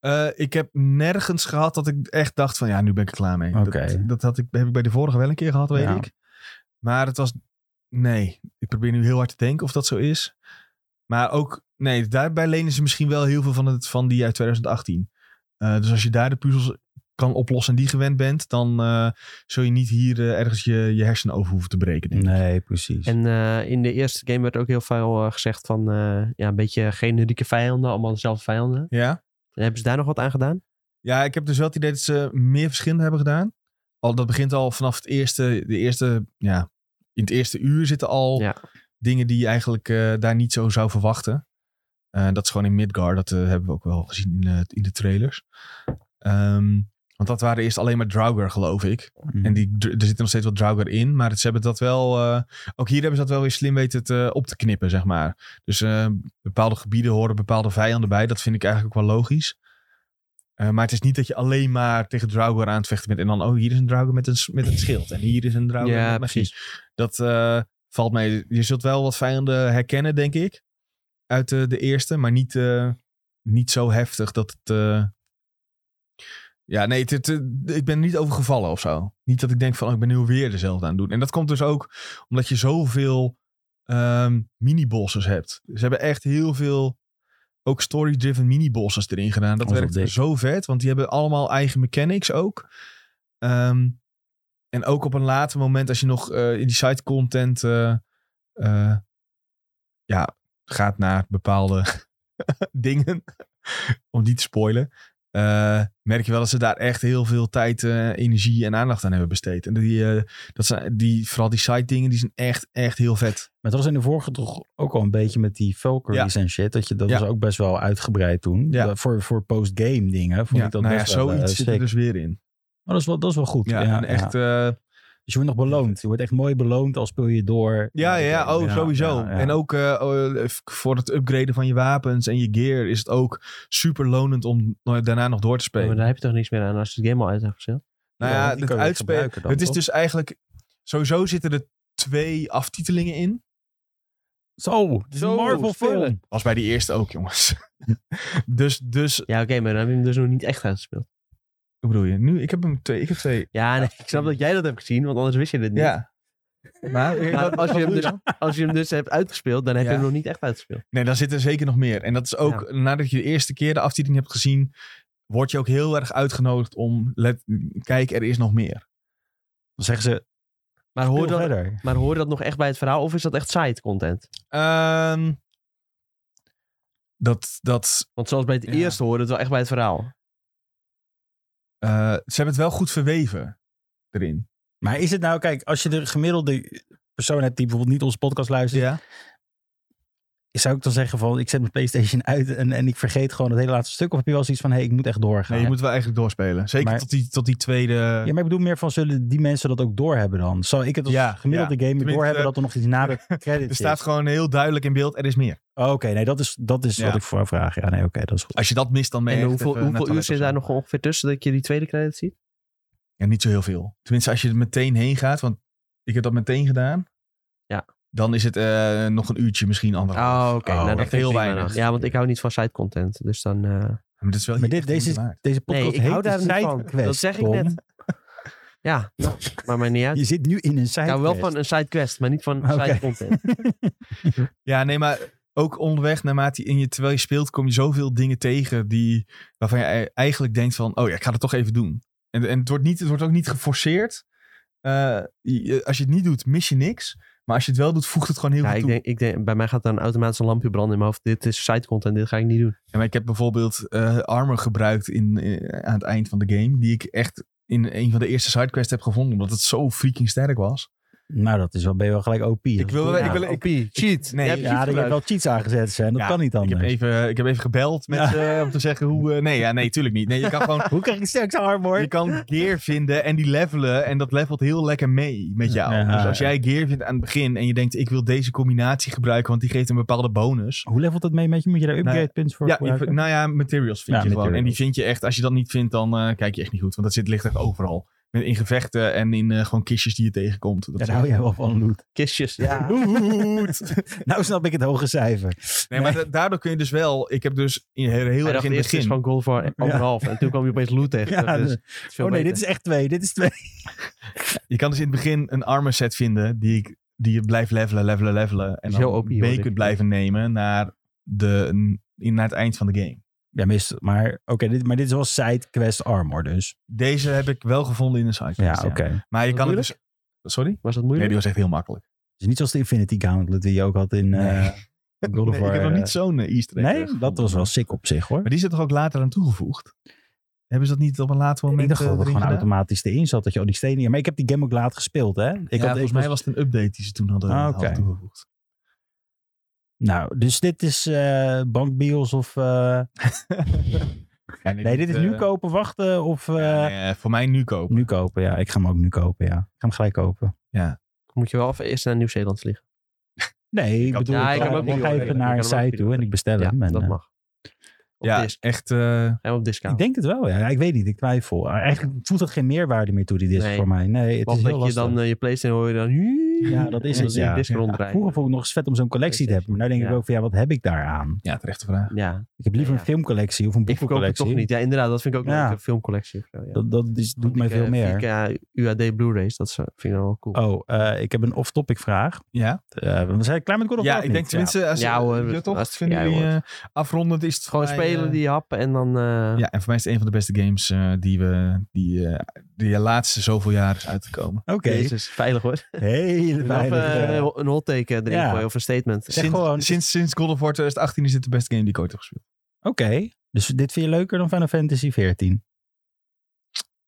[SPEAKER 1] Eh, ik heb nergens gehad dat ik echt dacht van ja, nu ben ik er klaar mee.
[SPEAKER 3] Oké.
[SPEAKER 1] Dat, dat had ik, heb ik bij de vorige wel een keer gehad, weet
[SPEAKER 3] Ja.
[SPEAKER 1] ik. Maar het was, nee, ik probeer nu heel hard te denken of dat zo is. Maar ook, nee, daarbij lenen ze misschien wel heel veel van, het, van die uit 2018. Eh, dus als je daar de puzzels kan oplossen en die gewend bent, dan eh, zul je niet hier eh, ergens je, je hersenen over hoeven te breken. denk ik.
[SPEAKER 3] Nee, precies.
[SPEAKER 2] En eh, in de eerste game werd ook heel veel eh, gezegd van eh, ja, een beetje generieke vijanden, allemaal dezelfde vijanden.
[SPEAKER 1] Ja?
[SPEAKER 2] Hebben ze daar nog wat aan gedaan?
[SPEAKER 1] Ja, ik heb dus wel het idee dat ze meer verschillende hebben gedaan. Al, dat begint al vanaf het eerste, de eerste, ja, in het eerste uur zitten al
[SPEAKER 2] Ja.
[SPEAKER 1] dingen die je eigenlijk eh, daar niet zo zou verwachten. Eh, dat is gewoon in Midgar, dat eh, hebben we ook wel gezien in, eh, in de trailers. Ehm, want dat waren eerst alleen maar Draugr, geloof ik.
[SPEAKER 3] Mm.
[SPEAKER 1] En die, dr- er zitten nog steeds wat Draugr in, maar het- ze hebben dat wel... eh, ook hier hebben ze dat wel weer slim weten te, op te knippen, zeg maar. Dus eh, bepaalde gebieden horen bepaalde vijanden bij. Dat vind ik eigenlijk ook wel logisch. Eh, maar het is niet dat je alleen maar tegen Draugr aan het vechten bent. En dan, oh, hier is een Draugr met een, s- met een schild. En hier is een Draugr met magie. Dat eh, valt mee. Je zult wel wat vijanden herkennen, denk ik. Uit eh, de eerste, maar niet, eh, niet zo heftig dat het. eh, Ja, nee, het, het- het- ik ben er niet over gevallen of zo. Niet dat ik denk van, oh, ik ben nu weer dezelfde aan het doen. En dat komt dus ook omdat je zoveel ehm mini-bosses hebt. Ze hebben echt heel veel, ook story-driven mini-bosses erin gedaan. Dat
[SPEAKER 3] Dat is wel
[SPEAKER 1] werkt
[SPEAKER 3] dik.
[SPEAKER 1] zo vet, want die hebben allemaal eigen mechanics ook. Ehm, en ook op een later moment, als je nog eh, in die side content eh, eh, ja, gaat naar bepaalde [laughs] dingen, om die te spoilen, eh, merk je wel dat ze daar echt heel veel tijd, eh, energie en aandacht aan hebben besteed. En die, eh, dat zijn, die, vooral die side dingen, die zijn echt, echt heel vet.
[SPEAKER 3] Maar het was in de vorige toch ook al een beetje met die Valkyries en shit. Dat, je, dat
[SPEAKER 1] Ja.
[SPEAKER 3] was ook best wel uitgebreid toen.
[SPEAKER 1] Ja.
[SPEAKER 3] Dat- Voor, voor post-game dingen vond
[SPEAKER 1] Ja,
[SPEAKER 3] ik dat
[SPEAKER 1] nou ja,
[SPEAKER 3] best wel eh,
[SPEAKER 1] zoiets zit er
[SPEAKER 3] sick.
[SPEAKER 1] dus weer in.
[SPEAKER 3] Maar dat is wel, dat is wel goed.
[SPEAKER 1] Ja, en echt, eh,
[SPEAKER 3] Dus je wordt nog beloond. Je wordt echt mooi beloond als speel je door.
[SPEAKER 1] Ja, ja, ja. Oh,
[SPEAKER 3] Ja,
[SPEAKER 1] sowieso.
[SPEAKER 3] ja, ja.
[SPEAKER 1] En ook eh, oh, eh, voor het upgraden van je wapens en je gear is het ook super lonend om no- daarna nog door te
[SPEAKER 2] Ja, maar
[SPEAKER 1] spelen.
[SPEAKER 2] daar heb je toch niks meer aan als je het game al uit hebt gezet?
[SPEAKER 1] nou
[SPEAKER 3] Ja,
[SPEAKER 1] ja,
[SPEAKER 3] die
[SPEAKER 1] het
[SPEAKER 3] kan je
[SPEAKER 1] uitspelen.
[SPEAKER 3] gebruiken dan,
[SPEAKER 1] het is
[SPEAKER 3] toch?
[SPEAKER 1] dus eigenlijk. Sowieso zitten er twee aftitelingen in.
[SPEAKER 3] Zo, het is
[SPEAKER 2] Zo,
[SPEAKER 3] een Marvel
[SPEAKER 2] spoiler.
[SPEAKER 3] film.
[SPEAKER 1] Was bij die eerste ook, jongens. [laughs] dus, dus.
[SPEAKER 2] Ja, oké, maar dan heb je hem dus nog niet echt uitgespeeld.
[SPEAKER 1] Hoe bedoel je? Nu, ik heb hem twee. Ik heb twee.
[SPEAKER 2] Ja, nee, ik snap dat jij dat hebt gezien, want anders wist je dit niet.
[SPEAKER 1] Ja.
[SPEAKER 2] [laughs]
[SPEAKER 1] Maar,
[SPEAKER 2] Maar als je, hem
[SPEAKER 1] bedoel
[SPEAKER 2] dus, als je hem dus hebt uitgespeeld, dan heb
[SPEAKER 1] Ja.
[SPEAKER 2] je hem nog niet echt uitgespeeld.
[SPEAKER 1] Nee, daar zitten zeker nog meer. En dat is ook, nadat je de eerste keer de aftiteling hebt gezien, word je ook heel erg uitgenodigd om, let, kijk, er is nog meer.
[SPEAKER 3] Dan zeggen ze,
[SPEAKER 2] Maar
[SPEAKER 3] hoor
[SPEAKER 2] hoor, dat,
[SPEAKER 3] verder.
[SPEAKER 2] maar hoor dat nog echt bij het verhaal of is dat echt side content?
[SPEAKER 1] Ehm, dat, dat,
[SPEAKER 2] Want zoals bij het
[SPEAKER 1] Ja.
[SPEAKER 2] eerste hoorde het wel echt bij het verhaal.
[SPEAKER 1] eh, ze hebben het wel goed verweven erin.
[SPEAKER 3] Maar is het nou, kijk, als je de gemiddelde persoon hebt die bijvoorbeeld niet onze podcast luistert.
[SPEAKER 1] Ja.
[SPEAKER 3] zou ik dan zeggen van, ik zet mijn PlayStation uit en, en ik vergeet gewoon het hele laatste stuk? Of heb je wel zoiets van, hé, hey, ik moet echt doorgaan?
[SPEAKER 1] Nee, je moet wel eigenlijk doorspelen. Zeker
[SPEAKER 3] Maar-
[SPEAKER 1] tot, die, tot die tweede...
[SPEAKER 3] Ja, maar ik bedoel meer van, zullen die mensen dat ook doorhebben dan? Zou ik het als
[SPEAKER 1] Ja,
[SPEAKER 3] gemiddelde gamer
[SPEAKER 1] Tenminste,
[SPEAKER 3] doorhebben dat er nog iets na de credits
[SPEAKER 1] [laughs] er staat
[SPEAKER 3] is?
[SPEAKER 1] gewoon heel duidelijk in beeld, er is meer.
[SPEAKER 3] Oh, Oké, nee, dat is, dat is
[SPEAKER 1] Ja.
[SPEAKER 3] wat ik voor vraag. Ja, nee, oké, dat is goed.
[SPEAKER 1] Als je dat mist, dan ben je
[SPEAKER 2] En
[SPEAKER 1] echt
[SPEAKER 2] hoeveel,
[SPEAKER 1] even naar
[SPEAKER 2] hoeveel
[SPEAKER 1] het
[SPEAKER 2] uur
[SPEAKER 1] toilet of
[SPEAKER 2] zit daar
[SPEAKER 1] zo.
[SPEAKER 2] nog ongeveer tussen dat je die tweede credit ziet?
[SPEAKER 1] Ja, niet zo heel veel. Tenminste, als je er meteen heen gaat, want ik heb dat meteen gedaan.
[SPEAKER 2] Ja.
[SPEAKER 1] Dan is het eh, nog een uurtje, misschien anderhalf.
[SPEAKER 2] Oh, oké.
[SPEAKER 1] Oh,
[SPEAKER 2] Nou, dat
[SPEAKER 1] echt
[SPEAKER 2] vind
[SPEAKER 1] heel
[SPEAKER 2] ik prima
[SPEAKER 1] weinig.
[SPEAKER 2] nog. Ja, want ik hou niet van site content. Dus dan. eh,
[SPEAKER 1] Maar dit is wel
[SPEAKER 3] Maar
[SPEAKER 1] hier echt
[SPEAKER 3] dit,
[SPEAKER 1] de
[SPEAKER 3] deze,
[SPEAKER 1] moeite waard.
[SPEAKER 3] is- deze podcast
[SPEAKER 2] Nee, ik hou
[SPEAKER 3] heet de
[SPEAKER 2] daar niet van.
[SPEAKER 3] sidequest,
[SPEAKER 2] Dat zeg ik
[SPEAKER 3] Tom.
[SPEAKER 2] net. ja, maar mij niet uit.
[SPEAKER 3] [laughs] Je zit nu in een
[SPEAKER 2] Ik
[SPEAKER 3] sidequest.
[SPEAKER 2] hou wel van een side quest, maar niet van
[SPEAKER 3] Oké.
[SPEAKER 2] side content.
[SPEAKER 1] Ja, nee, maar ook onderweg, naarmate je in je, terwijl je speelt, kom je zoveel dingen tegen die, waarvan je ei- eigenlijk denkt van, oh ja, ik ga het toch even doen. En, en het, wordt niet, het wordt ook niet geforceerd. Eh, je- als je het niet doet, mis je niks. Maar als je het wel doet, voegt het gewoon heel
[SPEAKER 2] Ja,
[SPEAKER 1] veel
[SPEAKER 2] ik
[SPEAKER 1] toe.
[SPEAKER 2] denk, ik denk, bij mij gaat dan automatisch een lampje branden in mijn hoofd. Dit is side content, dit ga ik niet doen.
[SPEAKER 1] Ja, maar ik heb bijvoorbeeld eh, armor gebruikt in, eh, aan het eind van de game. Die ik echt in een van de eerste sidequests heb gevonden. Omdat het zo freaking sterk was.
[SPEAKER 3] [laughs] Nou, dat is wel, ben je wel gelijk OP.
[SPEAKER 1] Ik wil-
[SPEAKER 3] ja.
[SPEAKER 1] ik wil-
[SPEAKER 2] OP, cheat.
[SPEAKER 1] nee,
[SPEAKER 2] Jij hebt
[SPEAKER 1] ik-
[SPEAKER 3] Ja,
[SPEAKER 2] cheat
[SPEAKER 3] er
[SPEAKER 2] gebruikt.
[SPEAKER 3] hebben wel cheats aangezet zijn. Dat
[SPEAKER 1] Ja,
[SPEAKER 3] kan niet
[SPEAKER 1] Ik heb,
[SPEAKER 3] anders.
[SPEAKER 1] even, ik heb even gebeld met ze om te zeggen hoe... eh, nee, ja, nee, tuurlijk niet. Nee, je kan
[SPEAKER 3] [laughs]
[SPEAKER 1] gewoon...
[SPEAKER 3] Hoe krijg ik sterkste armor?
[SPEAKER 1] Je kan gear vinden en die levelen. En dat levelt heel lekker mee met jou.
[SPEAKER 3] Ja.
[SPEAKER 1] dus als jij gear vindt aan het begin en je denkt... ik wil deze combinatie gebruiken, want die geeft een bepaalde bonus.
[SPEAKER 3] Hoe levelt dat mee met je? Moet je daar upgrade punts voor
[SPEAKER 1] Nou, Ja, je-
[SPEAKER 3] gebruiken?
[SPEAKER 1] nou ja, materials vind
[SPEAKER 3] Ja,
[SPEAKER 1] je gewoon. En die
[SPEAKER 3] materials.
[SPEAKER 1] vind je echt... Als je dat niet vindt, dan eh, kijk je echt niet goed. Want dat zit, ligt echt overal. Met- In gevechten en in eh, gewoon kistjes die je tegenkomt. Dat
[SPEAKER 3] Ja,
[SPEAKER 1] is
[SPEAKER 3] daar hou jij wel van, Loet.
[SPEAKER 2] Kistjes.
[SPEAKER 3] [laughs]
[SPEAKER 2] Ja.
[SPEAKER 3] Loet. nou snap ik het hoge cijfer.
[SPEAKER 1] Nee, maar da- daardoor kun je dus wel... Ik heb dus in, heel, heel
[SPEAKER 2] Hij
[SPEAKER 1] erg
[SPEAKER 2] dacht
[SPEAKER 1] in het
[SPEAKER 2] eerst het
[SPEAKER 1] begin...
[SPEAKER 2] is van Gold voor anderhalf. En toen kwam je opeens loot tegen.
[SPEAKER 3] Ja,
[SPEAKER 2] dus
[SPEAKER 3] dus-
[SPEAKER 2] het is veel
[SPEAKER 3] Oh nee,
[SPEAKER 2] beter.
[SPEAKER 3] dit is echt twee. Dit is twee.
[SPEAKER 1] Je kan dus in het begin een armor set vinden die, ik, die je blijft levelen, levelen, levelen. En
[SPEAKER 2] Is
[SPEAKER 1] dan
[SPEAKER 2] heel OP, hoor,
[SPEAKER 1] mee
[SPEAKER 2] dit.
[SPEAKER 1] kunt blijven nemen naar, de, in, naar het eind van de game.
[SPEAKER 3] [laughs] Ja, mist. Maar oké, dit, maar dit is wel side quest armor dus.
[SPEAKER 1] Deze heb ik wel gevonden in een site.
[SPEAKER 3] Ja, oké.
[SPEAKER 1] Maar je
[SPEAKER 2] Was
[SPEAKER 1] kan
[SPEAKER 2] dat
[SPEAKER 1] het dus... Sorry?
[SPEAKER 2] Was dat
[SPEAKER 1] Nee,
[SPEAKER 2] moeilijk?
[SPEAKER 1] die was echt heel makkelijk.
[SPEAKER 3] Dus niet zoals de Infinity Gauntlet die je ook had in eh God
[SPEAKER 1] [laughs]
[SPEAKER 3] of
[SPEAKER 1] Nee, ik
[SPEAKER 3] War,
[SPEAKER 1] heb nog
[SPEAKER 3] eh.
[SPEAKER 1] niet zo'n eh, easter egg. eh,
[SPEAKER 3] Nee, dat
[SPEAKER 1] gevonden.
[SPEAKER 3] was wel sick op zich hoor.
[SPEAKER 1] Maar die is er toch ook later aan toegevoegd? Hebben ze dat niet op een later moment
[SPEAKER 3] Ik dacht
[SPEAKER 1] eh,
[SPEAKER 3] dat het
[SPEAKER 1] erin
[SPEAKER 3] gewoon
[SPEAKER 1] gedaan?
[SPEAKER 3] automatisch erin zat. Dat je al die stenen... Maar ik heb die game ook laat gespeeld, hè? Ik
[SPEAKER 1] Ja, volgens mij was het een update die ze toen hadden,
[SPEAKER 3] Ah,
[SPEAKER 1] hadden
[SPEAKER 3] oké.
[SPEAKER 1] toegevoegd.
[SPEAKER 3] Nou, dus dit is eh Bank Bios of... eh,
[SPEAKER 1] Ja,
[SPEAKER 3] Nee, dit is
[SPEAKER 1] eh,
[SPEAKER 3] nu kopen, wachten of... eh,
[SPEAKER 1] ja, nee, eh, voor mij nu kopen.
[SPEAKER 3] Nu kopen, ja. Ik ga hem ook nu kopen, ja. Ik ga hem gelijk kopen.
[SPEAKER 2] Moet je wel even eerst naar Nieuw-Zeeland vliegen.
[SPEAKER 3] Nee, ik
[SPEAKER 1] had-
[SPEAKER 3] bedoel,
[SPEAKER 1] Ja,
[SPEAKER 3] ik,
[SPEAKER 1] ik heb
[SPEAKER 3] ga-
[SPEAKER 1] ook
[SPEAKER 3] ik
[SPEAKER 1] video,
[SPEAKER 3] ga
[SPEAKER 1] nee,
[SPEAKER 3] even
[SPEAKER 1] ik
[SPEAKER 3] naar
[SPEAKER 2] kan
[SPEAKER 3] een
[SPEAKER 2] hem ook
[SPEAKER 3] site
[SPEAKER 2] video.
[SPEAKER 3] toe en ik bestel
[SPEAKER 2] Ja,
[SPEAKER 3] hem. en,
[SPEAKER 2] dat
[SPEAKER 3] eh,
[SPEAKER 2] mag. Op
[SPEAKER 1] Ja,
[SPEAKER 2] disc.
[SPEAKER 1] echt... eh,
[SPEAKER 2] En op discount.
[SPEAKER 3] Ik denk het wel, ja. Ja, Ik weet niet, ik twijfel. Eigenlijk voelt dat geen meerwaarde meer toe, die disc
[SPEAKER 2] Nee.
[SPEAKER 3] voor mij. Nee, het
[SPEAKER 2] Want
[SPEAKER 3] is heel
[SPEAKER 2] dat je
[SPEAKER 3] lastig.
[SPEAKER 2] dan eh, je PlayStation hoor je dan.
[SPEAKER 3] Ja, dat is
[SPEAKER 2] En dan
[SPEAKER 3] het,
[SPEAKER 2] zie je
[SPEAKER 3] ja.
[SPEAKER 2] disc
[SPEAKER 1] Ja.
[SPEAKER 2] ronddraaien.
[SPEAKER 3] Vroeger vond ik nog eens vet om zo'n collectie te hebben. Maar nu denk ik
[SPEAKER 2] Ja.
[SPEAKER 3] ook van, ja, wat heb ik daaraan?
[SPEAKER 1] ja, terechte vraag.
[SPEAKER 2] Ja,
[SPEAKER 3] Ik heb liever
[SPEAKER 2] Ja.
[SPEAKER 3] een filmcollectie of een
[SPEAKER 2] ik verkoop het
[SPEAKER 3] boekencollectie.
[SPEAKER 2] toch niet. Ja, inderdaad, dat vind ik ook
[SPEAKER 3] Ja.
[SPEAKER 2] leuk. Een filmcollectie. of zo, ja.
[SPEAKER 3] Dat, dat is, doet mij
[SPEAKER 2] Ik,
[SPEAKER 3] veel
[SPEAKER 2] eh,
[SPEAKER 3] meer.
[SPEAKER 2] 4K UAD Blu-rays, dat is, eh, vind ik wel cool.
[SPEAKER 3] Oh, eh, ik klaar ik heb een off-topic vraag.
[SPEAKER 1] Ja?
[SPEAKER 3] Eh, we zijn klaar met God of
[SPEAKER 1] Ja,
[SPEAKER 3] War of
[SPEAKER 1] ik denk
[SPEAKER 3] niet?
[SPEAKER 1] tenminste, als
[SPEAKER 2] Ja, hoor,
[SPEAKER 1] ja, toch,
[SPEAKER 2] als-
[SPEAKER 1] vinden
[SPEAKER 2] ja,
[SPEAKER 1] jullie
[SPEAKER 2] hoor.
[SPEAKER 1] eh, afrondend is het
[SPEAKER 2] Gewoon
[SPEAKER 3] Ah,
[SPEAKER 1] voor mij,
[SPEAKER 2] spelen
[SPEAKER 1] eh,
[SPEAKER 2] die hap en dan... eh,
[SPEAKER 1] Ja, en voor mij is het een van de beste games eh, die we die, eh, die de laatste zoveel jaar is uitgekomen.
[SPEAKER 3] Ja. Oké,
[SPEAKER 2] Jezus, veilig hoor.
[SPEAKER 3] [laughs] hele
[SPEAKER 2] Of
[SPEAKER 3] veilige...
[SPEAKER 2] eh, een hot take eh, erin
[SPEAKER 3] Ja.
[SPEAKER 2] gooien of een statement.
[SPEAKER 3] Zeg
[SPEAKER 1] Sinds,
[SPEAKER 3] gewoon-
[SPEAKER 1] sinds, sinds God of War 2018 is dit de beste game die ik ooit heb gespeeld.
[SPEAKER 3] Oké, dus dit vind je leuker dan Final Fantasy 14?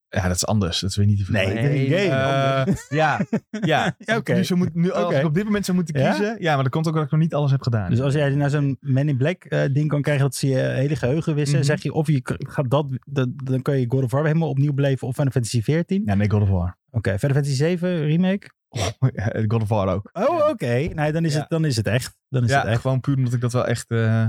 [SPEAKER 1] Ja, dat is anders. Dat is weer niet te
[SPEAKER 3] Nee,
[SPEAKER 1] vergelijken.
[SPEAKER 3] dit is een
[SPEAKER 2] nee,
[SPEAKER 3] game.
[SPEAKER 1] Eh, [laughs] ja, ja.
[SPEAKER 3] [laughs] Ja, oké. Oh,
[SPEAKER 1] Nu zou moet, nu, als
[SPEAKER 3] Oké.
[SPEAKER 1] ik op dit moment zou moeten
[SPEAKER 3] Ja?
[SPEAKER 1] kiezen. Ja? maar dat komt ook omdat ik nog niet alles heb gedaan.
[SPEAKER 3] Dus als jij nou zo'n Man in Black eh, ding kan krijgen dat ze je hele geheugen wissen,
[SPEAKER 1] Mhm.
[SPEAKER 3] zeg je of je k- gaat dat, dat, dan kan je God of War weer helemaal opnieuw beleven of Final Fantasy 14.
[SPEAKER 1] Ja, nee, God of War.
[SPEAKER 3] Oké, Final Fantasy 7 remake.
[SPEAKER 1] God of War ook.
[SPEAKER 3] Oh, oké. Nee, dan is,
[SPEAKER 1] Ja.
[SPEAKER 3] het, dan is het echt. Dan is het
[SPEAKER 1] Ja,
[SPEAKER 3] echt.
[SPEAKER 1] gewoon puur omdat ik dat wel echt... eh,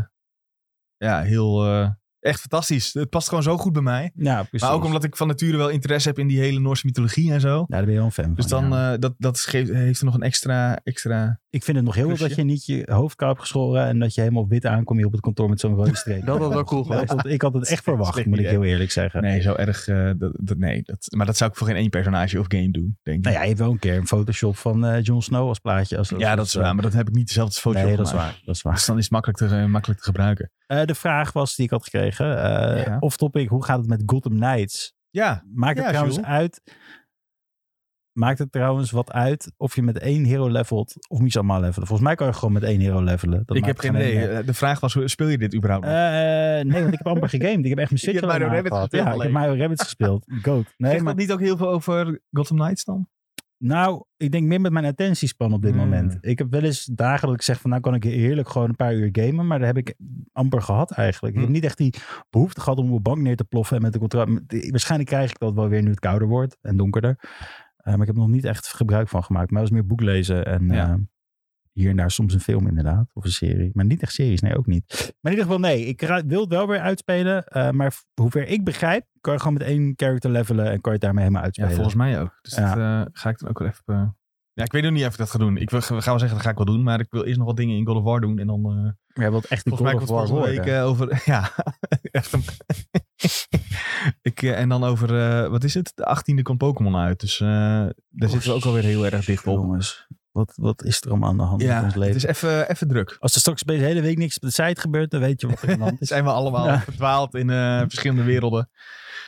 [SPEAKER 1] ja, heel... eh, echt fantastisch. Het past gewoon zo goed bij mij.
[SPEAKER 3] Ja, precies.
[SPEAKER 1] Maar ook omdat ik van nature wel interesse heb in die hele Noorse mythologie en zo.
[SPEAKER 3] Ja, daar ben je wel een fan
[SPEAKER 1] Dus
[SPEAKER 3] van.
[SPEAKER 1] dan
[SPEAKER 3] ja.
[SPEAKER 1] eh, dat, dat geeft, heeft er nog een extra... extra...
[SPEAKER 3] Ik vind het nog heel leuk
[SPEAKER 1] Kusje.
[SPEAKER 3] dat je niet je hoofd hebt geschoren en dat je helemaal op wit aankomt hier op het kantoor met zo'n
[SPEAKER 1] [laughs]
[SPEAKER 3] rode streep.
[SPEAKER 2] Dat had wel
[SPEAKER 3] [laughs]
[SPEAKER 2] cool
[SPEAKER 3] Ik
[SPEAKER 2] geweest.
[SPEAKER 3] had het- ik had het echt verwacht,
[SPEAKER 1] Slecht
[SPEAKER 3] moet ik
[SPEAKER 1] idee.
[SPEAKER 3] heel eerlijk zeggen.
[SPEAKER 1] Nee, zo erg... eh, dat, dat- nee, dat, maar dat zou ik voor geen één personage of game doen, denk ik.
[SPEAKER 3] Nou ja, je hebt wel een keer een Photoshop van eh, Jon Snow als plaatje. Als, als-
[SPEAKER 1] ja, dat is
[SPEAKER 3] als, eh,
[SPEAKER 1] waar. Maar dat heb ik niet dezelfde foto
[SPEAKER 3] Nee, dat is waar. Dat is waar.
[SPEAKER 1] Dus dan is het makkelijk te, eh, makkelijk te gebruiken.
[SPEAKER 3] Eh, de vraag was die ik had gekregen. eh,
[SPEAKER 1] Ja.
[SPEAKER 3] Of topic, hoe gaat het met Gotham Knights?
[SPEAKER 1] Ja,
[SPEAKER 3] Maakt het
[SPEAKER 1] Ja,
[SPEAKER 3] trouwens
[SPEAKER 1] Jules.
[SPEAKER 3] uit... Maakt het trouwens wat uit of je met één hero levelt of niet allemaal levelen? Volgens mij kan je gewoon met één hero levelen. Dat
[SPEAKER 1] ik
[SPEAKER 3] maakt
[SPEAKER 1] heb geen idee. Eh, De vraag was, hoe- speel je dit überhaupt? nog?
[SPEAKER 3] Eh, nee, want ik heb amper gegamed. Ik heb
[SPEAKER 1] [laughs]
[SPEAKER 3] echt mijn Switch
[SPEAKER 1] Je hebt
[SPEAKER 3] alleen
[SPEAKER 1] Mario
[SPEAKER 3] maar
[SPEAKER 1] Rabbit
[SPEAKER 3] gehad.
[SPEAKER 1] gespeeld
[SPEAKER 3] Ja, ik
[SPEAKER 1] [laughs]
[SPEAKER 3] heb
[SPEAKER 1] alleen.
[SPEAKER 3] Mario Rabbits gespeeld. Goat. Nee,
[SPEAKER 1] Zegt
[SPEAKER 3] maar
[SPEAKER 1] dat niet ook heel veel over Gotham Knights dan?
[SPEAKER 3] Nou, ik denk meer met mijn attentiespan op dit
[SPEAKER 1] Mm.
[SPEAKER 3] moment. Ik heb wel eens dagen dat ik zeg van nou kan ik heerlijk gewoon een paar uur gamen. Maar dat heb ik amper gehad eigenlijk. Ik
[SPEAKER 1] Mm.
[SPEAKER 3] heb niet echt die behoefte gehad om op mijn bank neer te ploffen en met de controle. Waarschijnlijk krijg ik dat wel weer nu het kouder wordt en donkerder. Eh, maar ik heb er nog niet echt gebruik van gemaakt. Maar het was meer boeklezen en
[SPEAKER 1] Ja.
[SPEAKER 3] eh, hier en daar soms een film inderdaad. Of een serie. Maar niet echt series, nee ook niet. Maar in ieder geval nee, ik ra- wil het wel weer uitspelen. eh, maar v- voor hoever ik begrijp, kan je gewoon met één character levelen en kan je het daarmee helemaal
[SPEAKER 1] Ja,
[SPEAKER 3] uitspelen.
[SPEAKER 1] volgens mij ook. Dus
[SPEAKER 3] Ja.
[SPEAKER 1] dat eh, ga ik dan ook wel even... eh, ja, ik weet nog niet of ik dat ga doen. Ik wil, ga wel zeggen, dat ga ik wel doen. Maar ik wil eerst nog wat dingen in God of War doen. En dan... eh,
[SPEAKER 3] Jij wilt echt de
[SPEAKER 1] volgens mij
[SPEAKER 3] God
[SPEAKER 1] komt
[SPEAKER 3] of
[SPEAKER 1] het
[SPEAKER 3] War
[SPEAKER 1] volgende week
[SPEAKER 3] worden.
[SPEAKER 1] eh, over... [laughs] Ja, echt een... [laughs] ik, eh, en dan over... eh, wat is het? De 18e komt Pokémon uit. Dus eh, daar
[SPEAKER 3] Oh,
[SPEAKER 1] zitten we ook alweer heel erg dicht op.
[SPEAKER 3] Jongens, wat, wat is er allemaal aan de hand
[SPEAKER 1] Ja,
[SPEAKER 3] in ons
[SPEAKER 1] het
[SPEAKER 3] leven?
[SPEAKER 1] is even even druk.
[SPEAKER 3] Als er straks de hele week niks op de site gebeurt, dan weet je wat er aan de hand
[SPEAKER 1] Dan
[SPEAKER 3] is.
[SPEAKER 1] [laughs] zijn we allemaal
[SPEAKER 3] Ja.
[SPEAKER 1] verdwaald in eh, verschillende werelden.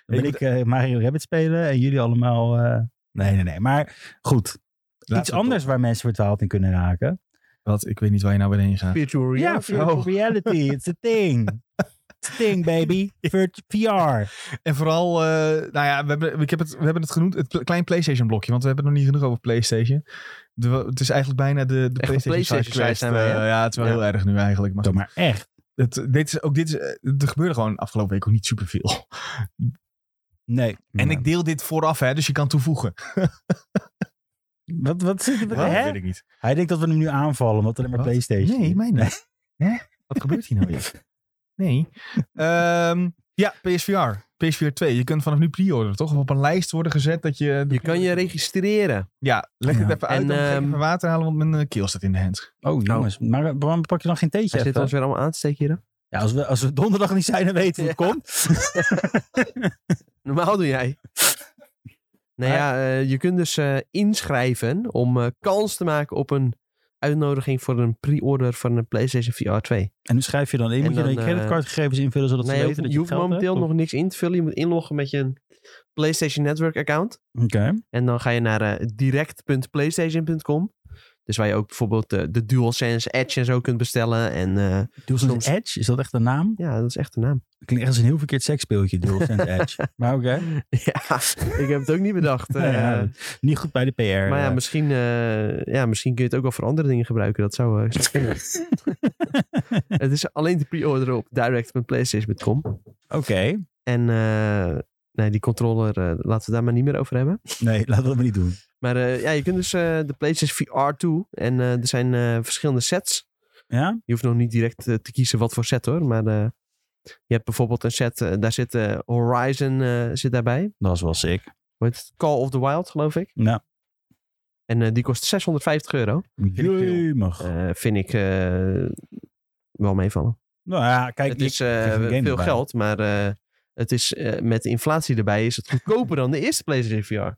[SPEAKER 3] Dan ben ik eh, Mario Rabbit spelen en jullie allemaal... eh, Nee, nee, nee. Maar goed, iets anders waar mensen verdwaald in kunnen raken.
[SPEAKER 1] Wat? Ik weet niet waar je nou weer heen gaat.
[SPEAKER 2] Virtual
[SPEAKER 3] Ja, virtual reality. It's a thing. It's a
[SPEAKER 1] [laughs]
[SPEAKER 3] thing, baby. Virt- VR.
[SPEAKER 1] En vooral, eh, nou ja, we hebben, ik heb het, we hebben het genoemd, het pl- klein PlayStation blokje. Want we hebben het nog niet genoeg over PlayStation. De, het is eigenlijk bijna de, de
[SPEAKER 2] Echt een
[SPEAKER 1] PlayStation,
[SPEAKER 2] PlayStation
[SPEAKER 1] side quest.
[SPEAKER 2] zijn wij, hè?
[SPEAKER 1] eh, ja, het is wel
[SPEAKER 2] Ja.
[SPEAKER 1] heel erg nu eigenlijk. Maar
[SPEAKER 3] Doe maar echt.
[SPEAKER 1] het, dit is, ook dit is, eh, er gebeurde gewoon afgelopen week ook niet superveel.
[SPEAKER 3] Nee.
[SPEAKER 1] En ik deel dit vooraf, hè, dus je kan toevoegen.
[SPEAKER 3] Wat, wat zit er...
[SPEAKER 1] Dat
[SPEAKER 3] hè?
[SPEAKER 1] weet ik niet.
[SPEAKER 3] Hij denkt dat we hem nu aanvallen, omdat er alleen maar
[SPEAKER 1] Wat?
[SPEAKER 3] Playstation
[SPEAKER 1] Nee,
[SPEAKER 3] is.
[SPEAKER 1] mij niet. Hè? Wat gebeurt hier nou weer? [laughs] Nee. Ehm, ja, PSVR. PSVR 2. Je kunt vanaf nu pre-orderen, toch? Of op een lijst worden gezet dat je...
[SPEAKER 2] Je kan je registreren.
[SPEAKER 1] Ja, leg het
[SPEAKER 3] Ja.
[SPEAKER 1] even uit.
[SPEAKER 2] En,
[SPEAKER 1] dan ga ik even
[SPEAKER 2] ehm,
[SPEAKER 1] water halen, want mijn eh, keel staat in de hand.
[SPEAKER 3] Oh, jongens. Maar waarom pak je dan geen theetje
[SPEAKER 2] Hij zit
[SPEAKER 3] even?
[SPEAKER 2] ons weer allemaal aan te steken hier. hè?
[SPEAKER 3] Ja, als we, als we donderdag niet zijn, dan weten we hoe het komt.
[SPEAKER 2] Normaal doe jij. nou ja, eh, je kunt dus eh, inschrijven om eh, kans te maken op een uitnodiging voor een pre-order van een PlayStation VR 2.
[SPEAKER 3] [laughs] En nu schrijf je dan in.
[SPEAKER 2] En
[SPEAKER 3] Moet je dan
[SPEAKER 2] dan,
[SPEAKER 3] je
[SPEAKER 2] eh,
[SPEAKER 3] creditcardgegevens invullen, zodat
[SPEAKER 2] Nee,
[SPEAKER 3] ze
[SPEAKER 2] je
[SPEAKER 3] weten
[SPEAKER 2] hoeft, je
[SPEAKER 3] dat je
[SPEAKER 2] hoeft
[SPEAKER 3] geld
[SPEAKER 2] momenteel
[SPEAKER 3] hebt?
[SPEAKER 2] nog niks in te vullen. Je moet inloggen met je PlayStation Network account.
[SPEAKER 3] Oké.
[SPEAKER 2] En dan ga je naar eh, direct.playstation.com. Dus waar je ook bijvoorbeeld eh, de DualSense Edge en zo kunt bestellen. En eh,
[SPEAKER 3] DualSense
[SPEAKER 2] Soms-
[SPEAKER 3] Edge, is dat echt een naam?
[SPEAKER 2] ja, dat is echt de naam. [laughs]
[SPEAKER 3] Klinkt echt als een heel verkeerd seksspeeltje, DualSense Edge. Maar oké.
[SPEAKER 2] ja, ik heb het ook niet bedacht.
[SPEAKER 3] Nou [laughs] ja,
[SPEAKER 2] eh.
[SPEAKER 3] niet goed bij de PR.
[SPEAKER 2] Maar ja,
[SPEAKER 3] eh.
[SPEAKER 2] misschien, eh, ja, misschien kun je het ook wel voor andere dingen gebruiken. Dat zou eh, zou kunnen. het is alleen te pre-orderen op direct.playstation.com.
[SPEAKER 3] Oké.
[SPEAKER 2] En eh, nee, die controller eh, laten we daar maar niet meer over hebben.
[SPEAKER 3] Nee, [laughs] laten we dat maar niet doen.
[SPEAKER 2] Maar eh, ja, je kunt dus eh, de PlayStation VR toe. En eh, er zijn eh, verschillende sets.
[SPEAKER 3] Ja?
[SPEAKER 2] Je hoeft nog niet direct eh, te kiezen wat voor set hoor. Maar eh, je hebt bijvoorbeeld een set, eh, daar zit eh, Horizon eh, zit daarbij.
[SPEAKER 3] Dat is wel sick.
[SPEAKER 2] Hoe heet het? Call of the Wild, geloof ik.
[SPEAKER 3] Nou,
[SPEAKER 2] En eh, die kost 650 euro.
[SPEAKER 1] veel.
[SPEAKER 3] jemig.
[SPEAKER 2] Eh, vind ik eh, wel meevallen.
[SPEAKER 3] nou ja, kijk.
[SPEAKER 2] het
[SPEAKER 3] ik-
[SPEAKER 2] is eh,
[SPEAKER 3] krijg een game
[SPEAKER 2] veel
[SPEAKER 3] erbij.
[SPEAKER 2] geld, maar eh, het is, eh, met de inflatie erbij is het goedkoper dan de eerste PlayStation VR.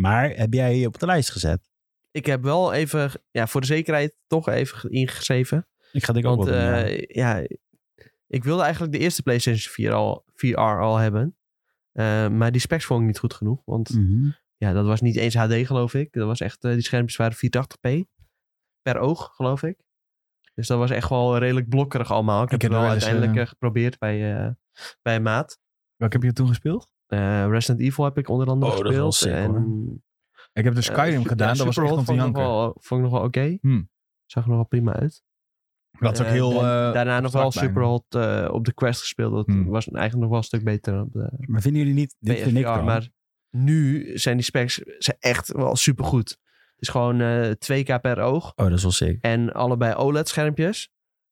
[SPEAKER 3] Maar heb jij je op de lijst gezet?
[SPEAKER 2] Ik heb wel even, ja, voor de zekerheid toch even ge- ingeschreven.
[SPEAKER 3] Ik ga denk ook
[SPEAKER 2] Want
[SPEAKER 3] wel doen, ja.
[SPEAKER 2] eh, ja, ik wilde eigenlijk de eerste PlayStation 4 al, VR al hebben. Eh, maar die specs vond ik niet goed genoeg. Want
[SPEAKER 3] Mhm.
[SPEAKER 2] ja, dat was niet eens HD, geloof ik. Dat was echt, eh, die schermpjes waren 480p per oog, geloof ik. Dus dat was echt wel redelijk blokkerig allemaal. Ik
[SPEAKER 1] Ik
[SPEAKER 2] heb
[SPEAKER 1] heb
[SPEAKER 2] het wel
[SPEAKER 1] er wel eens,
[SPEAKER 2] uiteindelijk
[SPEAKER 1] eh,
[SPEAKER 2] eh, geprobeerd bij, eh bij een maat.
[SPEAKER 1] Welke heb je toen gespeeld?
[SPEAKER 2] Eh, Resident Evil heb ik onder andere
[SPEAKER 3] Oh, dat is wel
[SPEAKER 2] gespeeld.
[SPEAKER 3] sick,
[SPEAKER 2] en,
[SPEAKER 1] Ik heb de
[SPEAKER 2] eh,
[SPEAKER 1] Skyrim
[SPEAKER 2] Su-
[SPEAKER 1] gedaan,
[SPEAKER 2] ja,
[SPEAKER 1] dat was echt
[SPEAKER 2] Superhot
[SPEAKER 1] om te
[SPEAKER 2] vond ik nog
[SPEAKER 1] janken.
[SPEAKER 2] wel- Vond ik nog wel oké.
[SPEAKER 1] Hmm.
[SPEAKER 2] Zag er nog wel prima uit.
[SPEAKER 1] Dat is ook
[SPEAKER 2] Eh,
[SPEAKER 1] heel...
[SPEAKER 2] da-
[SPEAKER 1] eh,
[SPEAKER 2] daarna nog wel
[SPEAKER 1] abstract bijna.
[SPEAKER 2] Superhot eh, op de Quest gespeeld. Dat
[SPEAKER 1] Hmm.
[SPEAKER 2] was eigenlijk nog wel een stuk beter dan op de
[SPEAKER 3] Maar vinden jullie niet... Dit vind ik
[SPEAKER 2] PSVR.
[SPEAKER 3] dan.
[SPEAKER 2] Maar nu zijn die specs eh, zijn echt wel supergoed. Het is gewoon eh 2K per oog.
[SPEAKER 3] Oh, dat is wel sick.
[SPEAKER 2] En allebei OLED-schermpjes.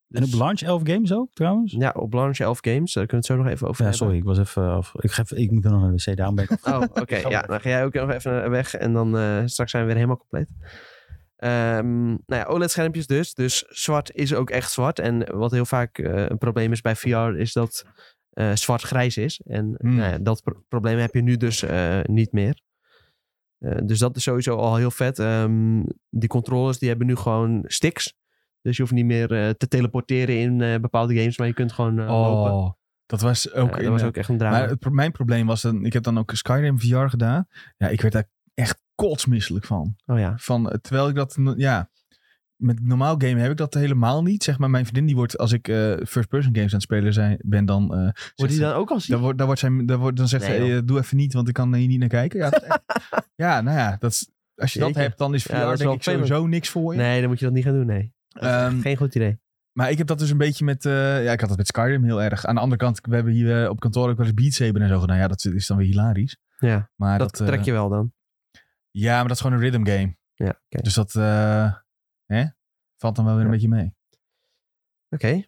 [SPEAKER 2] Dus-
[SPEAKER 3] En op launch 11 games ook, trouwens?
[SPEAKER 2] Ja, op launch 11 games. Daar kunnen we het zo nog even over
[SPEAKER 3] Ja,
[SPEAKER 2] hebben.
[SPEAKER 3] sorry, ik was even af. Ik, ga even- ik moet dan nog naar de wc, daarom [laughs] ben ik af.
[SPEAKER 1] [laughs]
[SPEAKER 2] Oh, oké.
[SPEAKER 3] Gaan we
[SPEAKER 2] Ja,
[SPEAKER 3] weg.
[SPEAKER 2] dan ga jij ook nog even weg. En dan eh, straks zijn we weer helemaal compleet. Ehm, nou ja, OLED-schermpjes dus. Dus zwart is ook echt zwart. En wat heel vaak eh, een probleem is bij VR, is dat eh, zwart-grijs is. En
[SPEAKER 1] Hmm.
[SPEAKER 2] nou ja, dat pro- probleem heb je nu dus eh, niet meer. Eh, dus dat is sowieso al heel vet. Ehm, die controllers die hebben nu gewoon sticks. Dus je hoeft niet meer eh, te teleporteren in eh, bepaalde games, maar je kunt gewoon eh, lopen.
[SPEAKER 1] Oh, dat was ook...
[SPEAKER 2] Eh,
[SPEAKER 1] in,
[SPEAKER 2] dat was
[SPEAKER 1] eh,
[SPEAKER 2] ook echt een drama.
[SPEAKER 1] maar het pro- mijn probleem was, dan, ik heb dan ook Skyrim VR gedaan. Ja, ik werd daar echt kotsmisselijk van.
[SPEAKER 2] oh ja.
[SPEAKER 1] van eh, terwijl ik dat, no- ja, met normaal game heb ik dat helemaal niet. Zeg maar, mijn vriendin die wordt, als ik eh, first-person games aan het spelen zijn, ben, dan... eh, zegt
[SPEAKER 2] Wordt
[SPEAKER 1] ze-
[SPEAKER 2] die dan ook al
[SPEAKER 1] Dan,
[SPEAKER 2] ziek?
[SPEAKER 1] wordt, dan, wordt zij, dan, wordt, dan zegt
[SPEAKER 2] Nee,
[SPEAKER 1] ze,
[SPEAKER 2] joh. [laughs]
[SPEAKER 1] eh, doe even niet, want ik kan hier niet naar kijken. Ja, dat is echt- ja nou ja, dat is, als je dat
[SPEAKER 2] Zeker.
[SPEAKER 1] hebt, dan is VR
[SPEAKER 2] Ja, dat is
[SPEAKER 1] denk
[SPEAKER 2] wel
[SPEAKER 1] ik sowieso niks voor je.
[SPEAKER 2] Nee, dan moet je dat niet gaan doen, nee. Dat is echt
[SPEAKER 1] Oh, Ehm,
[SPEAKER 2] geen goed idee.
[SPEAKER 1] Maar ik heb dat dus een beetje met... eh, ja, ik had dat met Skyrim heel erg. Aan de andere kant, we hebben hier eh, op kantoor ook wel eens Beat Saber en zo gedaan. Ja, dat is dan weer hilarisch.
[SPEAKER 2] Ja,
[SPEAKER 1] Maar
[SPEAKER 2] dat,
[SPEAKER 1] dat, eh,
[SPEAKER 2] trek je wel dan.
[SPEAKER 1] Ja, maar dat is gewoon een rhythm game.
[SPEAKER 2] Ja, oké.
[SPEAKER 1] Dus dat eh, hè, valt dan wel weer een
[SPEAKER 2] Ja.
[SPEAKER 1] beetje mee.
[SPEAKER 2] Oké.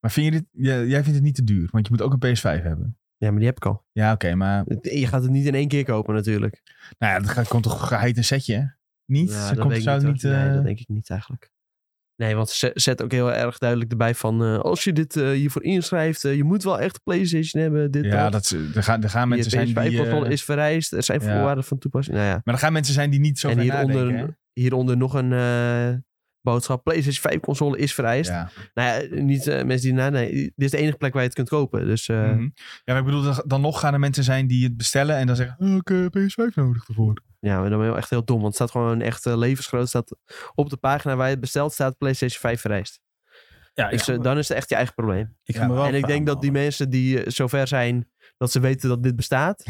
[SPEAKER 1] Maar vind je dit, jij- jij vindt het niet te duur, want je moet ook een PS5 hebben.
[SPEAKER 2] Ja, maar die heb ik al.
[SPEAKER 1] Ja, oké, maar
[SPEAKER 2] Je gaat het niet in één keer kopen natuurlijk.
[SPEAKER 1] nou ja, dat gaat, komt toch geheid een setje, hè? Niet?
[SPEAKER 2] Ja,
[SPEAKER 1] Ze
[SPEAKER 2] dat
[SPEAKER 1] komt
[SPEAKER 2] weet ik
[SPEAKER 1] zou
[SPEAKER 2] hoor.
[SPEAKER 1] niet...
[SPEAKER 2] Nee,
[SPEAKER 1] eh,
[SPEAKER 2] dat denk ik niet eigenlijk. Nee, want ze zet ook heel erg duidelijk erbij van... eh, als je dit eh, hiervoor inschrijft, eh, je moet wel echt een PlayStation hebben. Dit,
[SPEAKER 1] ja, dat, ze- er, gaan, er gaan mensen zijn die... eh,
[SPEAKER 2] PS5-controle is vereist. Er zijn
[SPEAKER 1] ja.
[SPEAKER 2] voorwaarden van toepassing. Nou ja.
[SPEAKER 1] Maar er gaan mensen zijn die niet zo
[SPEAKER 2] en
[SPEAKER 1] ver nadenken, hè?
[SPEAKER 2] hieronder, hieronder nog een eh, boodschap. PlayStation 5-console is vereist.
[SPEAKER 1] Ja.
[SPEAKER 2] Nou ja, niet eh, mensen die... na- Nee, dit is de enige plek waar je het kunt kopen. Dus eh,
[SPEAKER 1] Mhm. ja, maar ik bedoel, dan- dan nog gaan er mensen zijn die het bestellen en dan zeggen... Oh, ik heb PS5 nodig
[SPEAKER 2] [laughs]
[SPEAKER 1] ervoor.
[SPEAKER 2] ja, maar dan ben je wel echt heel dom. Want het staat gewoon echt eh, levensgroot. Staat op de pagina waar je het bestelt staat PlayStation 5 vereist.
[SPEAKER 3] Ja, ik,
[SPEAKER 2] Dus eh, dan is het echt je eigen probleem.
[SPEAKER 3] ik ga
[SPEAKER 1] ja,
[SPEAKER 3] me wel
[SPEAKER 2] en ik denk dat die
[SPEAKER 3] aanmelden.
[SPEAKER 2] mensen die eh, zover zijn dat ze weten dat dit bestaat,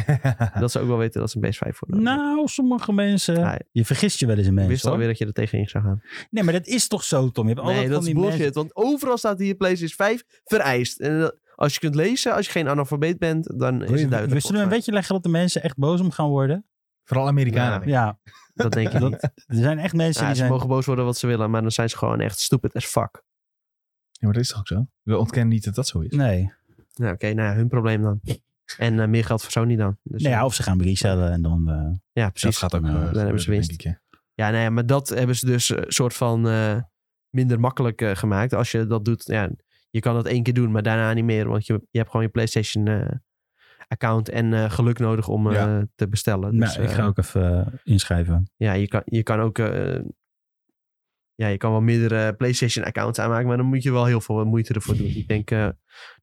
[SPEAKER 2] dat ze ook wel weten dat ze een PS5 voor nodig hebben.
[SPEAKER 3] Nou, sommige mensen...
[SPEAKER 2] Ja,
[SPEAKER 3] Je vergist je wel eens in
[SPEAKER 2] ik
[SPEAKER 3] mensen,
[SPEAKER 2] wist
[SPEAKER 3] hoor.
[SPEAKER 2] alweer dat je er tegenin zou gaan.
[SPEAKER 3] Nee, maar dat is toch zo, Tom? Je hebt
[SPEAKER 2] nee,
[SPEAKER 3] altijd
[SPEAKER 2] dat
[SPEAKER 3] van
[SPEAKER 2] is
[SPEAKER 3] die
[SPEAKER 2] bullshit.
[SPEAKER 3] mensen...
[SPEAKER 2] Want overal staat hier PlayStation 5 vereist. En dat- als je kunt lezen, als je geen analfabeet bent, dan is het
[SPEAKER 3] We
[SPEAKER 2] duidelijk.
[SPEAKER 3] zullen een
[SPEAKER 2] volgens
[SPEAKER 3] beetje leggen dat de mensen echt boos om gaan worden.
[SPEAKER 1] Vooral Amerikanen.
[SPEAKER 2] Ja.
[SPEAKER 1] denk ik.
[SPEAKER 3] Ja,
[SPEAKER 2] mij. Dat denk ik
[SPEAKER 3] [laughs] Dat-
[SPEAKER 2] niet.
[SPEAKER 3] er zijn echt mensen
[SPEAKER 2] Ja,
[SPEAKER 3] die
[SPEAKER 2] ze
[SPEAKER 3] zijn...
[SPEAKER 2] mogen boos worden wat ze willen, maar dan zijn ze gewoon echt stupid as fuck.
[SPEAKER 1] Ja, maar dat is toch ook zo? We ontkennen niet dat dat zo is.
[SPEAKER 3] Nee.
[SPEAKER 2] Nou, oké, nou ja, hun probleem
[SPEAKER 3] [laughs]
[SPEAKER 2] dan. En eh, meer geld voor Sony dan. Dus,
[SPEAKER 3] Nou
[SPEAKER 2] eh,
[SPEAKER 3] ja, of ze gaan resellen en dan... eh,
[SPEAKER 2] ja,
[SPEAKER 1] Dat
[SPEAKER 2] precies.
[SPEAKER 1] gaat ook
[SPEAKER 3] Dan
[SPEAKER 1] eh,
[SPEAKER 3] hebben
[SPEAKER 2] ze
[SPEAKER 1] gebeuren,
[SPEAKER 2] winst.
[SPEAKER 1] denk ik, hè.
[SPEAKER 2] Ja, nee, maar dat hebben ze dus een soort van eh, minder makkelijk eh, gemaakt. Als je dat doet, ja, je kan dat één keer doen, maar daarna niet meer. Want je, je hebt gewoon je PlayStation eh, account en eh, geluk nodig om eh,
[SPEAKER 1] Ja.
[SPEAKER 2] te bestellen. Dus,
[SPEAKER 3] nou, ik
[SPEAKER 2] eh,
[SPEAKER 3] ga ook even eh, inschrijven.
[SPEAKER 2] ja, je kan, je kan ook... eh, ja, je kan wel meerdere PlayStation accounts aanmaken, maar dan moet je wel heel veel moeite ervoor doen. Ik denk eh,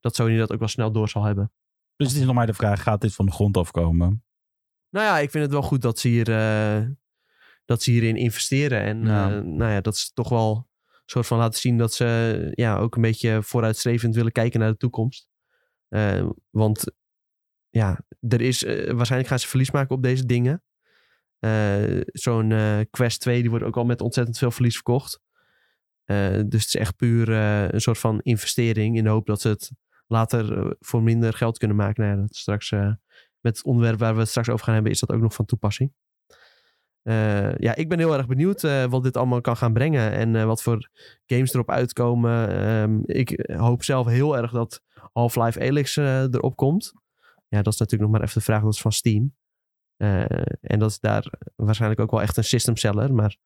[SPEAKER 2] dat Sony dat ook wel snel door zal hebben.
[SPEAKER 3] Dus het is nog maar de vraag, gaat dit van de grond afkomen?
[SPEAKER 2] Nou ja, ik vind het wel goed dat ze, hier, eh, dat ze hierin investeren. En
[SPEAKER 1] Ja.
[SPEAKER 2] eh, nou ja, dat ze toch wel een soort van laten zien dat ze ja, ook een beetje vooruitstrevend willen kijken naar de toekomst. Eh, want ja, er is, eh, waarschijnlijk gaan ze verlies maken op deze dingen. Eh, Zo'n eh, Quest 2 die wordt ook al met ontzettend veel verlies verkocht. Eh, dus het is echt puur eh, een soort van investering in de hoop dat ze het later eh, voor minder geld kunnen maken. Nou ja, dat is straks eh, met het onderwerp waar we het straks over gaan hebben, is dat ook nog van toepassing. Eh, ja, ik ben heel erg benieuwd eh, wat dit allemaal kan gaan brengen en eh, wat voor games erop uitkomen. Ehm, ik hoop zelf heel erg dat Half-Life Alyx eh, erop komt. Ja, dat is natuurlijk nog maar even de vraag, dat is van Steam. Eh, en dat is daar waarschijnlijk ook wel echt een system seller, maar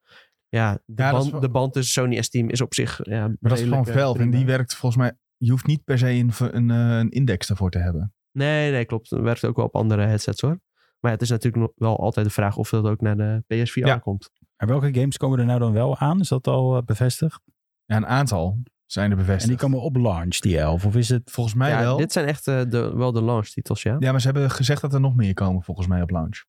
[SPEAKER 2] ja, de,
[SPEAKER 1] Ja, dat is
[SPEAKER 2] band,
[SPEAKER 1] wel-
[SPEAKER 2] de band tussen Sony en Steam is op zich ja, eh,
[SPEAKER 1] Maar dat is gewoon Valve en die werkt volgens mij... Je hoeft niet per se een, een, eh, een index daarvoor te hebben.
[SPEAKER 2] Nee, nee, klopt. Het werkt ook wel op andere headsets hoor. Maar ja, het is natuurlijk nog wel altijd de vraag of dat ook naar de PSVR
[SPEAKER 1] Ja.
[SPEAKER 2] komt.
[SPEAKER 3] Maar welke games komen er nou dan wel aan? Is dat al eh, bevestigd?
[SPEAKER 1] Ja, een aantal zijn er bevestigd.
[SPEAKER 3] En die komen op launch, die elf? Of is het...
[SPEAKER 1] Volgens mij
[SPEAKER 2] ja,
[SPEAKER 1] wel.
[SPEAKER 2] Dit zijn echt eh, de, wel de launchtitels, ja.
[SPEAKER 1] Ja, maar ze hebben gezegd dat er nog meer komen volgens mij op launch.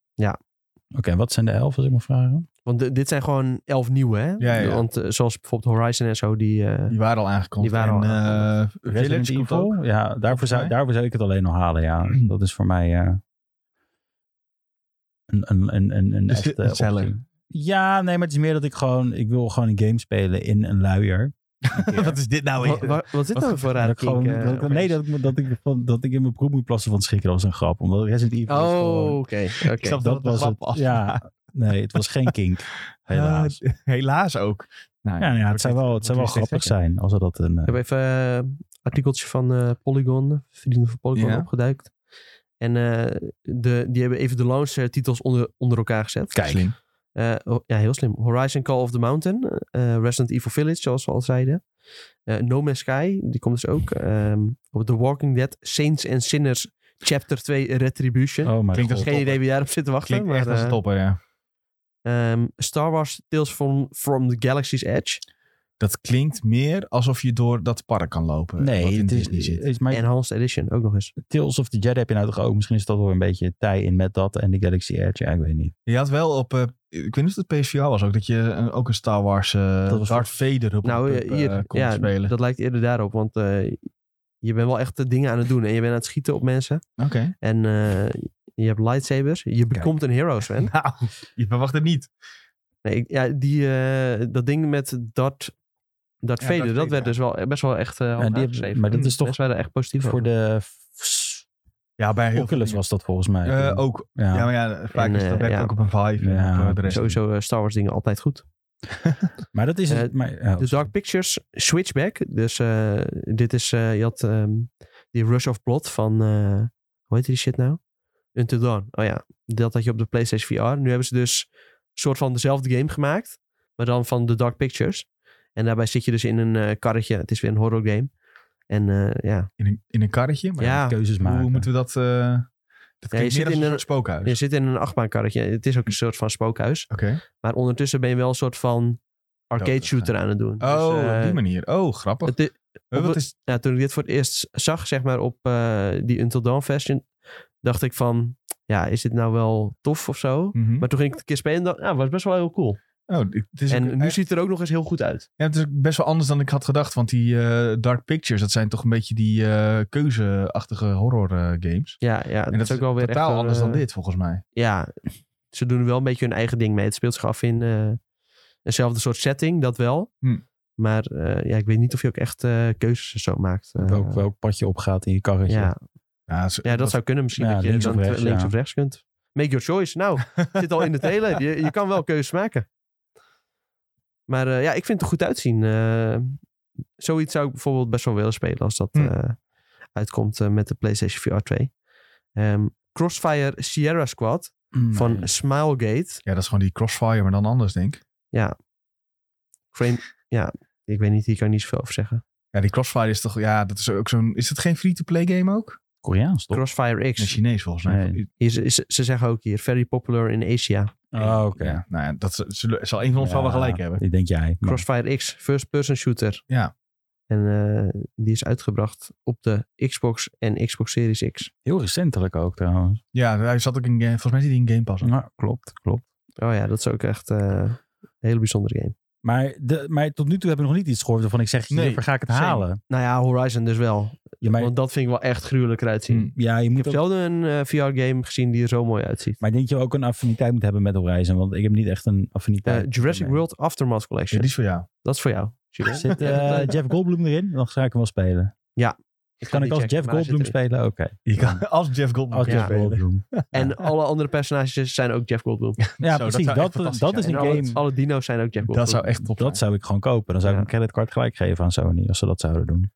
[SPEAKER 3] Oké, wat zijn de elf, als ik mag vragen?
[SPEAKER 2] Want di- dit zijn gewoon elf nieuwe, hè?
[SPEAKER 1] Ja, ja.
[SPEAKER 2] Want eh, zoals bijvoorbeeld Horizon en zo, die... eh,
[SPEAKER 1] Die waren al aangekondigd.
[SPEAKER 2] Die waren al
[SPEAKER 1] en, eh,
[SPEAKER 2] aangekondigd.
[SPEAKER 1] Village komt ook.
[SPEAKER 3] Ja, daarvoor zou,
[SPEAKER 1] mij.
[SPEAKER 3] daarvoor zou ik het alleen al halen,
[SPEAKER 1] [clears throat]
[SPEAKER 3] ja. Dat is voor mij eh, een, een, een, een, een
[SPEAKER 1] Dus
[SPEAKER 3] echte
[SPEAKER 1] het seller.
[SPEAKER 3] optie. Ja, nee, maar het is meer dat ik gewoon... Ik wil gewoon een game spelen in een luier.
[SPEAKER 1] Wat is dit nou
[SPEAKER 2] wa- wa-
[SPEAKER 1] weer?
[SPEAKER 2] [laughs] wat, zit nou voor
[SPEAKER 3] Oh, dat
[SPEAKER 2] raar
[SPEAKER 3] ik gewoon, dat
[SPEAKER 1] eh,
[SPEAKER 3] ik- nee, dat ik, dat, ik, van- dat ik in mijn broek moet plassen van het schrikken. Dat was een grap. Omdat Resident Evil is gewoon-
[SPEAKER 2] Oh, oké.
[SPEAKER 3] [laughs]
[SPEAKER 2] oké.
[SPEAKER 1] Ik snap
[SPEAKER 3] dat was het. Ja, nee, het was geen
[SPEAKER 1] [laughs]
[SPEAKER 3] kink. Helaas.
[SPEAKER 1] Ah, [laughs] helaas ook. Nou,
[SPEAKER 3] Ja, nou ja, het zou wel, het zou wel
[SPEAKER 1] wordt
[SPEAKER 3] grappig
[SPEAKER 1] steeds gekker.
[SPEAKER 3] zijn als we dat een... eh,
[SPEAKER 2] Ik heb even eh, een artikeltje van eh, Polygon, vrienden van Polygon,
[SPEAKER 1] Ja.
[SPEAKER 2] opgeduikt. En eh, de, die hebben even de launchtitels onder, onder elkaar gezet.
[SPEAKER 3] Kijk.
[SPEAKER 1] Slim.
[SPEAKER 2] Eh, ho- ja, heel slim. Horizon Call of the Mountain. eh, Resident Evil Village, zoals we al zeiden. Eh, no Man's Sky, die komt dus ook. Ehm, op The Walking Dead, Saints and Sinners, Chapter 2 Retribution. Dus
[SPEAKER 3] Oh my
[SPEAKER 1] Klinkt
[SPEAKER 3] god.
[SPEAKER 1] als-
[SPEAKER 2] Geen
[SPEAKER 1] topper.
[SPEAKER 2] idee wie daarop zit te wachten.
[SPEAKER 1] Klinkt
[SPEAKER 2] Maar,
[SPEAKER 1] echt als
[SPEAKER 2] eh,
[SPEAKER 1] een topper, ja.
[SPEAKER 2] ehm, Star Wars Tales from, from the Galaxy's Edge.
[SPEAKER 1] Dat klinkt meer alsof je door dat park kan lopen. wat
[SPEAKER 3] Nee,
[SPEAKER 1] in
[SPEAKER 3] het is,
[SPEAKER 1] Disney zit.
[SPEAKER 3] is maar
[SPEAKER 2] Enhanced Edition, ook nog eens.
[SPEAKER 3] Tales of the Jedi heb je nou toch ook. Misschien is dat wel een beetje tie in met dat en de Galaxy Edge. Ja, ik weet niet.
[SPEAKER 1] Je had wel op, eh, ik weet niet of het PSVR was ook, dat je een- ook een Star Wars eh
[SPEAKER 3] Dat was
[SPEAKER 1] Darth Vader op
[SPEAKER 2] nou,
[SPEAKER 1] op, eh,
[SPEAKER 2] eh, hier,
[SPEAKER 1] kon
[SPEAKER 2] ja,
[SPEAKER 1] spelen.
[SPEAKER 2] dat lijkt eerder daarop. Want eh, je bent wel echt de dingen aan het doen. En je bent aan het schieten op mensen.
[SPEAKER 1] Oké.
[SPEAKER 2] En eh, Je hebt lightsabers. Je bekomt een hero, Sven.
[SPEAKER 1] Nou, [laughs] je verwacht het niet.
[SPEAKER 2] Nee, ik- ja, die, eh, dat ding met dat dat
[SPEAKER 1] Ja,
[SPEAKER 2] Vader,
[SPEAKER 1] Darth
[SPEAKER 2] dat
[SPEAKER 1] Vader,
[SPEAKER 2] werd
[SPEAKER 1] ja.
[SPEAKER 2] dus wel, best wel echt eh hoog
[SPEAKER 3] die heb-
[SPEAKER 2] aangeschreven.
[SPEAKER 3] maar dat is toch
[SPEAKER 2] Mensen waren er echt positief
[SPEAKER 3] Voor
[SPEAKER 2] over.
[SPEAKER 3] de
[SPEAKER 1] Ja, bij heel
[SPEAKER 3] Oculus
[SPEAKER 1] veel
[SPEAKER 3] was dat volgens mij.
[SPEAKER 1] dingen. Eh, ook. Ja. maar ja, vaak
[SPEAKER 2] En,
[SPEAKER 1] is dat
[SPEAKER 2] eh,
[SPEAKER 1] werkt
[SPEAKER 2] ja.
[SPEAKER 1] ook op een vibe.
[SPEAKER 3] Ja,
[SPEAKER 1] en op, eh, de rest.
[SPEAKER 2] Sowieso eh, Star Wars dingen altijd goed.
[SPEAKER 3] Maar dat is het.
[SPEAKER 2] Eh,
[SPEAKER 3] maar, oh,
[SPEAKER 2] De Dark Pictures Switchback. Dus eh, dit is, eh, je had ehm, die Rush of Blood van, eh, hoe heet die shit nou? Until Dawn. Oh ja, dat had je op de PlayStation VR. Nu hebben ze dus een soort van dezelfde game gemaakt, maar dan van de Dark Pictures. En daarbij zit je dus in een eh, karretje. Het is weer een horror game. En eh, ja,
[SPEAKER 1] In, een, in een karretje. Maar
[SPEAKER 2] ja,
[SPEAKER 3] keuzes
[SPEAKER 1] hoe
[SPEAKER 3] maken.
[SPEAKER 1] moeten we dat... eh dat klinkt
[SPEAKER 2] zit
[SPEAKER 1] meer als
[SPEAKER 2] in
[SPEAKER 1] een
[SPEAKER 2] een-
[SPEAKER 1] soort spookhuis.
[SPEAKER 2] je zit in een achtbaankarretje. Het is ook een soort van spookhuis.
[SPEAKER 1] Oké.
[SPEAKER 2] Maar ondertussen ben je wel een soort van arcade
[SPEAKER 1] Dood,
[SPEAKER 2] shooter aan het doen.
[SPEAKER 1] Oh,
[SPEAKER 2] Dus, eh,
[SPEAKER 1] op die manier. Oh, grappig.
[SPEAKER 2] het i-
[SPEAKER 1] Eh, wat
[SPEAKER 2] op-
[SPEAKER 1] is,
[SPEAKER 2] ja, toen ik dit voor het eerst zag, zeg maar, op eh, die Until Dawn version, dacht ik van, ja, is dit nou wel tof of zo?
[SPEAKER 1] Mhm.
[SPEAKER 2] Maar toen ging ik het een keer spelen en dacht, ja, was best wel heel cool.
[SPEAKER 1] oh, het is
[SPEAKER 2] en
[SPEAKER 1] ook
[SPEAKER 2] nu
[SPEAKER 1] echt-
[SPEAKER 2] ziet het er ook nog eens heel goed uit.
[SPEAKER 1] Ja, het is ook best wel anders dan ik had gedacht. Want die eh, Dark Pictures, dat zijn toch een beetje die eh, keuzeachtige horror eh, games.
[SPEAKER 2] Ja, ja
[SPEAKER 1] En
[SPEAKER 2] dat, is ook wel weer
[SPEAKER 1] totaal
[SPEAKER 2] echt,
[SPEAKER 1] anders dan
[SPEAKER 2] eh,
[SPEAKER 1] dit, volgens mij.
[SPEAKER 2] Ja, ze doen wel een beetje hun eigen ding mee. Het speelt zich af in eh, eenzelfde soort setting, dat wel.
[SPEAKER 3] Hmm.
[SPEAKER 1] Hm.
[SPEAKER 2] Maar eh, ja, ik weet niet of je ook echt eh, keuzes en zo maakt. Eh,
[SPEAKER 3] welk, welk pad je opgaat in je karretje.
[SPEAKER 2] ja,
[SPEAKER 1] Ja, het is-
[SPEAKER 2] Ja, dat, zou kunnen misschien.
[SPEAKER 3] ja,
[SPEAKER 2] dat je
[SPEAKER 3] links of
[SPEAKER 2] dan
[SPEAKER 3] rechts,
[SPEAKER 2] te- links
[SPEAKER 3] ja.
[SPEAKER 2] of rechts kunt. Make your choice.
[SPEAKER 3] [laughs]
[SPEAKER 2] Nou, het zit al in de trailer. Je, je kan wel keuzes maken. Maar eh, ja, ik vind het er goed uitzien. Eh, zoiets zou ik bijvoorbeeld best wel willen spelen als dat
[SPEAKER 3] Hmm.
[SPEAKER 1] Hm.
[SPEAKER 2] eh, uitkomt eh, met de PlayStation VR 2. Ehm, Crossfire Sierra Squad
[SPEAKER 3] Mm.
[SPEAKER 2] van Smilegate.
[SPEAKER 1] ja, dat is gewoon die Crossfire, maar dan anders, denk ik.
[SPEAKER 2] Frame, ja, ik weet niet, hier kan ik niet zoveel over zeggen.
[SPEAKER 1] Ja, die Crossfire is toch... Ja, dat is ook zo'n... Is dat geen free-to-play game ook?
[SPEAKER 3] Koreaans toch?
[SPEAKER 2] Crossfire
[SPEAKER 1] Nee,
[SPEAKER 2] X.
[SPEAKER 1] Chinees volgens mij.
[SPEAKER 3] Nee.
[SPEAKER 2] Is, is- ze zeggen ook hier, very popular in Asia.
[SPEAKER 3] Oh, oké.
[SPEAKER 1] Ja, nou ja, dat z- zullen- zal een van ons wel wel
[SPEAKER 3] Ja,
[SPEAKER 1] gelijk hebben.
[SPEAKER 3] Die denk jij. maar-
[SPEAKER 2] Crossfire X, first person shooter.
[SPEAKER 1] Ja.
[SPEAKER 2] En eh, die is uitgebracht op de Xbox en Xbox Series X.
[SPEAKER 3] Heel recentelijk ook trouwens.
[SPEAKER 1] Ja, hij zat ook in... Ga- Volgens mij zit hij in Game Pass.
[SPEAKER 3] Ja, klopt, klopt.
[SPEAKER 2] Oh ja, dat is ook echt eh, een hele bijzondere game.
[SPEAKER 3] Maar, de, maar tot nu toe hebben we nog niet iets gehoord waarvan ik zeg,
[SPEAKER 1] Nee,
[SPEAKER 3] hiervoor ga ik het
[SPEAKER 1] same.
[SPEAKER 3] halen.
[SPEAKER 2] Nou ja, Horizon dus wel.
[SPEAKER 3] Ja, maar, Mm.
[SPEAKER 2] Want dat vind ik wel echt gruwelijk eruit zien.
[SPEAKER 1] Hm.
[SPEAKER 3] ja, je
[SPEAKER 2] Ik
[SPEAKER 3] moet
[SPEAKER 2] heb
[SPEAKER 3] ook-
[SPEAKER 2] zelden een eh, VR-game gezien die er zo mooi uitziet.
[SPEAKER 3] maar ik denk je ook een affiniteit moet hebben met Horizon, want ik heb niet echt een
[SPEAKER 2] Eh,
[SPEAKER 3] affiniteit.
[SPEAKER 2] Jurassic
[SPEAKER 3] ermee.
[SPEAKER 2] World Aftermath
[SPEAKER 1] Ja,
[SPEAKER 2] Collection.
[SPEAKER 1] die is voor jou.
[SPEAKER 2] Dat is voor jou. Jules.
[SPEAKER 1] [laughs]
[SPEAKER 2] [laughs]
[SPEAKER 3] Zit
[SPEAKER 2] Ja, dat-
[SPEAKER 3] eh, Jeff Goldblum erin? Dan ga ik hem wel spelen.
[SPEAKER 2] ik ga
[SPEAKER 3] Kan ik
[SPEAKER 2] niet
[SPEAKER 3] als
[SPEAKER 2] checken,
[SPEAKER 3] Jeff
[SPEAKER 2] maar hij
[SPEAKER 3] Goldblum
[SPEAKER 2] zit erin.
[SPEAKER 3] spelen? Oké.
[SPEAKER 1] Je kan, [laughs] als Jeff Goldblum.
[SPEAKER 3] Als
[SPEAKER 1] kan
[SPEAKER 3] Jeff
[SPEAKER 1] spelen. [laughs]
[SPEAKER 3] Goldblum.
[SPEAKER 2] En alle andere personages zijn ook Jeff Goldblum.
[SPEAKER 3] Ja,
[SPEAKER 1] Zo, dat
[SPEAKER 3] precies.
[SPEAKER 1] zou echt
[SPEAKER 3] Dat, dat,
[SPEAKER 1] fantastisch
[SPEAKER 3] is
[SPEAKER 1] zijn.
[SPEAKER 3] een
[SPEAKER 2] En alle,
[SPEAKER 3] game.
[SPEAKER 2] alle dino's zijn ook Jeff Goldblum.
[SPEAKER 1] Dat zou echt top
[SPEAKER 3] Dat zou ik gewoon kopen. Dan zou ik
[SPEAKER 2] Ja.
[SPEAKER 3] een creditcard gelijk geven aan Sony als ze dat zouden doen.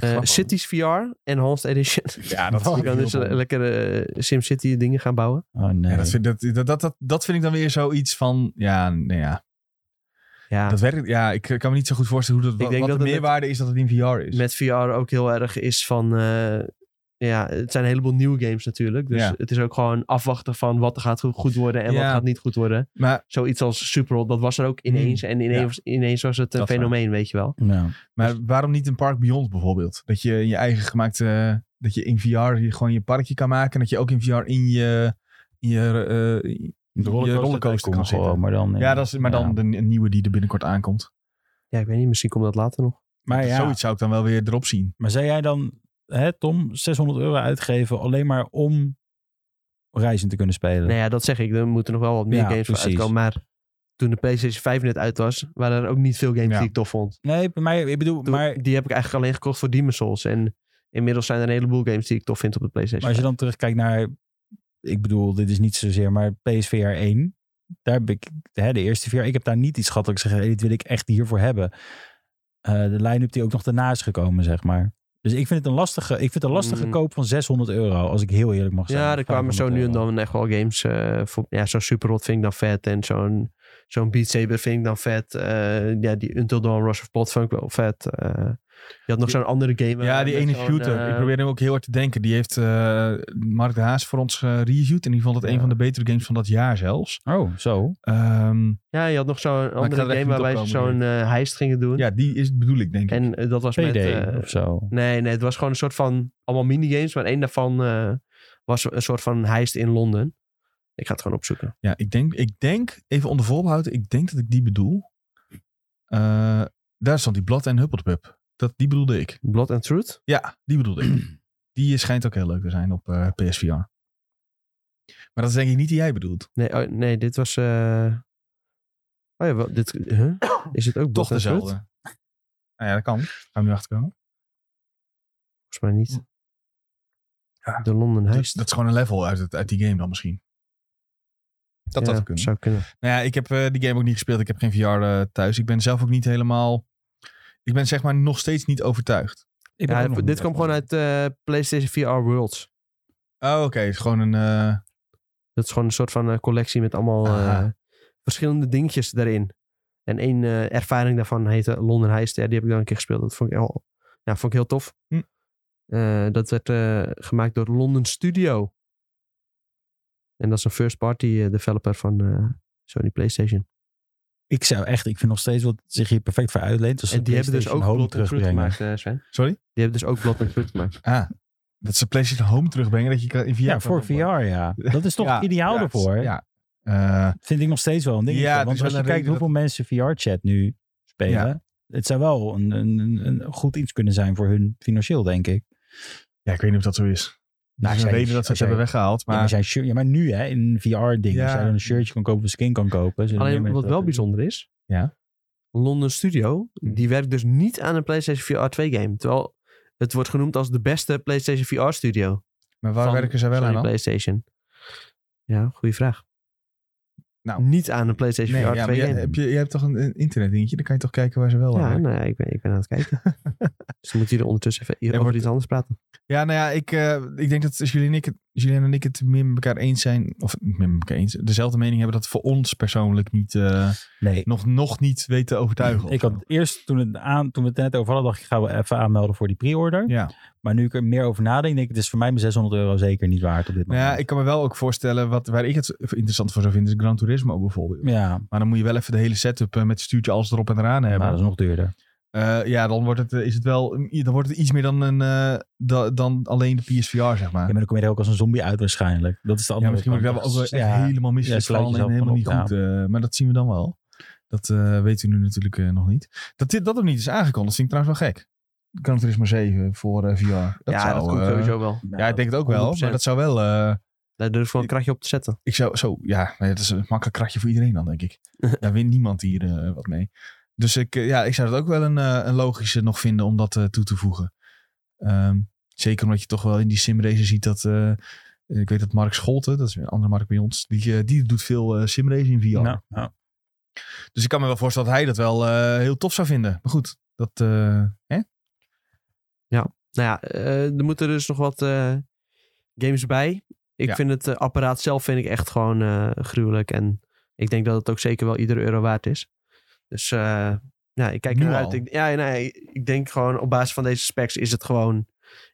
[SPEAKER 1] zou...
[SPEAKER 2] Eh, Cities VR Enhanced Edition. [laughs]
[SPEAKER 1] Ja, dat
[SPEAKER 2] Je
[SPEAKER 1] vind ik
[SPEAKER 2] kan
[SPEAKER 1] heel
[SPEAKER 2] dus
[SPEAKER 1] dom.
[SPEAKER 2] eh, lekker eh, SimCity dingen gaan bouwen.
[SPEAKER 3] Oh nee.
[SPEAKER 1] Ja, dat, vind, dat, dat, dat, dat, dat vind ik dan weer zoiets van, ja, nou ja.
[SPEAKER 2] Ja,
[SPEAKER 1] Dat werkt, ja, ik kan me niet zo goed voorstellen hoe dat,
[SPEAKER 2] Ik denk
[SPEAKER 1] wat
[SPEAKER 2] dat
[SPEAKER 1] de
[SPEAKER 2] het met-
[SPEAKER 1] meerwaarde is dat het in VR is.
[SPEAKER 2] met VR ook heel erg is van... eh, ja, het zijn een heleboel nieuwe games natuurlijk. Dus
[SPEAKER 1] Ja.
[SPEAKER 2] het is ook gewoon afwachten van wat er gaat go- goed worden en
[SPEAKER 1] Ja.
[SPEAKER 2] wat gaat niet goed worden.
[SPEAKER 1] maar,
[SPEAKER 2] Zoiets als Superhot, dat was er ook ineens. En ineens, ineens was het een
[SPEAKER 1] Dat is
[SPEAKER 2] fenomeen, weet je wel.
[SPEAKER 3] Ja.
[SPEAKER 1] maar waarom niet een Park Beyond bijvoorbeeld? Dat je in je eigen gemaakte, dat je in VR je gewoon je parkje kan maken. En dat je ook in VR in je, in je, eh,
[SPEAKER 3] De
[SPEAKER 1] rollercoaster tycoon
[SPEAKER 3] kan
[SPEAKER 1] gewoon,
[SPEAKER 3] zitten. Maar dan,
[SPEAKER 1] ja, dat is maar dan de een nieuwe die er binnenkort aankomt.
[SPEAKER 2] Ja, ik weet niet, misschien komt dat later nog.
[SPEAKER 3] Maar, ja,
[SPEAKER 1] Zoiets zou ik dan wel weer erop zien.
[SPEAKER 3] maar zou jij dan, hè, Tom, 600 euro uitgeven alleen maar om reizen te kunnen spelen?
[SPEAKER 2] Nou ja, dat zeg ik. Er moeten nog wel wat meer
[SPEAKER 3] Ja,
[SPEAKER 2] games voor
[SPEAKER 3] precies.
[SPEAKER 2] uitkomen. Maar toen de PlayStation 5 net uit was, waren er ook niet veel games
[SPEAKER 1] Ja.
[SPEAKER 2] die ik tof vond.
[SPEAKER 3] Nee, maar ik bedoel,
[SPEAKER 2] Toen-
[SPEAKER 3] maar,
[SPEAKER 2] die heb ik eigenlijk alleen gekocht voor Demon's Souls. En inmiddels zijn er een heleboel games die ik tof vind op de
[SPEAKER 3] maar
[SPEAKER 2] PlayStation.
[SPEAKER 3] als je dan terugkijkt naar, ik bedoel, dit is niet zozeer, maar PSVR 1, daar heb ik, hè, de eerste VR, ik heb daar niet iets gehad dat ik zeg, hé, dit wil ik echt hiervoor hebben. Eh, de line-up die ook nog daarna is gekomen, zeg maar. Dus ik vind het een lastige, ik vind het een lastige
[SPEAKER 2] Mm.
[SPEAKER 3] koop van 600 euro, als ik heel eerlijk mag zijn.
[SPEAKER 2] Ja, er kwamen zo
[SPEAKER 3] 500
[SPEAKER 2] nu en
[SPEAKER 3] euro.
[SPEAKER 2] dan echt wel games. eh, voor, ja, zo'n Superhot vind ik dan vet. En zo'n zo'n Beat Saber vind ik dan vet. Eh, ja, die Until Dawn Rush of Plot vind ik wel vet. Eh, je had nog
[SPEAKER 1] Die-
[SPEAKER 2] zo'n andere game.
[SPEAKER 1] ja,
[SPEAKER 2] eh,
[SPEAKER 1] die
[SPEAKER 2] met
[SPEAKER 1] ene
[SPEAKER 2] zo'n,
[SPEAKER 1] shooter.
[SPEAKER 2] eh,
[SPEAKER 1] ik probeer hem ook heel hard te denken. Die heeft eh, Mark de Haas voor ons eh, gereviewd. En die vond het een
[SPEAKER 2] Ja.
[SPEAKER 1] van de betere games van dat jaar zelfs.
[SPEAKER 3] Oh, zo.
[SPEAKER 1] Ehm,
[SPEAKER 2] Ja, je had nog zo'n
[SPEAKER 1] ga
[SPEAKER 2] andere
[SPEAKER 1] er echt
[SPEAKER 2] game
[SPEAKER 1] niet op
[SPEAKER 2] waarbij ze
[SPEAKER 1] komen,
[SPEAKER 2] zo'n eh, heist gingen doen.
[SPEAKER 1] ja, die is, bedoel ik denk ik.
[SPEAKER 2] En eh, dat was
[SPEAKER 3] PD
[SPEAKER 2] met... eh,
[SPEAKER 3] of zo.
[SPEAKER 2] nee, nee, het was gewoon een soort van... Allemaal minigames, maar één daarvan eh, was een soort van heist in Londen. Ik ga het gewoon opzoeken.
[SPEAKER 1] Ja, ik denk, ik denk, even onder voorbehoud houden, ik denk dat ik die bedoel. Eh, daar stond die Blad en Huppeltpup. Dat, die bedoelde ik.
[SPEAKER 2] Blood and Truth? [clears throat]
[SPEAKER 1] Ja, die bedoelde ik. Die schijnt ook heel leuk te zijn op eh, PSVR. Maar dat is denk ik niet die jij bedoelt.
[SPEAKER 2] Nee, oh, nee dit was... eh, Oh ja, wel, dit, huh? is het ook
[SPEAKER 1] Toch
[SPEAKER 2] Bot en
[SPEAKER 1] dezelfde.
[SPEAKER 2] Bloed?
[SPEAKER 1] Nou ja, dat kan. Gaan we nu achterkomen.
[SPEAKER 2] Volgens mij niet.
[SPEAKER 1] Ja.
[SPEAKER 2] De London
[SPEAKER 1] Dat,
[SPEAKER 2] Heist.
[SPEAKER 1] Dus dat is gewoon een level uit, het, uit die game dan misschien. Dat
[SPEAKER 2] Ja,
[SPEAKER 1] dat kunnen.
[SPEAKER 2] zou kunnen.
[SPEAKER 1] Nou ja, ik heb eh, die game ook niet gespeeld. Ik heb geen VR eh, thuis. Ik ben zelf ook niet helemaal... Ik ben zeg maar nog steeds niet overtuigd.
[SPEAKER 3] Ik ben
[SPEAKER 2] Ja,
[SPEAKER 3] ook nog
[SPEAKER 2] dit
[SPEAKER 3] niet
[SPEAKER 2] kwam gewoon uit eh, PlayStation VR Worlds.
[SPEAKER 1] Oh, oké. Het is gewoon een... eh,
[SPEAKER 2] Dat is gewoon een soort van eh, collectie met allemaal
[SPEAKER 1] Aha.
[SPEAKER 2] eh, verschillende dingetjes daarin. En één eh, ervaring daarvan heette London Heist. Ja, die heb ik dan een keer gespeeld. Dat vond ik, heel, ja, vond ik heel tof.
[SPEAKER 1] Hm.
[SPEAKER 2] Eh, dat werd eh, gemaakt door London Studio. En dat is een first party eh, developer van eh, Sony PlayStation.
[SPEAKER 3] Ik zou echt, ik vind nog steeds wat zich hier perfect voor uitleent. Dus
[SPEAKER 2] en die hebben dus ook Blood and Fruit
[SPEAKER 3] terugbrengen.
[SPEAKER 2] gemaakt, eh, Sven.
[SPEAKER 1] sorry?
[SPEAKER 2] Die hebben dus ook Blood and Fruit gemaakt.
[SPEAKER 1] Ah, dat ze PlayStation Home terugbrengen. Dat je kan in VR
[SPEAKER 3] Ja,
[SPEAKER 1] kan
[SPEAKER 3] voor VR,
[SPEAKER 1] opbouwen.
[SPEAKER 3] ja. Dat is
[SPEAKER 2] [laughs]
[SPEAKER 3] toch
[SPEAKER 1] Ja,
[SPEAKER 3] ideaal
[SPEAKER 1] ja,
[SPEAKER 3] ervoor.
[SPEAKER 1] Ja. Eh,
[SPEAKER 3] Vind ik nog steeds wel een ding.
[SPEAKER 1] Ja, het
[SPEAKER 3] want
[SPEAKER 1] is wel
[SPEAKER 3] als je
[SPEAKER 1] een
[SPEAKER 3] kijkt
[SPEAKER 1] reden
[SPEAKER 3] hoeveel mensen VR-chat nu spelen. Het zou wel een, een, een, een goed iets kunnen zijn voor hun financieel, denk ik.
[SPEAKER 1] ja, ik weet niet of dat zo is. Nou,
[SPEAKER 3] Nou, als
[SPEAKER 1] is een
[SPEAKER 3] jij-
[SPEAKER 1] reden dat Nou, ze het
[SPEAKER 3] als
[SPEAKER 1] hebben
[SPEAKER 3] jij-
[SPEAKER 1] weggehaald.
[SPEAKER 3] Maar, ja,
[SPEAKER 1] Maar
[SPEAKER 3] maar, zijn shirt, ja, maar nu hè, in VR-ding.
[SPEAKER 1] Ja.
[SPEAKER 3] Als jij dan een shirtje kan kopen of een skin kan kopen. zullen meer
[SPEAKER 2] Alleen
[SPEAKER 3] mensen
[SPEAKER 2] wat
[SPEAKER 3] dat
[SPEAKER 2] wel
[SPEAKER 3] doen.
[SPEAKER 2] bijzonder is.
[SPEAKER 1] Ja.
[SPEAKER 2] London Studio, die werkt dus niet aan een PlayStation VR 2 game. Terwijl het wordt genoemd als de beste PlayStation VR studio.
[SPEAKER 1] Maar waar
[SPEAKER 2] van
[SPEAKER 1] werken zij wel
[SPEAKER 2] Sony
[SPEAKER 1] aan dan?
[SPEAKER 2] PlayStation. Ja, goede vraag.
[SPEAKER 1] Nou.
[SPEAKER 2] Niet aan een PlayStation
[SPEAKER 1] Nee, ja,
[SPEAKER 2] VR
[SPEAKER 1] maar
[SPEAKER 2] 2
[SPEAKER 1] jij,
[SPEAKER 2] game.
[SPEAKER 1] heb je, jij hebt toch een, een internetdingetje? Dan kan je toch kijken waar ze wel aan
[SPEAKER 2] ja,
[SPEAKER 1] werken.
[SPEAKER 2] nou ja, ik, ben, ik ben aan het
[SPEAKER 1] [laughs]
[SPEAKER 2] kijken. dus dan moet jullie ondertussen even over
[SPEAKER 1] wordt-
[SPEAKER 2] iets anders praten.
[SPEAKER 1] Ja, nou ja, ik, eh, ik denk dat Julien en, ik, het- Julien en ik het meer met elkaar eens zijn. Of niet meer met elkaar eens. Dezelfde mening hebben dat het voor ons persoonlijk niet, eh,
[SPEAKER 3] Nee,
[SPEAKER 1] nog, nog niet weet te overtuigen. of
[SPEAKER 3] Ik
[SPEAKER 1] zo.
[SPEAKER 3] had eerst, toen, het aan, toen we het net over hadden, dacht ik, gaan we even aanmelden voor die pre-order.
[SPEAKER 1] Ja.
[SPEAKER 3] Maar nu ik er meer over nadenk, denk ik, het is voor mij mijn 600 euro zeker niet waard op dit
[SPEAKER 1] Nou
[SPEAKER 3] moment.
[SPEAKER 1] ja, ik kan me wel ook voorstellen, wat, waar ik het interessant voor zou vinden, is Gran Turismo bijvoorbeeld.
[SPEAKER 3] ja,
[SPEAKER 1] Maar dan moet je wel even de hele setup eh, met stuurtje alles erop en eraan hebben.
[SPEAKER 3] maar Nou, dat is nog duurder.
[SPEAKER 1] Eh, ja, dan wordt het, eh, is het wel, dan wordt het iets meer dan, een, eh, da- dan alleen de PSVR, zeg
[SPEAKER 3] Ja,
[SPEAKER 1] maar.
[SPEAKER 3] maar
[SPEAKER 1] Ja,
[SPEAKER 3] dan kom je er ook als een zombie uit waarschijnlijk. Dat is de andere
[SPEAKER 1] misschien moet ik daar
[SPEAKER 3] kant.
[SPEAKER 1] wel ook wel echt
[SPEAKER 3] Ja.
[SPEAKER 1] helemaal misselijk
[SPEAKER 3] Ja, sluit
[SPEAKER 1] van en
[SPEAKER 3] jezelf
[SPEAKER 1] helemaal niet
[SPEAKER 3] van op,
[SPEAKER 1] goed. eh, maar dat zien we dan wel. Dat eh weten we nu natuurlijk eh, nog niet. Dat dit dat nog niet is aangekondigd, vind ik trouwens wel gek. Gran Turismo 7 voor eh, VR. Dat
[SPEAKER 2] ja,
[SPEAKER 1] zou,
[SPEAKER 2] dat komt
[SPEAKER 1] eh,
[SPEAKER 2] sowieso wel.
[SPEAKER 1] Ja, ik denk het ook wel. Maar
[SPEAKER 2] 100%.
[SPEAKER 1] dat zou wel... eh,
[SPEAKER 2] Daar durf ik wel een krachtje op te zetten.
[SPEAKER 1] Ik zou zo, ja, nou ja, dat is een makkelijk kratje voor iedereen dan, denk
[SPEAKER 2] [laughs]
[SPEAKER 1] ik. Daar wint niemand hier eh, wat mee. Dus ik, eh, ja, ik zou dat ook wel een, eh, een logische nog vinden om dat eh, toe te voegen. Ehm, zeker omdat je toch wel in die simrace ziet dat... eh, ik weet dat Mark Scholten, dat is weer een andere Mark bij ons, die, eh, die doet veel eh simrace in VR.
[SPEAKER 3] Nou, nou,
[SPEAKER 1] Dus ik kan me wel voorstellen dat hij dat wel eh, heel tof zou vinden. Maar goed, dat... eh, hè?
[SPEAKER 2] Nou ja, eh, er moeten dus nog wat eh, games bij. Ik
[SPEAKER 1] Ja.
[SPEAKER 2] vind het eh, apparaat zelf vind ik echt gewoon eh, gruwelijk. En ik denk dat het ook zeker wel iedere euro waard is. Dus eh nou, ik kijk
[SPEAKER 1] Nu
[SPEAKER 2] ernaar
[SPEAKER 1] al?
[SPEAKER 2] uit. Ik, ja, nee, ik denk gewoon op basis van deze specs is het gewoon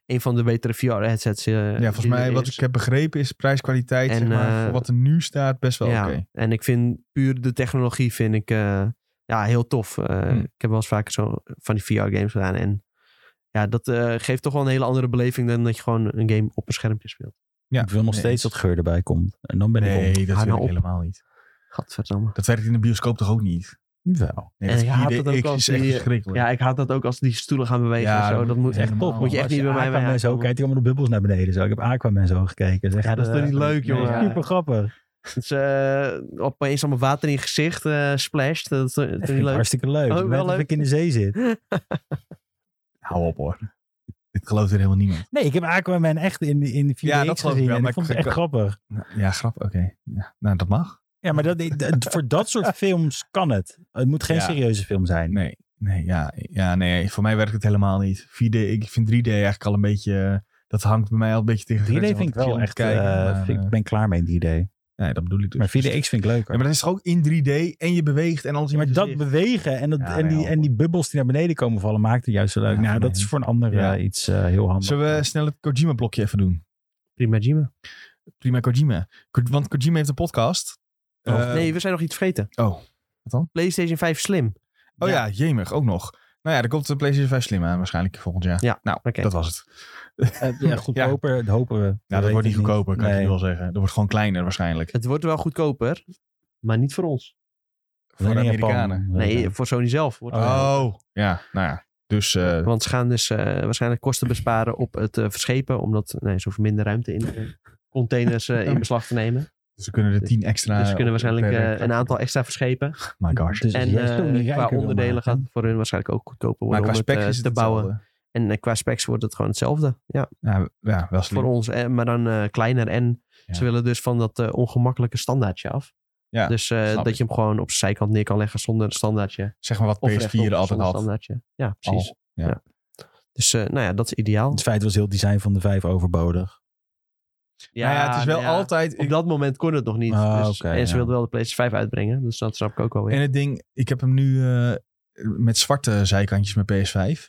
[SPEAKER 2] een van de betere VR-headsets.
[SPEAKER 1] ja, volgens mij wat ik heb begrepen is prijs-kwaliteit,
[SPEAKER 2] En,
[SPEAKER 1] zeg maar,
[SPEAKER 2] eh,
[SPEAKER 1] voor wat er nu staat, best wel
[SPEAKER 2] ja,
[SPEAKER 1] oké.
[SPEAKER 2] En ik vind puur de technologie vind ik eh, ja, heel tof. Eh,
[SPEAKER 1] Hm.
[SPEAKER 2] Ik heb wel eens vaker zo van die VR-games gedaan. En ja, dat eh, geeft toch wel een hele andere beleving dan dat je gewoon een game op een schermpje speelt.
[SPEAKER 1] Ja,
[SPEAKER 3] ik wil nog
[SPEAKER 1] nee,
[SPEAKER 3] steeds
[SPEAKER 1] eens.
[SPEAKER 3] dat geur erbij komt. En dan ben
[SPEAKER 1] Nee,
[SPEAKER 3] ik om.
[SPEAKER 1] dat
[SPEAKER 2] Hou
[SPEAKER 1] wil
[SPEAKER 2] nou
[SPEAKER 1] ik
[SPEAKER 2] op.
[SPEAKER 1] helemaal niet.
[SPEAKER 2] Gadverdamme.
[SPEAKER 1] Dat werkt in de bioscoop toch ook niet?
[SPEAKER 3] Wel.
[SPEAKER 1] Nee,
[SPEAKER 2] En
[SPEAKER 1] dat
[SPEAKER 2] je haat
[SPEAKER 1] 4DX
[SPEAKER 2] het ook als
[SPEAKER 1] is echt
[SPEAKER 2] die-
[SPEAKER 1] verschrikkelijk.
[SPEAKER 2] Ja, ik haat dat ook als die stoelen gaan bewegen
[SPEAKER 1] Ja,
[SPEAKER 2] en zo.
[SPEAKER 1] dat
[SPEAKER 2] Dat
[SPEAKER 1] moet
[SPEAKER 2] moet
[SPEAKER 1] echt
[SPEAKER 2] echt
[SPEAKER 1] helemaal.
[SPEAKER 2] top. Moet je echt niet bij mij bij
[SPEAKER 3] Aquaman zo
[SPEAKER 2] aankomen.
[SPEAKER 3] kijkt hij allemaal de bubbels naar beneden. Zo. Ik heb Aquaman zo gekeken. Zeg,
[SPEAKER 2] Ja, dat is toch niet leuk, jongen?
[SPEAKER 3] eh, Super grappig.
[SPEAKER 2] Dus, eh, opeens allemaal water in je gezicht eh splasht. Dat is toch- toch
[SPEAKER 3] Dat
[SPEAKER 2] niet
[SPEAKER 3] vind ik
[SPEAKER 2] leuk.
[SPEAKER 3] hartstikke leuk.
[SPEAKER 2] Oh,
[SPEAKER 3] Ik
[SPEAKER 2] wel
[SPEAKER 3] weet dat
[SPEAKER 2] leuk.
[SPEAKER 3] ik in de zee zit.
[SPEAKER 1] Hou op hoor. [laughs] Dit gelooft er helemaal niemand.
[SPEAKER 3] Nee, ik heb Aquaman echt in, in de 4DX
[SPEAKER 1] Ja, dat geloof ik
[SPEAKER 3] gezien.
[SPEAKER 1] wel,
[SPEAKER 3] en
[SPEAKER 1] maar
[SPEAKER 3] ik vond
[SPEAKER 1] ik-
[SPEAKER 3] het echt grappig.
[SPEAKER 1] Nou, Ja, grap. Oké. Ja, nou, dat mag.
[SPEAKER 3] Ja, maar dat, dat- voor dat soort films kan het. Het moet geen
[SPEAKER 1] Ja.
[SPEAKER 3] serieuze film zijn.
[SPEAKER 1] Nee. Nee, ja, ja, nee. Voor mij werkt het helemaal niet. 4D, ik vind 3D eigenlijk al een beetje... eh, Dat hangt bij mij al een beetje tegen de
[SPEAKER 3] 3D
[SPEAKER 1] grens aan
[SPEAKER 3] vind ik
[SPEAKER 1] wat chill
[SPEAKER 3] wel
[SPEAKER 1] om te
[SPEAKER 3] echt...
[SPEAKER 1] kijken,
[SPEAKER 3] eh,
[SPEAKER 1] maar,
[SPEAKER 3] vind-
[SPEAKER 1] eh,
[SPEAKER 3] ik ben klaar mee 3D.
[SPEAKER 1] nee, dat bedoel ik dus.
[SPEAKER 3] Maar 4DX vind ik
[SPEAKER 1] Ja,
[SPEAKER 3] leuker.
[SPEAKER 1] maar dat is toch ook in 3D en je beweegt en alles in
[SPEAKER 3] Ja, maar
[SPEAKER 1] je
[SPEAKER 3] dat
[SPEAKER 1] gezicht.
[SPEAKER 3] bewegen en, dat,
[SPEAKER 1] Ja,
[SPEAKER 3] en,
[SPEAKER 1] nee,
[SPEAKER 3] die, en die bubbels die naar beneden komen vallen maakt het juist zo leuk.
[SPEAKER 1] Ja,
[SPEAKER 3] nou,
[SPEAKER 1] voor
[SPEAKER 3] dat
[SPEAKER 1] mij
[SPEAKER 3] is voor een ander
[SPEAKER 1] Ja.
[SPEAKER 3] eh, iets eh, heel handig.
[SPEAKER 1] Zullen we snel het Kojima-blokje even doen?
[SPEAKER 2] Prima, Jima.
[SPEAKER 1] Prima Kojima. Ko- Want Kojima heeft een podcast.
[SPEAKER 2] Oh,
[SPEAKER 1] Eh,
[SPEAKER 2] nee, we zijn nog iets vergeten.
[SPEAKER 1] Oh,
[SPEAKER 2] PlayStation 5 Slim. Oké.
[SPEAKER 1] Oh ja. jemig, ook nog. Nou ja, er komt de PlayStation 5 Slim aan waarschijnlijk volgend jaar.
[SPEAKER 2] Ja,
[SPEAKER 1] nou, dat was het.
[SPEAKER 3] Eh, ja, goedkoper, dat hopen we.
[SPEAKER 1] Ja, dat
[SPEAKER 3] weet
[SPEAKER 1] wordt niet
[SPEAKER 3] ik
[SPEAKER 1] goedkoper, kan ik je
[SPEAKER 3] Nee.
[SPEAKER 1] wel zeggen. Dat wordt gewoon kleiner waarschijnlijk.
[SPEAKER 2] Het wordt wel goedkoper, maar niet voor ons.
[SPEAKER 1] Voor de
[SPEAKER 3] Alleen in Japan.
[SPEAKER 1] Amerikanen.
[SPEAKER 2] Nee,
[SPEAKER 3] Ja.
[SPEAKER 2] voor Sony zelf. Wordt het wel.
[SPEAKER 1] Oh, ja, nou ja. Dus eh,
[SPEAKER 2] Want ze gaan dus eh, waarschijnlijk kosten besparen op het eh, verschepen. Omdat nee, ze hoeven minder ruimte in eh, containers eh, in beslag te nemen.
[SPEAKER 1] Dus we kunnen er
[SPEAKER 2] Dus-
[SPEAKER 1] tien extra...
[SPEAKER 2] dus ze kunnen waarschijnlijk
[SPEAKER 1] per-
[SPEAKER 2] eh, een aantal extra verschepen.
[SPEAKER 1] My gosh.
[SPEAKER 3] Dus
[SPEAKER 2] en
[SPEAKER 3] jij is
[SPEAKER 2] eh,
[SPEAKER 3] toch niet
[SPEAKER 2] qua
[SPEAKER 3] rijker dan
[SPEAKER 2] onderdelen
[SPEAKER 3] Maarten?
[SPEAKER 2] gaat het voor hun waarschijnlijk ook
[SPEAKER 1] maar
[SPEAKER 2] goedkoper worden
[SPEAKER 1] qua
[SPEAKER 2] om het
[SPEAKER 1] spec
[SPEAKER 2] eh,
[SPEAKER 1] is het
[SPEAKER 2] te bouwen.
[SPEAKER 1] hetzelfde.
[SPEAKER 2] En eh, qua specs wordt het gewoon hetzelfde. Ja,
[SPEAKER 1] Ja, ja, wel slim.
[SPEAKER 2] voor ons. eh, maar dan eh, kleiner. En
[SPEAKER 1] Ja.
[SPEAKER 2] ze willen dus van dat eh, ongemakkelijke standaardje af.
[SPEAKER 1] Ja,
[SPEAKER 2] dus eh,
[SPEAKER 1] snap
[SPEAKER 2] dat
[SPEAKER 1] ik.
[SPEAKER 2] je hem gewoon op zijn zijkant neer kan leggen zonder een standaardje.
[SPEAKER 1] Zeg maar wat
[SPEAKER 2] Of
[SPEAKER 1] PS4
[SPEAKER 2] rechtop
[SPEAKER 1] altijd
[SPEAKER 2] zonder
[SPEAKER 1] had.
[SPEAKER 2] standaardje. Ja, precies.
[SPEAKER 1] Al, ja.
[SPEAKER 2] Dus eh, nou ja, dat is ideaal.
[SPEAKER 3] Het feit was heel het design van de vijf overbodig.
[SPEAKER 1] Ja, ja, het is wel
[SPEAKER 2] nou ja,
[SPEAKER 1] altijd...
[SPEAKER 2] Op dat moment kon het nog niet.
[SPEAKER 3] Ah,
[SPEAKER 2] dus-
[SPEAKER 3] oké,
[SPEAKER 2] en ze
[SPEAKER 3] ja.
[SPEAKER 2] wilden wel de PlayStation 5 uitbrengen. Dus dat snap ik ook wel weer.
[SPEAKER 1] En het ding, ik heb hem nu eh, met zwarte zijkantjes met PS5. Eh,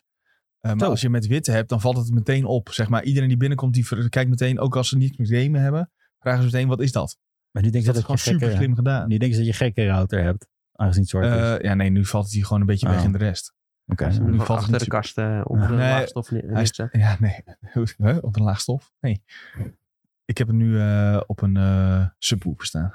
[SPEAKER 1] maar
[SPEAKER 3] Zo.
[SPEAKER 1] als je hem met witte hebt, dan valt het meteen op. Zeg maar, iedereen die binnenkomt, die ver- kijkt meteen, ook als ze niet met gamen hebben, vragen ze meteen, wat is dat?
[SPEAKER 3] Maar nu denk
[SPEAKER 1] Dus
[SPEAKER 3] ik
[SPEAKER 1] dat
[SPEAKER 3] dat,
[SPEAKER 1] is gewoon
[SPEAKER 3] dat je gekke,
[SPEAKER 1] super slim gedaan.
[SPEAKER 3] Nu denk ik dat je gekke router hebt. Aangezien het zwart is.
[SPEAKER 1] Eh, ja, nee, nu valt het hier gewoon een beetje
[SPEAKER 3] Oh.
[SPEAKER 1] weg in de rest. [laughs]
[SPEAKER 3] Oké.
[SPEAKER 2] Ze
[SPEAKER 1] nu
[SPEAKER 2] hebben
[SPEAKER 1] valt
[SPEAKER 2] hem gewoon
[SPEAKER 1] het
[SPEAKER 2] achter de
[SPEAKER 1] niet
[SPEAKER 2] kast eh, onder de
[SPEAKER 1] Nee,
[SPEAKER 2] laagstof neer-
[SPEAKER 1] Hij is,
[SPEAKER 2] neergezet.
[SPEAKER 1] ja, nee. [laughs] Huh? op een laag stof? Nee. Ik heb hem nu eh, op een eh subwoofer staan.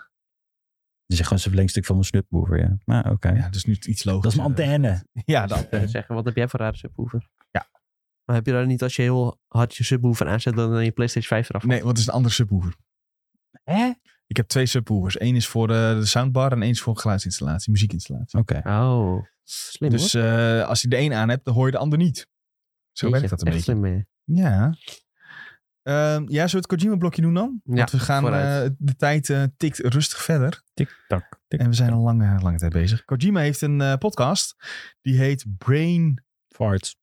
[SPEAKER 3] Dus je gewoon zo'n verlengstuk van mijn snubboever, ja. Nou, oké.
[SPEAKER 1] Ja, dus nu iets logischer.
[SPEAKER 3] Dat is mijn antenne.
[SPEAKER 1] [laughs] Ja, dat.
[SPEAKER 2] Ik zou zeggen, wat heb jij voor rare subwoofer?
[SPEAKER 1] Ja.
[SPEAKER 2] Maar heb je daar niet als je heel hard je subwoofer aanzet, dan eh, je PlayStation 5 eraf?
[SPEAKER 1] Nee, want het is een andere subwoofer.
[SPEAKER 3] Hè?
[SPEAKER 1] Ik heb twee subwoofers. Eén is voor eh, de, de soundbar en één is voor geluidsinstallatie, muziekinstallatie.
[SPEAKER 3] Oké.
[SPEAKER 2] Oh, slim
[SPEAKER 1] Dus
[SPEAKER 2] hoor.
[SPEAKER 1] eh, als je de een aan hebt, dan hoor je de ander niet. Zo
[SPEAKER 2] Jeetje,
[SPEAKER 1] werkt dat een
[SPEAKER 2] echt
[SPEAKER 1] beetje.
[SPEAKER 2] slim mee.
[SPEAKER 1] Ja. Ehm, ja, zullen we het Kojima-blokje doen dan?
[SPEAKER 2] Ja,
[SPEAKER 1] Want we gaan,
[SPEAKER 2] vooruit.
[SPEAKER 1] eh, de tijd eh, tikt rustig verder.
[SPEAKER 3] Tik-tak. Tik.
[SPEAKER 1] En we zijn al lang, eh, lange tijd bezig. Kojima heeft een eh, podcast. Die heet Brain...
[SPEAKER 3] Farts.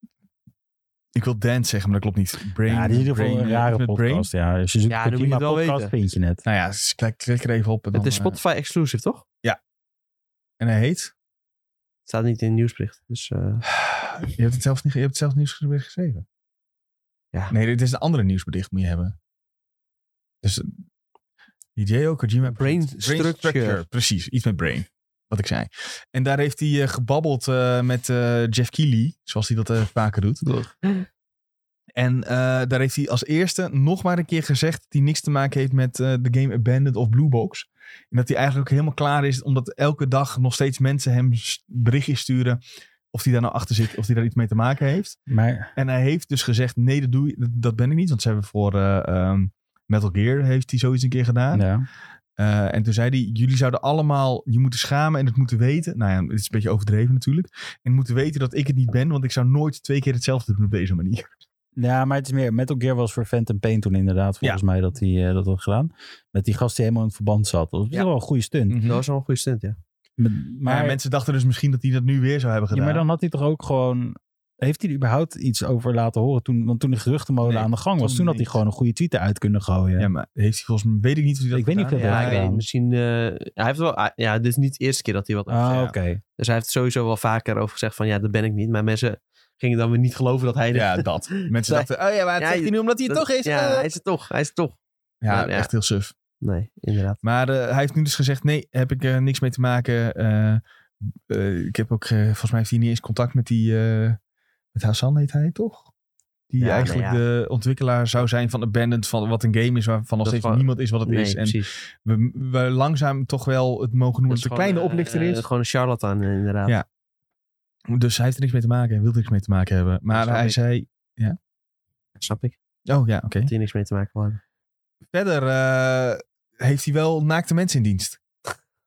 [SPEAKER 1] Ik wil dance zeggen, maar dat klopt niet. Brain,
[SPEAKER 3] ja, dit is in ieder geval
[SPEAKER 1] Brain,
[SPEAKER 3] een
[SPEAKER 1] eh,
[SPEAKER 3] rare
[SPEAKER 1] met Brain.
[SPEAKER 3] podcast. Ja, als je zoekt
[SPEAKER 2] Ja,
[SPEAKER 3] ja,
[SPEAKER 2] dan moet je
[SPEAKER 3] Kojima
[SPEAKER 2] het wel
[SPEAKER 3] podcast,
[SPEAKER 2] weten.
[SPEAKER 3] vind je het.
[SPEAKER 1] Nou ja, dus klik, klik er even op. En,
[SPEAKER 2] Het
[SPEAKER 1] dan,
[SPEAKER 2] is
[SPEAKER 1] eh,
[SPEAKER 2] Spotify exclusive, toch?
[SPEAKER 1] en hij heet...
[SPEAKER 2] Het staat niet in de nieuwsbericht. Dus eh,
[SPEAKER 1] Je hebt het zelf niet, je hebt het zelf nieuwsbericht geschreven.
[SPEAKER 2] Ja.
[SPEAKER 1] Nee, dit is een andere nieuwsbericht moet je hebben. Dus eh, Hideo Kojima...
[SPEAKER 2] Brain Structure.
[SPEAKER 1] Precies, iets met brain. Wat ik zei. En daar heeft hij eh, gebabbeld eh, met eh, Jeff Keighley, zoals hij dat eh, vaker doet. En eh, daar heeft hij als eerste nog maar een keer gezegd dat hij niks te maken heeft met eh, de game Abandoned of Blue Box. En dat hij eigenlijk ook helemaal klaar is, omdat elke dag nog steeds mensen hem s- berichtjes sturen of hij daar nou achter zit, of hij daar iets mee te maken heeft.
[SPEAKER 3] Maar
[SPEAKER 1] En hij heeft dus gezegd, nee, dat, doe, je- dat, dat ben ik niet. Want ze hebben voor eh, ehm, Metal Gear heeft hij zoiets een keer gedaan.
[SPEAKER 3] ja.
[SPEAKER 1] Eh, en toen zei hij, jullie zouden allemaal je moeten schamen en het moeten weten. Nou ja, het is een beetje overdreven natuurlijk. En moeten weten dat ik het niet ben, want ik zou nooit twee keer hetzelfde doen op deze manier.
[SPEAKER 3] ja, maar het is meer... Metal Gear was voor Phantom Pain toen inderdaad, volgens mij, dat hij eh, dat had gedaan. Met die gast die helemaal in het verband zat. Dat was
[SPEAKER 1] Ja.
[SPEAKER 3] wel een goede stunt.
[SPEAKER 2] dat was wel een goede stunt, ja.
[SPEAKER 3] Met-
[SPEAKER 1] Maar
[SPEAKER 3] Maar,
[SPEAKER 1] mensen dachten dus misschien dat hij dat nu weer zou hebben
[SPEAKER 3] ja,
[SPEAKER 1] gedaan.
[SPEAKER 3] maar dan had hij toch ook gewoon... Heeft hij er überhaupt iets over laten horen? Toen, want toen de geruchtenmolen
[SPEAKER 1] Nee,
[SPEAKER 3] aan de gang was,
[SPEAKER 1] toen
[SPEAKER 3] toen had hij
[SPEAKER 1] niet.
[SPEAKER 3] gewoon een goede tweet uit kunnen gooien.
[SPEAKER 1] Ja, maar heeft hij volgens mij, weet ik niet of hij dat
[SPEAKER 3] Ik weet niet
[SPEAKER 1] gedaan
[SPEAKER 3] of dat
[SPEAKER 1] heeft.
[SPEAKER 2] Ja, ik weet
[SPEAKER 3] gedaan.
[SPEAKER 2] niet, misschien... eh, hij heeft wel, ah, ja, dit is niet de eerste keer dat hij wat over
[SPEAKER 3] Ah,
[SPEAKER 2] zegt.
[SPEAKER 3] oké.
[SPEAKER 2] Dus hij heeft sowieso wel vaker over gezegd van... Ja, dat ben ik niet. Maar mensen gingen dan weer niet geloven dat hij...
[SPEAKER 1] Ja, dat. Mensen
[SPEAKER 2] Nee.
[SPEAKER 1] dachten, oh ja, maar het
[SPEAKER 2] Ja,
[SPEAKER 1] zegt hij nu omdat hij het
[SPEAKER 2] dat-
[SPEAKER 1] toch is.
[SPEAKER 2] Ja,
[SPEAKER 1] Eh.
[SPEAKER 2] hij is het toch. Hij is het toch.
[SPEAKER 1] ja,
[SPEAKER 2] maar ja.
[SPEAKER 1] echt heel suf.
[SPEAKER 2] Nee, inderdaad.
[SPEAKER 1] Maar eh, hij heeft nu dus gezegd: nee, heb ik er niks mee te maken. Eh, eh, ik heb ook, eh, volgens mij heeft hij niet eens contact met die. eh, met Hassan heet hij toch? Die
[SPEAKER 2] Ja,
[SPEAKER 1] eigenlijk
[SPEAKER 2] nou
[SPEAKER 1] de ontwikkelaar zou zijn van Abandoned, van wat een game is, waarvan nog
[SPEAKER 2] Dat
[SPEAKER 1] steeds
[SPEAKER 2] gewoon-
[SPEAKER 1] niemand is wat het
[SPEAKER 2] nee,
[SPEAKER 1] is. En
[SPEAKER 2] precies.
[SPEAKER 1] we, we langzaam toch wel het mogen noemen dat
[SPEAKER 2] Dat is
[SPEAKER 1] het een
[SPEAKER 2] gewoon,
[SPEAKER 1] kleine
[SPEAKER 2] eh,
[SPEAKER 1] oplichter is.
[SPEAKER 2] Gewoon een charlatan, eh, inderdaad.
[SPEAKER 1] Ja. dus hij heeft er niks mee te maken en wilde niks mee te maken hebben. Maar
[SPEAKER 2] snap
[SPEAKER 1] hij
[SPEAKER 2] ik.
[SPEAKER 1] zei:
[SPEAKER 2] Snap ik.
[SPEAKER 1] oh ja, oké.
[SPEAKER 2] Dat hier niks mee te maken wil hebben.
[SPEAKER 1] Verder eh, heeft hij wel naakte mensen in dienst.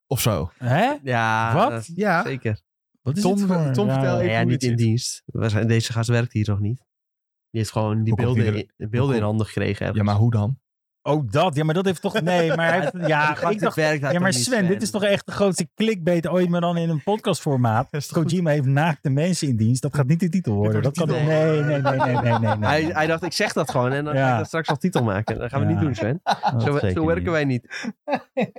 [SPEAKER 1] Of zo.
[SPEAKER 3] Hè?
[SPEAKER 2] Ja,
[SPEAKER 3] Wat?
[SPEAKER 2] dat-
[SPEAKER 1] Ja.
[SPEAKER 2] zeker.
[SPEAKER 3] Wat is
[SPEAKER 1] Tom,
[SPEAKER 3] dit voor een
[SPEAKER 1] Tom, vertel
[SPEAKER 3] rare-
[SPEAKER 1] even.
[SPEAKER 2] Nou ja,
[SPEAKER 1] hoe
[SPEAKER 2] niet
[SPEAKER 1] dit
[SPEAKER 2] in
[SPEAKER 1] zit.
[SPEAKER 2] dienst. We zijn, deze gast werkt hier nog niet. Die heeft gewoon die
[SPEAKER 1] Hoe komt
[SPEAKER 2] beelden,
[SPEAKER 1] die
[SPEAKER 2] in, de beelden in
[SPEAKER 1] komt-
[SPEAKER 2] handen gekregen. ergens.
[SPEAKER 1] Ja, maar hoe dan?
[SPEAKER 3] Oh, dat. Ja, maar dat heeft toch... Nee, maar...
[SPEAKER 1] [laughs]
[SPEAKER 3] hij heeft-
[SPEAKER 2] Die
[SPEAKER 3] ja,
[SPEAKER 2] gast,
[SPEAKER 3] ik
[SPEAKER 2] dit
[SPEAKER 3] dacht...
[SPEAKER 2] werkt hij
[SPEAKER 3] Ja, maar
[SPEAKER 2] toch niet,
[SPEAKER 3] Sven, dit is toch echt de grootste clickbait ooit, maar dan in een podcastformaat.
[SPEAKER 1] Dat is toch goed?
[SPEAKER 3] Kojima heeft naakte mensen in dienst. Dat gaat niet de titel worden. Dat
[SPEAKER 1] wordt
[SPEAKER 3] kan...
[SPEAKER 1] de
[SPEAKER 3] Nee,
[SPEAKER 2] titel.
[SPEAKER 3] nee, nee, nee, nee, nee, nee.
[SPEAKER 2] Hij, hij dacht, ik zeg dat gewoon en dan ga
[SPEAKER 3] Ja.
[SPEAKER 2] ik dat straks al titel maken. Dat gaan we
[SPEAKER 3] Ja.
[SPEAKER 2] niet doen, Sven.
[SPEAKER 3] Dat
[SPEAKER 2] Zo,
[SPEAKER 3] zeker
[SPEAKER 2] zo werken
[SPEAKER 3] niet.
[SPEAKER 2] wij niet.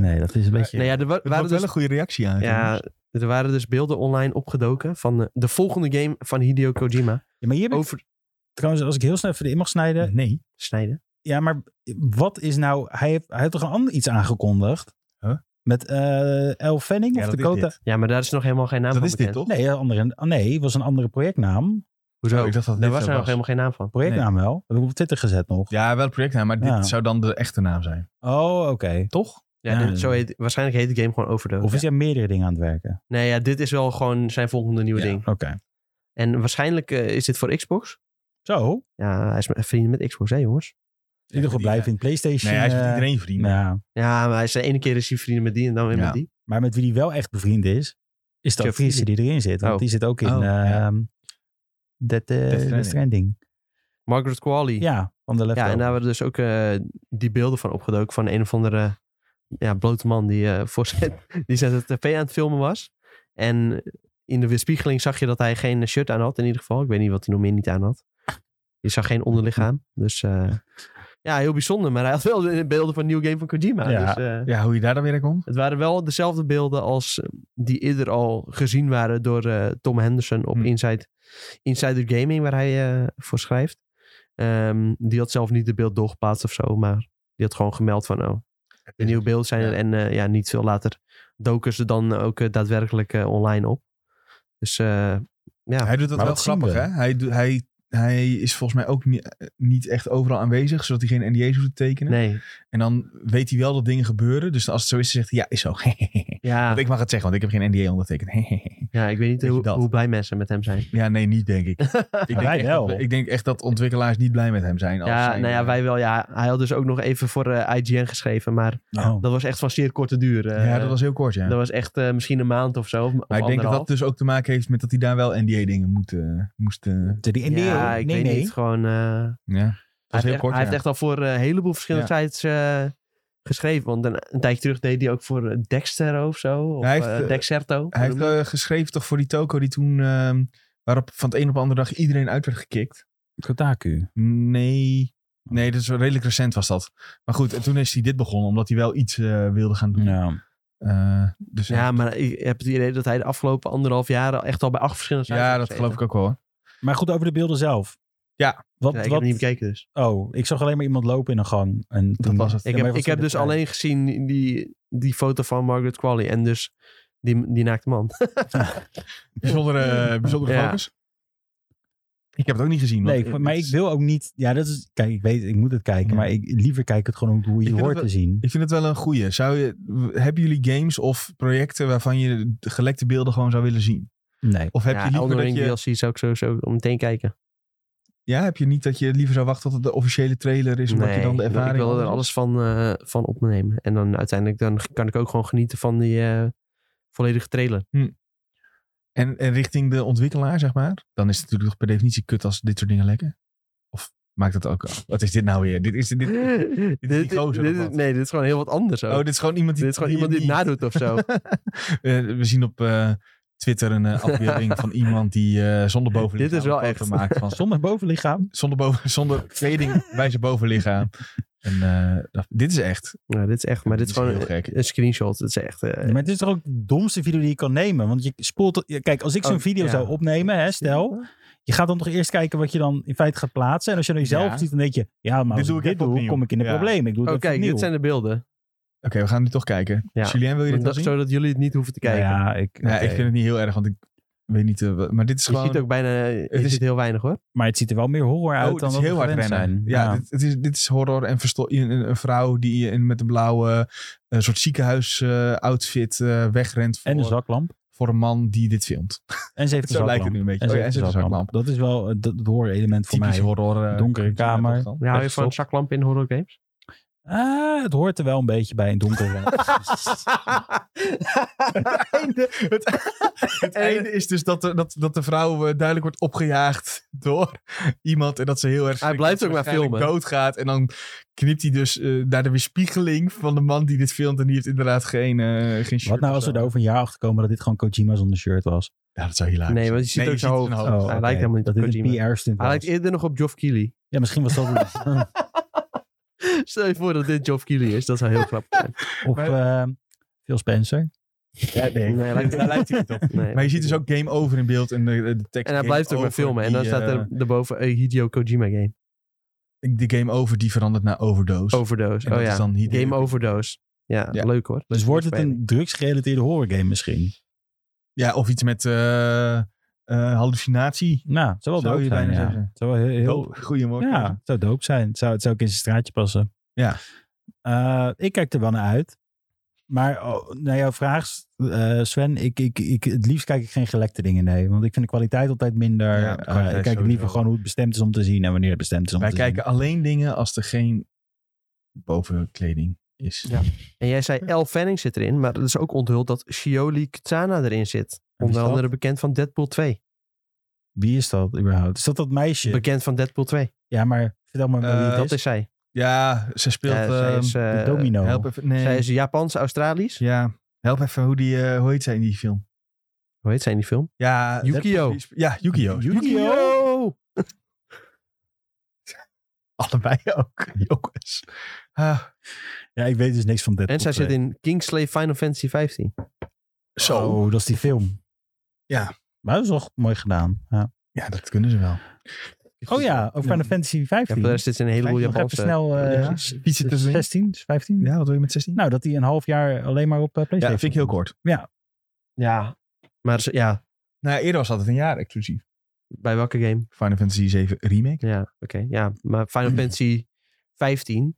[SPEAKER 3] Nee, dat is een beetje...
[SPEAKER 2] Nou ja, er wa-
[SPEAKER 1] Het
[SPEAKER 2] waren
[SPEAKER 1] wordt wel
[SPEAKER 2] dus
[SPEAKER 1] een goede reactie aan.
[SPEAKER 2] Ja, er waren dus beelden online opgedoken van eh, de volgende game van Hideo Kojima.
[SPEAKER 3] Ja, maar hier heb ik
[SPEAKER 2] Over
[SPEAKER 3] trouwens, als ik heel snel even in mag snijden.
[SPEAKER 1] Nee.
[SPEAKER 2] snijden.
[SPEAKER 3] Ja, maar wat is nou... Hij heeft, hij heeft toch een ander iets aangekondigd?
[SPEAKER 1] Huh?
[SPEAKER 3] Met eh El Fanning
[SPEAKER 1] Ja,
[SPEAKER 3] of
[SPEAKER 1] dat is
[SPEAKER 3] Dakota?
[SPEAKER 1] dit.
[SPEAKER 2] Ja, maar daar is nog helemaal geen naam
[SPEAKER 1] Dat
[SPEAKER 2] van
[SPEAKER 1] is dit,
[SPEAKER 2] bekend.
[SPEAKER 1] toch?
[SPEAKER 3] Nee, een andere, oh nee, het was een andere projectnaam.
[SPEAKER 1] Hoezo? Oh, Ik dacht dat
[SPEAKER 2] Daar
[SPEAKER 1] dit
[SPEAKER 2] was
[SPEAKER 1] zo
[SPEAKER 2] er nog helemaal geen naam van.
[SPEAKER 3] Projectnaam wel. Dat heb ik op Twitter gezet nog.
[SPEAKER 1] Ja, wel projectnaam, maar dit
[SPEAKER 3] Ja.
[SPEAKER 1] zou dan de echte naam zijn.
[SPEAKER 3] Oh, oké.
[SPEAKER 1] Toch?
[SPEAKER 2] Ja,
[SPEAKER 3] Ja.
[SPEAKER 2] dit- zo heet, waarschijnlijk heet de game gewoon Overdose.
[SPEAKER 3] Of is hij aan meerdere dingen aan het werken?
[SPEAKER 2] Nee, ja, dit is wel gewoon zijn volgende nieuwe
[SPEAKER 1] Ja.
[SPEAKER 2] ding.
[SPEAKER 3] Oké.
[SPEAKER 2] En waarschijnlijk eh, is dit voor Xbox.
[SPEAKER 3] Zo.
[SPEAKER 2] Ja, hij is met- vrienden met Xbox, hè jongens.
[SPEAKER 3] In ieder geval blijven in PlayStation.
[SPEAKER 1] Nee, hij is met
[SPEAKER 3] eh,
[SPEAKER 1] iedereen vriend.
[SPEAKER 3] ja.
[SPEAKER 2] Ja, maar hij is de ene keer is hij vrienden met die en dan weer
[SPEAKER 1] Ja.
[SPEAKER 2] met die.
[SPEAKER 3] Maar met wie die wel echt bevriend is, is de
[SPEAKER 2] Jeff
[SPEAKER 3] actrice die erin zit. Want
[SPEAKER 2] Oh.
[SPEAKER 3] die zit ook in
[SPEAKER 1] Oh,
[SPEAKER 3] ehm
[SPEAKER 1] ja.
[SPEAKER 3] Death, eh, Death
[SPEAKER 1] Stranding.
[SPEAKER 3] Stranding.
[SPEAKER 2] Margaret Qualley.
[SPEAKER 3] Ja, van de
[SPEAKER 2] Ja,
[SPEAKER 3] Leftovers.
[SPEAKER 2] en daar hebben we dus ook eh, die beelden van opgedoken van een of andere ja, blote man die, eh, voor zijn, [laughs] die zijn tv aan het filmen was. En in de weerspiegeling zag je dat hij geen shirt aan had in ieder geval. Ik weet niet wat hij nog meer niet aan had. Je zag geen onderlichaam. Dus eh, ja, heel bijzonder. Maar hij had wel de beelden van een nieuw game van Kojima.
[SPEAKER 3] Ja.
[SPEAKER 2] Dus, eh,
[SPEAKER 1] Ja, hoe je daar dan weer aan komt.
[SPEAKER 2] het waren wel dezelfde beelden als eh, die eerder al gezien waren door eh, Tom Henderson op
[SPEAKER 1] Hmm.
[SPEAKER 2] Inside, Inside the Gaming, waar hij eh, voor schrijft. Ehm, die had zelf niet de beeld doorgeplaatst of zo, maar die had gewoon gemeld van, oh, de nieuwe beelden zijn er.
[SPEAKER 1] Ja.
[SPEAKER 2] En eh, ja, niet veel later doken ze dan ook eh, daadwerkelijk eh, online op. Dus eh, ja,
[SPEAKER 1] Hij doet dat
[SPEAKER 3] Maar
[SPEAKER 1] wel
[SPEAKER 3] dat zien
[SPEAKER 1] grappig,
[SPEAKER 3] we.
[SPEAKER 1] hè? Hij, doet- hij, hij is volgens mij ook ni- eh, niet echt overal aanwezig, zodat hij geen NDA's hoeft te tekenen.
[SPEAKER 2] nee.
[SPEAKER 1] En dan weet hij wel dat dingen gebeuren. Dus als het zo is, zegt hij, ja, is zo. [laughs]
[SPEAKER 2] Ja,
[SPEAKER 1] Want ik mag het zeggen, want ik heb geen NDA ondertekend. [laughs]
[SPEAKER 2] ja, ik weet
[SPEAKER 1] Weet
[SPEAKER 2] niet
[SPEAKER 1] je
[SPEAKER 2] hoe,
[SPEAKER 1] dat?
[SPEAKER 2] hoe blij mensen met hem zijn.
[SPEAKER 1] [laughs] ja, nee, niet denk ik. ik denk
[SPEAKER 3] Wij
[SPEAKER 1] echt
[SPEAKER 3] wel.
[SPEAKER 1] dat- ik denk echt dat ontwikkelaars niet blij met hem zijn. Als
[SPEAKER 2] Oh. ja,
[SPEAKER 1] zijn,
[SPEAKER 2] nou ja,
[SPEAKER 1] eh,
[SPEAKER 2] wij wel. Ja, hij had dus ook nog even voor eh, IGN geschreven, maar
[SPEAKER 1] Ja.
[SPEAKER 3] Oh.
[SPEAKER 2] dat was echt van zeer korte duur. eh.
[SPEAKER 1] ja, dat was heel kort, ja.
[SPEAKER 2] Dat was echt eh, misschien een maand of zo. Of, of
[SPEAKER 1] maar ik denk dat dat
[SPEAKER 2] anderhalf.
[SPEAKER 1] dus ook te maken heeft met dat hij daar wel NDA-dingen moet, eh, moest... eh,
[SPEAKER 3] Die NDA,
[SPEAKER 2] Ja, ik
[SPEAKER 3] nee,
[SPEAKER 2] weet
[SPEAKER 3] nee.
[SPEAKER 2] niet. Gewoon, eh,
[SPEAKER 1] ja, dat
[SPEAKER 2] hij,
[SPEAKER 1] was
[SPEAKER 2] heeft
[SPEAKER 1] heel
[SPEAKER 2] echt,
[SPEAKER 1] kort,
[SPEAKER 2] hij
[SPEAKER 1] ja.
[SPEAKER 2] heeft echt al voor eh, een heleboel verschillende sites eh, geschreven. Want een, een tijdje terug deed hij ook voor eh, Dexter of zo. Of
[SPEAKER 1] Hij heeft,
[SPEAKER 2] eh,
[SPEAKER 1] eh,
[SPEAKER 2] Dexerto.
[SPEAKER 1] Hij heeft eh, geschreven toch voor die toko die toen... ehm, waarop van het een op de andere dag iedereen uit werd gekikt.
[SPEAKER 3] Kotaku.
[SPEAKER 1] Nee... Nee, dat is wel redelijk recent was dat. Maar goed, en toen is hij dit begonnen, omdat hij wel iets eh, wilde gaan doen.
[SPEAKER 3] Ja.
[SPEAKER 1] Eh, dus
[SPEAKER 2] ja, maar ik heb het idee dat hij de afgelopen anderhalf jaar al echt al bij acht verschillende sites
[SPEAKER 1] ja
[SPEAKER 2] heeft
[SPEAKER 1] dat
[SPEAKER 2] gezeten.
[SPEAKER 1] geloof ik ook wel. hoor.
[SPEAKER 3] Maar goed, over de beelden zelf.
[SPEAKER 1] Ja.
[SPEAKER 3] Wat,
[SPEAKER 2] Ja, ik
[SPEAKER 3] wat,
[SPEAKER 2] heb het niet bekeken dus.
[SPEAKER 3] Oh, ik zag alleen maar iemand lopen in een gang. En toen-
[SPEAKER 1] was het.
[SPEAKER 3] Ja,
[SPEAKER 2] Ik
[SPEAKER 3] maar
[SPEAKER 2] heb,
[SPEAKER 3] wat
[SPEAKER 2] ik heb
[SPEAKER 3] zijn de
[SPEAKER 2] dus
[SPEAKER 3] vragen?
[SPEAKER 2] alleen gezien die, die foto van Margaret Qualley. En dus die, die naakte man.
[SPEAKER 1] Bijzondere, eh, bijzondere
[SPEAKER 2] Ja.
[SPEAKER 1] focus. Ik heb het ook niet gezien. want
[SPEAKER 3] Nee, ik- maar ik wil ook niet... Ja, dat is... Kijk, ik weet, ik moet het kijken.
[SPEAKER 1] Ja.
[SPEAKER 3] Maar ik, liever kijk het gewoon hoe
[SPEAKER 1] Ik
[SPEAKER 3] je
[SPEAKER 1] vind
[SPEAKER 3] hoort
[SPEAKER 1] het
[SPEAKER 3] te zien.
[SPEAKER 1] Ik vind het wel een goeie. Zou je, hebben jullie games of projecten waarvan je de gelekte beelden gewoon zou willen zien?
[SPEAKER 3] Nee.
[SPEAKER 1] Of heb
[SPEAKER 2] ja,
[SPEAKER 1] je liever
[SPEAKER 2] Elden
[SPEAKER 1] dat
[SPEAKER 2] Ring
[SPEAKER 1] je,
[SPEAKER 2] DLC zou ik sowieso meteen kijken.
[SPEAKER 1] ja, heb je niet dat je liever zou wachten tot het de officiële trailer is, omdat je dan de
[SPEAKER 2] ik wil-
[SPEAKER 1] ervaring.
[SPEAKER 2] Ik wil er
[SPEAKER 1] anders-
[SPEAKER 2] alles van, eh, van opnemen. En dan uiteindelijk dan kan ik ook gewoon genieten van die eh, volledige trailer.
[SPEAKER 1] En, en richting de ontwikkelaar zeg maar, dan is het natuurlijk nog per definitie kut als dit soort dingen lekken. Of maakt dat ook? Wat is dit nou weer? Dit is dit.
[SPEAKER 2] [laughs] dit,
[SPEAKER 1] is [laughs] die gozer
[SPEAKER 2] dit
[SPEAKER 1] of
[SPEAKER 2] is-
[SPEAKER 1] wat?
[SPEAKER 2] nee, dit is gewoon heel wat anders. Ook.
[SPEAKER 1] oh, dit is gewoon iemand die.
[SPEAKER 2] dit is gewoon iemand die het nadoet of
[SPEAKER 1] [laughs]
[SPEAKER 2] zo.
[SPEAKER 1] Eh, we zien op eh, Twitter een eh,
[SPEAKER 2] [laughs]
[SPEAKER 1] afbeelding van iemand die eh zonder bovenlichaam
[SPEAKER 2] Dit is wel
[SPEAKER 1] een foto
[SPEAKER 2] echt.
[SPEAKER 1] maakt
[SPEAKER 2] [laughs]
[SPEAKER 1] van
[SPEAKER 3] Zonder bovenlichaam.
[SPEAKER 1] zonder, boven, [laughs] zonder kleding bij zijn bovenlichaam. En eh, dat- dit is echt.
[SPEAKER 2] nou, dit is echt, maar dit is
[SPEAKER 1] Dit is
[SPEAKER 2] gewoon
[SPEAKER 1] heel gek.
[SPEAKER 2] een, een screenshot. Het is echt... eh,
[SPEAKER 3] Maar het is toch ook de domste video die je kan nemen? Want je spoelt... ja, Kijk, als ik zo'n
[SPEAKER 2] Oh,
[SPEAKER 3] video
[SPEAKER 2] ja.
[SPEAKER 3] zou opnemen, hè, stel... Je gaat dan toch eerst kijken wat je dan in feite gaat plaatsen. En als je dan jezelf
[SPEAKER 1] Ja.
[SPEAKER 3] ziet, dan denk je... Ja, maar
[SPEAKER 1] Dit
[SPEAKER 3] als
[SPEAKER 1] doe
[SPEAKER 3] ik
[SPEAKER 1] ik
[SPEAKER 3] dit
[SPEAKER 1] even
[SPEAKER 3] doe,
[SPEAKER 1] opnieuw.
[SPEAKER 3] kom ik in de
[SPEAKER 1] Ja.
[SPEAKER 3] probleem. Ik doe
[SPEAKER 2] oh,
[SPEAKER 3] het even
[SPEAKER 2] kijk,
[SPEAKER 3] opnieuw.
[SPEAKER 2] dit zijn de beelden.
[SPEAKER 1] Oké, we gaan nu toch kijken.
[SPEAKER 2] Ja.
[SPEAKER 1] Julien, wil je dit wel
[SPEAKER 2] Dat-
[SPEAKER 1] zien?
[SPEAKER 2] zodat jullie het niet hoeven te
[SPEAKER 3] Nou
[SPEAKER 2] kijken.
[SPEAKER 3] ja, ik,
[SPEAKER 1] Nou,
[SPEAKER 3] oké.
[SPEAKER 1] ik vind het niet heel erg, want ik weet niet. eh, wat- maar dit is
[SPEAKER 2] Je
[SPEAKER 1] gewoon.
[SPEAKER 2] ziet ook bijna... Het
[SPEAKER 1] is-
[SPEAKER 2] is heel weinig hoor.
[SPEAKER 3] Maar het ziet er wel meer horror uit
[SPEAKER 1] Oh, dit
[SPEAKER 3] dan
[SPEAKER 1] is
[SPEAKER 3] dat we
[SPEAKER 1] heel hard rennen.
[SPEAKER 3] gewend zijn.
[SPEAKER 1] Ja, Dit, het is, dit is horror en versto- een, een- een vrouw die in, met een blauwe eh, soort ziekenhuis eh, outfit eh, wegrent voor,
[SPEAKER 3] En een zaklamp.
[SPEAKER 1] voor een man die dit filmt.
[SPEAKER 3] En ze heeft een
[SPEAKER 1] Zo lijkt
[SPEAKER 3] zaklamp.
[SPEAKER 1] het nu een beetje.
[SPEAKER 3] En ze
[SPEAKER 1] Oh ja,
[SPEAKER 3] heeft
[SPEAKER 1] en
[SPEAKER 3] een
[SPEAKER 1] ze heeft een
[SPEAKER 3] zaklamp. Dat is wel het het horror-element voor
[SPEAKER 1] Typisch
[SPEAKER 3] mij.
[SPEAKER 1] horror. eh,
[SPEAKER 3] Donkere
[SPEAKER 1] filmpje,
[SPEAKER 3] kamer.
[SPEAKER 1] toch dan?
[SPEAKER 2] Ja, hou je van
[SPEAKER 3] stop.
[SPEAKER 2] zaklampen in horror games?
[SPEAKER 3] Ah, het hoort er wel een beetje bij
[SPEAKER 1] [laughs]
[SPEAKER 3] in donkere
[SPEAKER 2] [laughs]
[SPEAKER 1] het, [laughs] het einde is dus dat de, dat, dat de vrouw eh, duidelijk wordt opgejaagd [laughs] door iemand. En dat ze heel erg. schrikt, dat
[SPEAKER 2] blijft
[SPEAKER 1] ze
[SPEAKER 2] ook maar
[SPEAKER 1] waarschijnlijk
[SPEAKER 2] filmen.
[SPEAKER 1] doodgaat. En dan knipt hij dus eh, naar de weerspiegeling van de man die dit filmt. En die heeft inderdaad geen, eh geen shirt.
[SPEAKER 3] Wat nou
[SPEAKER 1] of
[SPEAKER 3] als we
[SPEAKER 1] zo.
[SPEAKER 3] er over een jaar achter komen dat dit gewoon Kojima zonder shirt was?
[SPEAKER 1] Ja, dat zou hilarisch
[SPEAKER 2] Nee,
[SPEAKER 1] zijn.
[SPEAKER 2] want je ziet ook zijn
[SPEAKER 1] zijn
[SPEAKER 2] hoofd.
[SPEAKER 3] Oh,
[SPEAKER 2] lijkt
[SPEAKER 3] oké.
[SPEAKER 2] helemaal niet
[SPEAKER 3] dat
[SPEAKER 2] op
[SPEAKER 3] dit
[SPEAKER 2] Kojima.
[SPEAKER 3] een PR-stunt
[SPEAKER 2] Hij
[SPEAKER 3] was.
[SPEAKER 2] lijkt eerder nog op Geoff Keighley. [laughs]
[SPEAKER 3] Ja, misschien was dat
[SPEAKER 1] [laughs]
[SPEAKER 3] het.
[SPEAKER 2] Stel je voor dat dit Geoff Keighley is. Dat zou
[SPEAKER 1] [laughs]
[SPEAKER 2] heel grappig zijn.
[SPEAKER 3] of eh Phil Spencer.
[SPEAKER 1] nee.
[SPEAKER 2] Nee, lijkt-
[SPEAKER 1] Daar lijkt hij niet op.
[SPEAKER 2] Nee,
[SPEAKER 1] Maar je ziet dus ook Game Over in beeld en de, de tekst.
[SPEAKER 2] En hij blijft ook maar
[SPEAKER 1] met
[SPEAKER 2] filmen. En dan staat
[SPEAKER 1] eh,
[SPEAKER 2] er
[SPEAKER 3] eh,
[SPEAKER 2] daarboven een Hideo Kojima game.
[SPEAKER 1] de Game Over die verandert naar Overdose.
[SPEAKER 2] Overdose.
[SPEAKER 1] En dat
[SPEAKER 2] oh
[SPEAKER 1] is
[SPEAKER 2] ja.
[SPEAKER 1] dan Hideo.
[SPEAKER 2] Game Overdose. Ja,
[SPEAKER 1] Ja.
[SPEAKER 2] leuk hoor.
[SPEAKER 3] Dus wordt het
[SPEAKER 2] voorspelling.
[SPEAKER 3] een drugsgerelateerde horrorgame misschien?
[SPEAKER 1] Ja, of iets met eh, eh, hallucinatie. Oh,
[SPEAKER 3] Nou, het zou wel
[SPEAKER 1] Zou
[SPEAKER 3] doop
[SPEAKER 1] je
[SPEAKER 3] zijn.
[SPEAKER 1] bijna
[SPEAKER 3] ja.
[SPEAKER 1] zeggen.
[SPEAKER 3] Het zou wel heel, heel,
[SPEAKER 1] Doop. Goeie woord.
[SPEAKER 3] Ja, het zou doop zijn. Het zou, het zou ook in zijn straatje passen.
[SPEAKER 1] Ja.
[SPEAKER 3] Eh, ik kijk er wel naar uit. Maar oh, naar jouw vraag, eh, Sven, ik, ik, ik, het liefst kijk ik geen gelekte dingen, nee. Want ik vind de kwaliteit altijd minder.
[SPEAKER 1] Ja, de
[SPEAKER 3] Eh,
[SPEAKER 1] kwaliteit
[SPEAKER 3] ik kijk
[SPEAKER 1] sowieso.
[SPEAKER 3] liever gewoon hoe het bestemd is om te zien en wanneer het bestemd is om
[SPEAKER 1] Wij
[SPEAKER 3] te
[SPEAKER 1] kijken alleen dingen als er geen boven kleding is.
[SPEAKER 2] Ja. En jij zei Elle Fanning zit erin, maar het is ook onthuld dat Shioli Kutsana erin zit.
[SPEAKER 3] wie is
[SPEAKER 2] Onder
[SPEAKER 3] dat?
[SPEAKER 2] andere bekend van Deadpool 2.
[SPEAKER 3] Wie is dat überhaupt? Is dat dat meisje?
[SPEAKER 2] Bekend van Deadpool 2.
[SPEAKER 3] ja, maar vertel maar wie
[SPEAKER 1] Eh,
[SPEAKER 3] het
[SPEAKER 2] dat is zij.
[SPEAKER 1] Ja, ze speelt...
[SPEAKER 2] Ja, zij
[SPEAKER 1] ehm,
[SPEAKER 2] is, eh,
[SPEAKER 3] de domino.
[SPEAKER 1] help even, nee.
[SPEAKER 2] Zij is Japans-Australisch.
[SPEAKER 1] Ja, help even hoe, die, eh, hoe heet zij in die film?
[SPEAKER 2] Hoe heet zij in die film?
[SPEAKER 1] Ja,
[SPEAKER 2] Yukio.
[SPEAKER 1] Deadpool- Ja, Yukio.
[SPEAKER 3] Yu-Gi-Oh!
[SPEAKER 1] [laughs] Allebei ook. [laughs] Jongens. Ah,
[SPEAKER 3] Ja, ik weet dus niks van Deadpool
[SPEAKER 2] En zij zit
[SPEAKER 3] 2.
[SPEAKER 2] in Kingslave Final Fantasy 15.
[SPEAKER 1] zo.
[SPEAKER 3] Oh, dat is die film.
[SPEAKER 1] Ja.
[SPEAKER 3] Maar dat is toch mooi gedaan. Ja.
[SPEAKER 1] Ja, dat kunnen ze wel.
[SPEAKER 3] Oh ja, ook Final Fantasy
[SPEAKER 2] Ja,
[SPEAKER 3] 15.
[SPEAKER 2] voor de rest zit ze in een heleboel
[SPEAKER 3] Nog even
[SPEAKER 2] Japanse...
[SPEAKER 3] snel, eh,
[SPEAKER 2] producties.
[SPEAKER 1] Ja. Wie zit er zo in?
[SPEAKER 3] 16, 15.
[SPEAKER 1] Ja, wat wil je met 16?
[SPEAKER 3] Nou, dat hij een half jaar alleen maar op eh,
[SPEAKER 1] ja,
[SPEAKER 3] PlayStation
[SPEAKER 1] vind ik heel kort.
[SPEAKER 2] Ja. Maar ze- ja,
[SPEAKER 1] Nou, eerder was altijd een jaar exclusief.
[SPEAKER 2] bij welke game?
[SPEAKER 1] Final Fantasy 7 Remake.
[SPEAKER 2] Ja, oké. Ja, maar Final Fantasy 15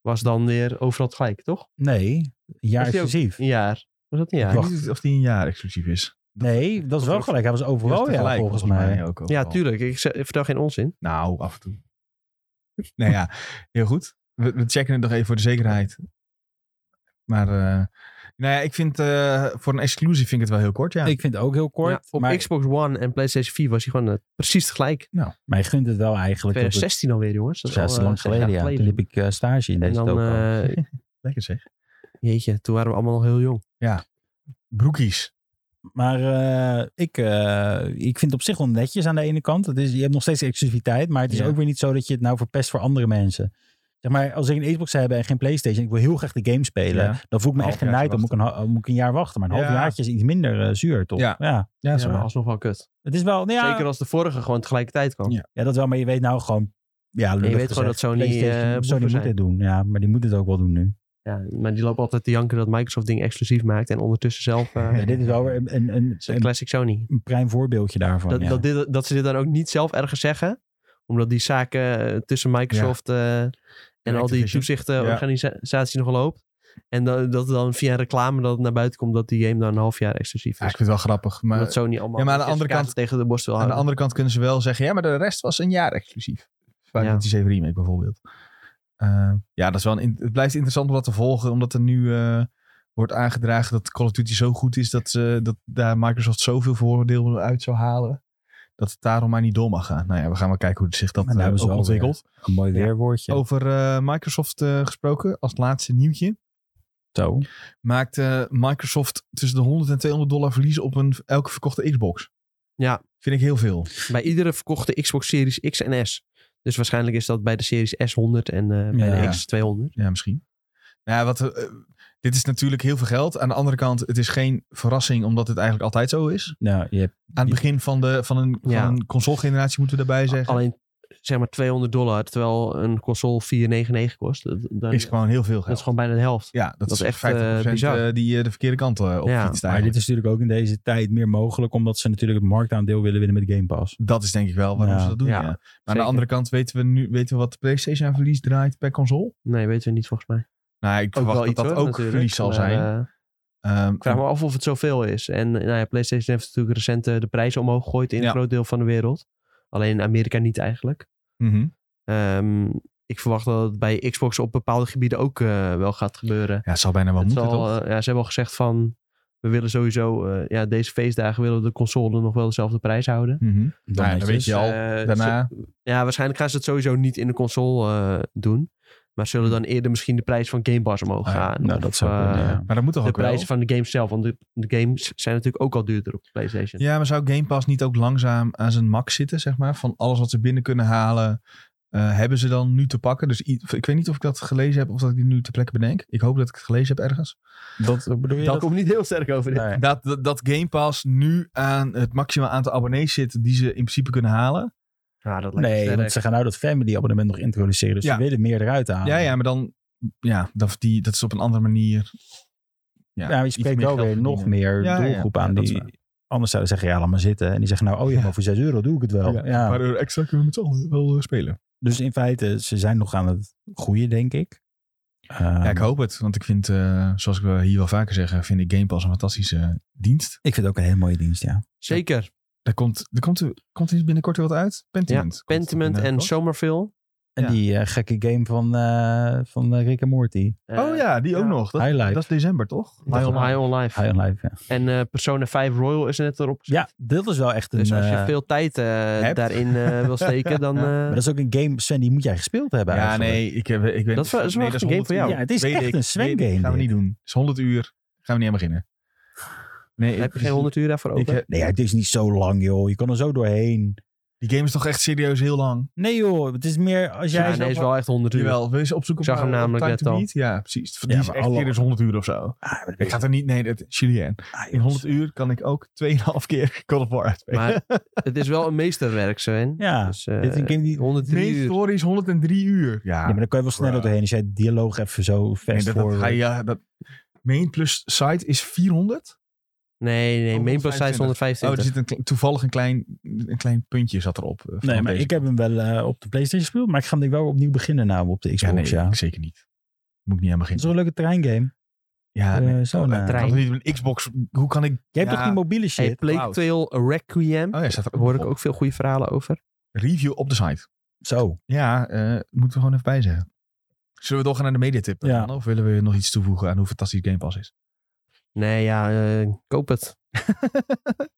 [SPEAKER 2] was dan weer overal tegelijk, toch?
[SPEAKER 3] Nee, een jaar
[SPEAKER 2] Was die ook-
[SPEAKER 3] exclusief.
[SPEAKER 2] Een jaar. Was dat een jaar?
[SPEAKER 1] Ik
[SPEAKER 3] Wacht.
[SPEAKER 1] weet niet of die een jaar exclusief is.
[SPEAKER 3] Nee, dat is wel gelijk. Hij was
[SPEAKER 1] Die was
[SPEAKER 3] overal, ja,
[SPEAKER 1] tegelijk,
[SPEAKER 3] volgens mij.
[SPEAKER 1] ook
[SPEAKER 2] Ja,
[SPEAKER 1] overal.
[SPEAKER 2] tuurlijk. Ik, ze- ik vertel geen onzin.
[SPEAKER 1] Nou, af en toe. [laughs] nou ja, heel goed. We, we checken het nog even voor de zekerheid. Maar, eh, nou ja, ik vind eh, voor een exclusief vind ik het wel heel kort, ja.
[SPEAKER 3] Ik vind het ook heel
[SPEAKER 2] Ja,
[SPEAKER 3] kort.
[SPEAKER 2] op
[SPEAKER 3] maar
[SPEAKER 2] Xbox One en PlayStation 4 was hij gewoon eh, precies tegelijk.
[SPEAKER 3] mij gunt het wel eigenlijk. dat het-
[SPEAKER 2] 2016 alweer, jongens. Dat is
[SPEAKER 3] Ja,
[SPEAKER 2] al,
[SPEAKER 3] dat is
[SPEAKER 2] eh,
[SPEAKER 3] lang
[SPEAKER 2] zes jaar
[SPEAKER 3] geleden, ja. Toen liep ik eh, stage in
[SPEAKER 2] En
[SPEAKER 3] deze
[SPEAKER 2] dan,
[SPEAKER 3] toko.
[SPEAKER 2] eh,
[SPEAKER 1] Lekker zeg.
[SPEAKER 2] jeetje, toen waren we allemaal nog heel jong.
[SPEAKER 1] Broekies.
[SPEAKER 3] Maar eh, ik, eh, ik vind het op zich wel netjes aan de ene kant. Het is, je hebt nog steeds exclusiviteit, maar het is
[SPEAKER 1] Ja.
[SPEAKER 3] ook weer niet zo dat je het nou verpest voor andere mensen. Zeg maar, als ik een Xbox heb en geen PlayStation, ik wil heel graag de game spelen,
[SPEAKER 1] Ja.
[SPEAKER 3] dan voel ik me
[SPEAKER 1] Half
[SPEAKER 3] echt
[SPEAKER 1] jaar te
[SPEAKER 3] genaaid. Dan moet ik, een, ha- moet ik een jaar wachten. Maar een
[SPEAKER 1] Ja.
[SPEAKER 3] half jaartje is iets minder eh, zuur, toch?
[SPEAKER 1] Ja. Ja,
[SPEAKER 2] Ja, maar alsnog wel kut.
[SPEAKER 3] Het is wel, nou ja,
[SPEAKER 2] Zeker als de vorige gewoon tegelijkertijd kwam.
[SPEAKER 1] Ja.
[SPEAKER 3] ja, dat wel, maar je weet nou gewoon, ja,
[SPEAKER 2] En je
[SPEAKER 3] lullig
[SPEAKER 2] weet gewoon dat
[SPEAKER 3] gezegd,
[SPEAKER 2] Sony, eh,
[SPEAKER 3] PlayStation-
[SPEAKER 2] boeven
[SPEAKER 3] Sony moet
[SPEAKER 2] zijn.
[SPEAKER 3] dit doen. Ja, maar die moet het ook wel doen nu.
[SPEAKER 2] Ja, maar die lopen altijd te janken dat Microsoft dingen exclusief maakt. En ondertussen zelf eh, [laughs]
[SPEAKER 3] Ja, dit is wel weer een, een, een,
[SPEAKER 2] is een
[SPEAKER 3] een,
[SPEAKER 2] classic Sony.
[SPEAKER 3] prime voorbeeldje daarvan.
[SPEAKER 2] Dat,
[SPEAKER 3] ja.
[SPEAKER 2] dat, dit, dat ze dit dan ook niet zelf ergens zeggen. Omdat die zaken eh, tussen Microsoft eh, en al die
[SPEAKER 1] Activision.
[SPEAKER 2] toezichtorganisaties nog loopt. En dan- dat het dan via reclame dat het naar buiten komt dat die game dan een half jaar exclusief
[SPEAKER 1] Ja, ik
[SPEAKER 2] is.
[SPEAKER 1] vind het wel grappig. Maar
[SPEAKER 2] Omdat Sony allemaal
[SPEAKER 1] Ja, maar aan de
[SPEAKER 2] certificaten
[SPEAKER 1] andere kant-
[SPEAKER 2] tegen de borst wil
[SPEAKER 1] aan de
[SPEAKER 2] houden.
[SPEAKER 1] andere kant kunnen ze wel zeggen, ja, maar de rest was een jaar exclusief. Final
[SPEAKER 2] Ja.
[SPEAKER 1] Fantasy 7 Remake bijvoorbeeld. Eh, ja, dat is wel een, in- het blijft interessant om dat te volgen, omdat er nu eh, wordt aangedragen dat Call of Duty zo goed is dat, ze, dat daar Microsoft zoveel voordeel uit zou halen, dat het daarom maar niet door mag gaan. Nou ja, we gaan maar kijken hoe zich dat
[SPEAKER 3] Maar nou
[SPEAKER 1] eh,
[SPEAKER 3] is
[SPEAKER 1] ook
[SPEAKER 3] wel weer-
[SPEAKER 1] ontwikkelt.
[SPEAKER 3] Een mooi
[SPEAKER 2] Ja.
[SPEAKER 3] weerwoordje.
[SPEAKER 1] Over eh, Microsoft eh, gesproken, als laatste nieuwtje,
[SPEAKER 3] Zo.
[SPEAKER 1] maakt eh, Microsoft tussen de 100 en 200 dollar verlies op een, elke verkochte Xbox.
[SPEAKER 2] Ja.
[SPEAKER 1] Vind ik heel veel.
[SPEAKER 2] Bij iedere verkochte Xbox Series X en S. Dus waarschijnlijk is dat bij de Series S100 en eh, bij
[SPEAKER 3] Ja.
[SPEAKER 2] de X200.
[SPEAKER 1] Ja, misschien. Nou Ja, wat, eh, dit is natuurlijk heel veel geld. Aan de andere kant, het is geen verrassing omdat het eigenlijk altijd zo is.
[SPEAKER 3] Nou, je hebt
[SPEAKER 1] Aan het begin van, de, van een,
[SPEAKER 2] Ja.
[SPEAKER 1] van een console-generatie moeten we daarbij zeggen.
[SPEAKER 2] Alleen zeg maar 200 dollar, terwijl een console 499 kost. Dat, dat-
[SPEAKER 1] is gewoon heel veel geld.
[SPEAKER 2] eh, dat is gewoon bijna de helft.
[SPEAKER 1] ja, dat,
[SPEAKER 2] dat
[SPEAKER 1] is
[SPEAKER 2] is echt,
[SPEAKER 1] echt
[SPEAKER 2] eh,
[SPEAKER 1] 50%
[SPEAKER 2] bizar.
[SPEAKER 1] eh, die eh, de verkeerde kant eh, op
[SPEAKER 2] Ja,
[SPEAKER 1] fietst
[SPEAKER 3] Maar
[SPEAKER 1] eigenlijk.
[SPEAKER 3] dit is natuurlijk ook in deze tijd meer mogelijk, omdat ze natuurlijk het marktaandeel willen winnen met Game Pass.
[SPEAKER 1] Dat is denk ik wel waarom
[SPEAKER 3] Ja.
[SPEAKER 1] ze dat doen.
[SPEAKER 2] Ja,
[SPEAKER 1] ja. Maar aan de
[SPEAKER 2] zeker.
[SPEAKER 1] andere kant weten we nu weten we wat de PlayStation aan verlies draait per console.
[SPEAKER 2] Nee, weten we niet volgens mij.
[SPEAKER 1] Nou, ik verwacht dat dat
[SPEAKER 2] hoor,
[SPEAKER 1] ook
[SPEAKER 2] natuurlijk,
[SPEAKER 1] verlies zal
[SPEAKER 2] maar,
[SPEAKER 1] zijn.
[SPEAKER 2] eh,
[SPEAKER 1] Ehm,
[SPEAKER 2] ik vraag me af of het zoveel is. En eh, nou ja, PlayStation heeft natuurlijk recent eh, de prijzen omhoog gegooid in
[SPEAKER 1] Ja.
[SPEAKER 2] een groot deel van de wereld. Alleen in Amerika niet eigenlijk.
[SPEAKER 1] mhm.
[SPEAKER 2] Ehm, ik verwacht dat het bij Xbox op bepaalde gebieden ook eh, wel gaat gebeuren.
[SPEAKER 1] Ja, het zal bijna wel
[SPEAKER 2] Het
[SPEAKER 1] moeten,
[SPEAKER 2] zal,
[SPEAKER 1] toch?
[SPEAKER 2] eh, ja, ze hebben al gezegd van... We willen sowieso... eh, ja, deze feestdagen willen we de console nog wel dezelfde prijs houden.
[SPEAKER 1] Mhm.
[SPEAKER 3] Dan
[SPEAKER 1] ja, dan weet
[SPEAKER 3] netjes.
[SPEAKER 1] je al.
[SPEAKER 2] Eh,
[SPEAKER 1] Daarna,
[SPEAKER 2] Ja, waarschijnlijk gaan ze het sowieso niet in de console eh, doen. Maar zullen dan eerder misschien de prijs van Game Pass omhoog
[SPEAKER 1] Ah,
[SPEAKER 2] gaan.
[SPEAKER 3] Nou,
[SPEAKER 2] Of,
[SPEAKER 3] dat zou
[SPEAKER 2] eh,
[SPEAKER 3] kunnen, ja.
[SPEAKER 1] maar dat moet toch
[SPEAKER 2] De
[SPEAKER 1] ook wel?
[SPEAKER 2] prijzen van de games zelf. Want de, de games zijn natuurlijk ook al duurder op de PlayStation.
[SPEAKER 1] Ja, maar zou Game Pass niet ook langzaam aan zijn max zitten, zeg maar? Van alles wat ze binnen kunnen halen, eh, hebben ze dan nu te pakken. Dus i- ik weet niet of ik dat gelezen heb of dat ik die nu ter plekke bedenk. Ik hoop dat ik het gelezen heb ergens.
[SPEAKER 3] Eh, Dat bedoel je?
[SPEAKER 2] Daar kom ik niet heel sterk over. dit.
[SPEAKER 3] Nee.
[SPEAKER 1] Dat, dat, dat Game Pass nu aan het maximaal aantal abonnees zit die ze in principe kunnen halen.
[SPEAKER 2] Ja, Ah, dat lijkt me
[SPEAKER 3] Nee,
[SPEAKER 2] sterk.
[SPEAKER 3] want ze gaan nou dat family abonnement nog introduceren. Dus
[SPEAKER 1] Ja.
[SPEAKER 3] ze willen meer eruit halen.
[SPEAKER 1] Ja, ja, maar dan, ja, dat, die, dat is op een andere manier. Ja,
[SPEAKER 3] Ja, maar je
[SPEAKER 1] iets
[SPEAKER 3] spreekt
[SPEAKER 1] meer
[SPEAKER 3] wel
[SPEAKER 1] geld
[SPEAKER 3] weer nog
[SPEAKER 1] verdienen.
[SPEAKER 3] meer
[SPEAKER 1] Ja, ja,
[SPEAKER 3] doelgroep aan.
[SPEAKER 1] ja, dat is
[SPEAKER 3] die anders zouden zeggen, ja, laat maar zitten. En die zeggen, nou, oh ja,
[SPEAKER 1] Ja.
[SPEAKER 3] maar voor 6 euro doe ik het wel. Ja,
[SPEAKER 1] Ja, Een paar euro extra kunnen we met z'n allen wel eh, spelen.
[SPEAKER 3] Dus in feite, ze zijn nog aan het groeien, denk ik. Ehm,
[SPEAKER 1] ja, ik hoop het. Want ik vind, eh, zoals ik wel hier wel vaker zeg, eh, vind ik Game Pass een fantastische eh, dienst.
[SPEAKER 3] ik vind het ook een hele mooie dienst, ja.
[SPEAKER 2] Zeker.
[SPEAKER 1] Er komt, er komt, er komt er binnenkort weer wat uit. Pentiment.
[SPEAKER 2] Ja,
[SPEAKER 1] komt er
[SPEAKER 2] Pentiment en
[SPEAKER 1] binnenkort.
[SPEAKER 2] Somerville.
[SPEAKER 3] En
[SPEAKER 1] Ja.
[SPEAKER 3] die eh, gekke game van, eh, van eh, Rick en Morty.
[SPEAKER 1] oh ja, die ook nog. Dat,
[SPEAKER 3] High Life.
[SPEAKER 1] dat is december, toch?
[SPEAKER 2] High on,
[SPEAKER 1] Life.
[SPEAKER 2] Life.
[SPEAKER 3] High on Life, ja.
[SPEAKER 2] En eh, Persona 5 Royal is net erop. gezet.
[SPEAKER 3] Ja, dit is wel echt een...
[SPEAKER 2] Dus als je
[SPEAKER 3] eh,
[SPEAKER 2] veel tijd eh, daarin eh, wil steken, dan... eh,
[SPEAKER 3] maar dat is ook een game, Sven, die moet jij gespeeld hebben
[SPEAKER 1] Ja,
[SPEAKER 3] eigenlijk.
[SPEAKER 1] nee, ik, heb, ik weet
[SPEAKER 2] Dat is wel- is wel
[SPEAKER 1] nee,
[SPEAKER 2] echt een game
[SPEAKER 1] 100
[SPEAKER 2] voor jou.
[SPEAKER 1] uur.
[SPEAKER 3] Ja, het is
[SPEAKER 1] Weet
[SPEAKER 3] echt
[SPEAKER 1] ik.
[SPEAKER 3] een Sven
[SPEAKER 1] Weet ik.
[SPEAKER 3] game
[SPEAKER 1] Gaan we
[SPEAKER 3] dit.
[SPEAKER 1] niet doen. Het is 100 uur. Gaan we niet aan beginnen. Nee,
[SPEAKER 2] heb je geen 100 uur daarvoor
[SPEAKER 1] ik,
[SPEAKER 2] over.
[SPEAKER 1] heb-
[SPEAKER 3] Nee, het is niet zo lang, joh. Je kan er zo doorheen.
[SPEAKER 1] Die game is toch echt serieus heel lang?
[SPEAKER 3] Nee, joh. Het is meer als jij...
[SPEAKER 2] ja, nee, is wel echt 100 uur.
[SPEAKER 1] Jawel, wil je ze opzoeken?
[SPEAKER 2] Ik zag
[SPEAKER 1] op- eh,
[SPEAKER 2] hem
[SPEAKER 1] op
[SPEAKER 2] namelijk
[SPEAKER 1] Time
[SPEAKER 2] net
[SPEAKER 1] to
[SPEAKER 2] al.
[SPEAKER 1] Beat? Ja, precies. Die
[SPEAKER 3] Ja,
[SPEAKER 1] is
[SPEAKER 3] maar
[SPEAKER 1] echt
[SPEAKER 3] alle-
[SPEAKER 1] serieus 100 uur of zo.
[SPEAKER 3] Ah, maar dat
[SPEAKER 1] Ik
[SPEAKER 3] weet
[SPEAKER 1] ga er niet... Nee, dat, Julien.
[SPEAKER 3] Ah, joh.
[SPEAKER 1] In 100 uur kan ik ook 2,5 keer [laughs] God of War uitspelen.
[SPEAKER 2] [laughs] Maar het is wel een meesterwerk, Sven.
[SPEAKER 3] Ja,
[SPEAKER 2] Dus, eh,
[SPEAKER 3] dit is een game die...
[SPEAKER 2] 103
[SPEAKER 1] Main
[SPEAKER 2] uur.
[SPEAKER 1] story is 103 uur. Ja,
[SPEAKER 3] Ja, maar dan kan je wel sneller
[SPEAKER 1] Bruh.
[SPEAKER 3] doorheen als jij de dialoog even zo
[SPEAKER 1] nee,
[SPEAKER 3] fast eh,
[SPEAKER 1] dat, dat
[SPEAKER 3] forward.
[SPEAKER 1] ga je, ja, dat, eh, main plus site is 400.
[SPEAKER 2] Nee, nee, Main Plus Size 125.
[SPEAKER 1] Oh, er zit een, kle- toevallig een klein, een klein puntje zat erop. eh, van
[SPEAKER 3] Nee, maar
[SPEAKER 1] deze
[SPEAKER 3] ik heb hem wel eh, op de PlayStation gespeeld, maar ik ga hem denk ik wel opnieuw beginnen nou op de
[SPEAKER 1] Ja, nee,
[SPEAKER 3] Xbox, ja.
[SPEAKER 1] ik zeker niet. Moet ik niet aan
[SPEAKER 3] Het is
[SPEAKER 1] beginnen.
[SPEAKER 3] wel een leuke terreingame.
[SPEAKER 1] Ja,
[SPEAKER 3] eh,
[SPEAKER 1] nee.
[SPEAKER 3] zo
[SPEAKER 1] Oh,
[SPEAKER 3] naar-
[SPEAKER 1] ik kan toch niet op een Xbox. Hoe kan ik...
[SPEAKER 3] Jij hebt
[SPEAKER 1] Ja.
[SPEAKER 3] toch die mobiele dus shit?
[SPEAKER 2] Hey, Plague
[SPEAKER 1] Cloud.
[SPEAKER 2] Tale Requiem.
[SPEAKER 1] Oh ja, staat er
[SPEAKER 2] Daar
[SPEAKER 1] ook
[SPEAKER 2] hoor ik
[SPEAKER 1] op.
[SPEAKER 2] ook veel goede verhalen over.
[SPEAKER 1] Review op de site.
[SPEAKER 3] Zo.
[SPEAKER 1] Ja, eh, moeten we gewoon even bij zeggen. Zullen we doorgaan naar de mediatip? dan,
[SPEAKER 3] Ja.
[SPEAKER 1] Anne? Of willen we nog iets toevoegen aan hoe fantastisch Game Pass is?
[SPEAKER 2] Nee, ja, eh, koop het.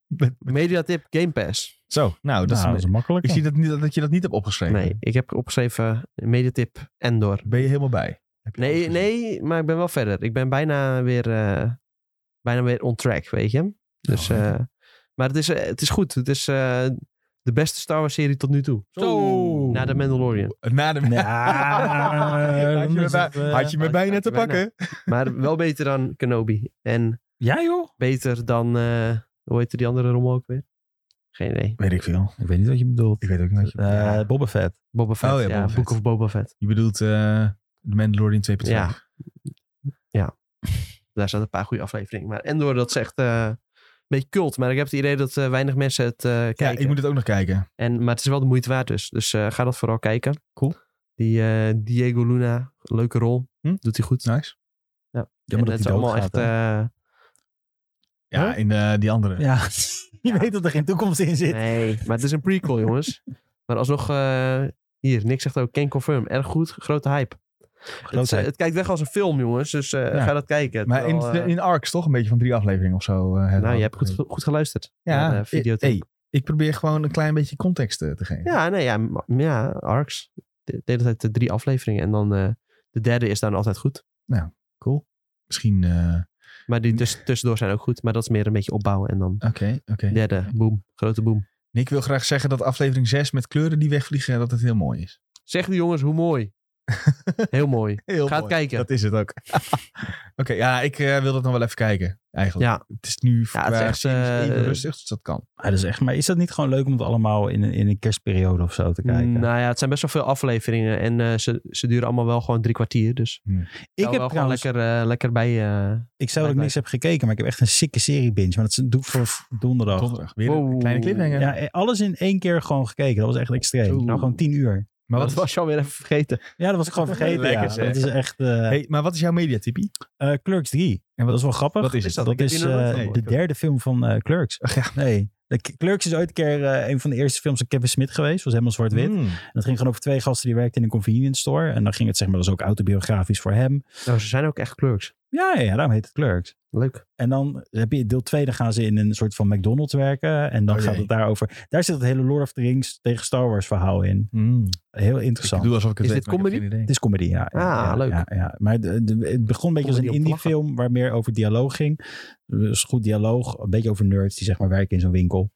[SPEAKER 1] Met-
[SPEAKER 2] Mediatip Game Pass.
[SPEAKER 1] Zo, nou, dat
[SPEAKER 3] Nou,
[SPEAKER 1] is,
[SPEAKER 3] makkelijk.
[SPEAKER 1] ik zie dat, niet, dat je dat niet hebt opgeschreven.
[SPEAKER 2] Nee, ik heb opgeschreven eh, Mediatip Endor.
[SPEAKER 1] Ben je helemaal bij? Heb je alles
[SPEAKER 2] Nee,
[SPEAKER 1] gezien?
[SPEAKER 2] nee, maar ik ben wel verder. Ik ben bijna weer, eh, bijna weer on track, weet je. Dus,
[SPEAKER 1] Oh,
[SPEAKER 2] eh, maar het is, eh, het is goed. Het is eh, de beste Star Wars serie tot nu toe.
[SPEAKER 3] Zo.
[SPEAKER 2] Na de Mandalorian.
[SPEAKER 1] Na de... [laughs]
[SPEAKER 3] Ja,
[SPEAKER 1] had je me
[SPEAKER 3] [laughs] dan is het,
[SPEAKER 1] bij,
[SPEAKER 3] eh,
[SPEAKER 1] had je me
[SPEAKER 2] had-
[SPEAKER 1] bij
[SPEAKER 2] had
[SPEAKER 1] net te
[SPEAKER 2] je bijna.
[SPEAKER 1] pakken.
[SPEAKER 2] Maar wel beter dan Kenobi. En
[SPEAKER 3] Ja, joh.
[SPEAKER 2] beter dan, eh, hoe heet die andere rommel ook weer? Geen idee.
[SPEAKER 1] Weet ik veel.
[SPEAKER 3] Ik weet niet wat je bedoelt.
[SPEAKER 1] Ik weet ook niet wat je...
[SPEAKER 3] Eh, Boba Fett.
[SPEAKER 2] Boba Fett.
[SPEAKER 1] Oh ja,
[SPEAKER 2] ja,
[SPEAKER 1] Boba Fett.
[SPEAKER 2] Book of Boba Fett.
[SPEAKER 1] Je bedoelt eh The Mandalorian 2.2.
[SPEAKER 2] Ja. Ja. Daar zaten een paar goede afleveringen. Maar Endor, dat is echt eh, een beetje cult. Maar ik heb het idee dat eh, weinig mensen het eh,
[SPEAKER 1] Ja,
[SPEAKER 2] kijken.
[SPEAKER 1] ik moet het ook nog kijken.
[SPEAKER 2] En, maar het is wel de moeite waard dus. Dus eh, ga dat vooral kijken.
[SPEAKER 1] Cool.
[SPEAKER 2] Die eh, Diego Luna, leuke rol.
[SPEAKER 1] Hm?
[SPEAKER 2] Doet hij goed.
[SPEAKER 1] Nice.
[SPEAKER 2] en
[SPEAKER 3] Jammer
[SPEAKER 2] het
[SPEAKER 3] dat
[SPEAKER 2] is
[SPEAKER 3] hij
[SPEAKER 2] allemaal
[SPEAKER 3] doodgaat,
[SPEAKER 2] echt...
[SPEAKER 3] hè.
[SPEAKER 2] eh,
[SPEAKER 1] Ja,
[SPEAKER 3] Huh?
[SPEAKER 1] in eh, die andere.
[SPEAKER 3] Ja, [laughs] je weet dat er geen toekomst in zit.
[SPEAKER 2] nee, maar het is een
[SPEAKER 1] [laughs]
[SPEAKER 2] prequel, jongens. Maar alsnog... eh, hier, Nick zegt ook, can confirm. Erg goed, grote hype. Het, eh,
[SPEAKER 3] hype.
[SPEAKER 2] het kijkt weg als een film, jongens. Dus eh,
[SPEAKER 1] Ja.
[SPEAKER 2] ga dat kijken.
[SPEAKER 1] Maar in,
[SPEAKER 2] Terwijl, eh,
[SPEAKER 1] in ARCs toch? Een beetje van drie afleveringen of zo. eh, hebben we
[SPEAKER 2] nou, je hebt
[SPEAKER 1] opgegeven.
[SPEAKER 2] goed, goed geluisterd.
[SPEAKER 1] Ja,
[SPEAKER 2] naar, eh,
[SPEAKER 1] ik,
[SPEAKER 2] videotape.
[SPEAKER 1] hey, ik probeer gewoon een klein beetje context eh, te geven.
[SPEAKER 2] Ja, nee, ja, m- ja ARCs. De, de hele tijd eh, drie afleveringen. En dan eh, de derde is dan altijd goed.
[SPEAKER 1] Cool. Misschien... eh,
[SPEAKER 2] Maar die tuss- tussendoor zijn ook goed. Maar dat is meer een beetje opbouwen. En dan
[SPEAKER 1] Oké, oké.
[SPEAKER 2] derde, boom. Grote boom.
[SPEAKER 1] Nick wil graag zeggen dat aflevering 6 met kleuren die wegvliegen, dat het heel mooi is.
[SPEAKER 2] Zeg de jongens, hoe mooi. [laughs] Heel mooi.
[SPEAKER 1] Heel
[SPEAKER 2] Ga het
[SPEAKER 1] mooi.
[SPEAKER 2] kijken.
[SPEAKER 1] Dat is het ook. [laughs] oké, ja, ik eh, wil dat nog wel even kijken. Eigenlijk.
[SPEAKER 2] Ja,
[SPEAKER 1] Het is nu
[SPEAKER 2] Ja, het is
[SPEAKER 1] qua
[SPEAKER 2] echt,
[SPEAKER 1] series even
[SPEAKER 2] eh,
[SPEAKER 1] rustig, dus dat kan.
[SPEAKER 3] Ah, dat is echt, maar is dat niet gewoon leuk om het allemaal in een, in een kerstperiode of zo te kijken?
[SPEAKER 2] nou ja, het zijn best wel veel afleveringen. En eh, ze, ze duren allemaal wel gewoon drie kwartier. Dus
[SPEAKER 3] ik heb
[SPEAKER 2] wel gewoon
[SPEAKER 3] trouwens,
[SPEAKER 2] lekker, eh, lekker bij... eh,
[SPEAKER 3] ik zei dat ik niks heb gekeken, maar ik heb echt een sikke serie binge. Maar dat is- doe ik voor donderdag.
[SPEAKER 1] Donderdag. Weer een
[SPEAKER 2] Wow.
[SPEAKER 1] kleine cliffhanger.
[SPEAKER 3] Ja, eh, alles in één keer gewoon gekeken. Dat was echt extreem.
[SPEAKER 2] Oeh.
[SPEAKER 3] Nou, gewoon tien uur.
[SPEAKER 1] Maar
[SPEAKER 2] dat
[SPEAKER 1] wat,
[SPEAKER 2] was je alweer even vergeten.
[SPEAKER 3] Ja, dat was ik gewoon vergeten.
[SPEAKER 1] Lekker,
[SPEAKER 3] ja.
[SPEAKER 1] zeg.
[SPEAKER 3] Dat is echt... eh,
[SPEAKER 1] hey, maar wat is jouw mediatippie?
[SPEAKER 3] eh, Clerks 3. En dat is wel grappig.
[SPEAKER 1] Wat is het?
[SPEAKER 3] dat?
[SPEAKER 2] Ik heb
[SPEAKER 3] is
[SPEAKER 2] die nog nooit
[SPEAKER 3] eh,
[SPEAKER 1] gehoord.
[SPEAKER 3] de derde film van eh, Clerks.
[SPEAKER 1] Ach ja.
[SPEAKER 3] Nee. De K- Clerks is ooit een keer eh, een van de eerste films van Kevin Smith geweest. was helemaal zwart-wit.
[SPEAKER 2] Hmm,
[SPEAKER 1] Mm.
[SPEAKER 3] En dat ging gewoon over twee gasten die werkten in een convenience store. En dan ging het zeg maar, dat is ook autobiografisch voor hem.
[SPEAKER 2] Nou, ze zijn ook echt clerks.
[SPEAKER 3] Ja, ja, ja, daarom heet het Clerks.
[SPEAKER 2] Leuk.
[SPEAKER 3] En dan heb je deel 2, dan gaan ze in een soort van McDonald's werken. En dan
[SPEAKER 1] Oh,
[SPEAKER 3] gaat
[SPEAKER 1] jee.
[SPEAKER 3] het daarover. Daar zit het hele Lord of the Rings tegen Star Wars verhaal in.
[SPEAKER 1] Mm.
[SPEAKER 3] Heel
[SPEAKER 1] Ik
[SPEAKER 3] interessant.
[SPEAKER 1] doe alsof ik het
[SPEAKER 2] Is
[SPEAKER 1] weet,
[SPEAKER 2] dit
[SPEAKER 1] maar ik heb
[SPEAKER 2] comedy?
[SPEAKER 1] geen idee.
[SPEAKER 3] Het is comedy, ja. Ah, ja,
[SPEAKER 2] leuk.
[SPEAKER 3] Ja, ja. Maar de- de- het begon een beetje als een
[SPEAKER 2] Comedy om te
[SPEAKER 3] indie film waar meer over dialoog ging. Dus goed dialoog, een beetje over nerds die zeg maar werken in zo'n winkel.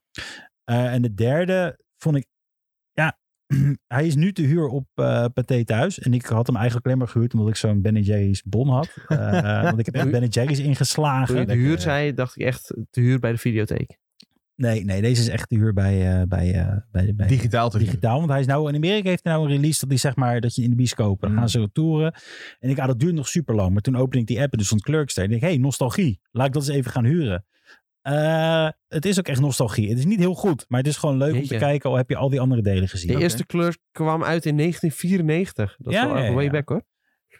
[SPEAKER 3] Eh, en de derde vond ik, ja, [clears throat] hij is nu te huur op eh Pathé thuis. En ik had hem eigenlijk alleen maar gehuurd omdat ik zo'n Ben Jerry's bon
[SPEAKER 2] [laughs]
[SPEAKER 3] had. Eh, want ik heb echt Ben Jerry's
[SPEAKER 2] Toen je
[SPEAKER 3] ingeslagen.
[SPEAKER 2] de huur zei, dacht ik echt te huur bij de videotheek.
[SPEAKER 3] Nee, nee, deze is echt te huur bij, eh, bij, eh, bij, bij,
[SPEAKER 1] Digitaal te
[SPEAKER 3] digitaal. Want hij is nou in Amerika heeft hij nou een release dat die zeg maar dat je in de bioscoop dan
[SPEAKER 1] Mm.
[SPEAKER 3] gaan ze toeren. En ik ah dat duurt nog super lang. Maar toen opende ik die app en dus stond Clerks daar. En ik denk, hey nostalgie, laat ik dat eens even gaan huren. Eh, het is ook echt nostalgie. Het is niet heel goed, maar het is gewoon leuk
[SPEAKER 2] Jeetje.
[SPEAKER 3] om te kijken. Al heb je al die andere delen gezien.
[SPEAKER 2] De eerste kleur kwam uit in 1994. Dat is
[SPEAKER 3] Ja,
[SPEAKER 2] wel echt
[SPEAKER 3] ja, ja,
[SPEAKER 2] way
[SPEAKER 3] ja.
[SPEAKER 2] back hoor.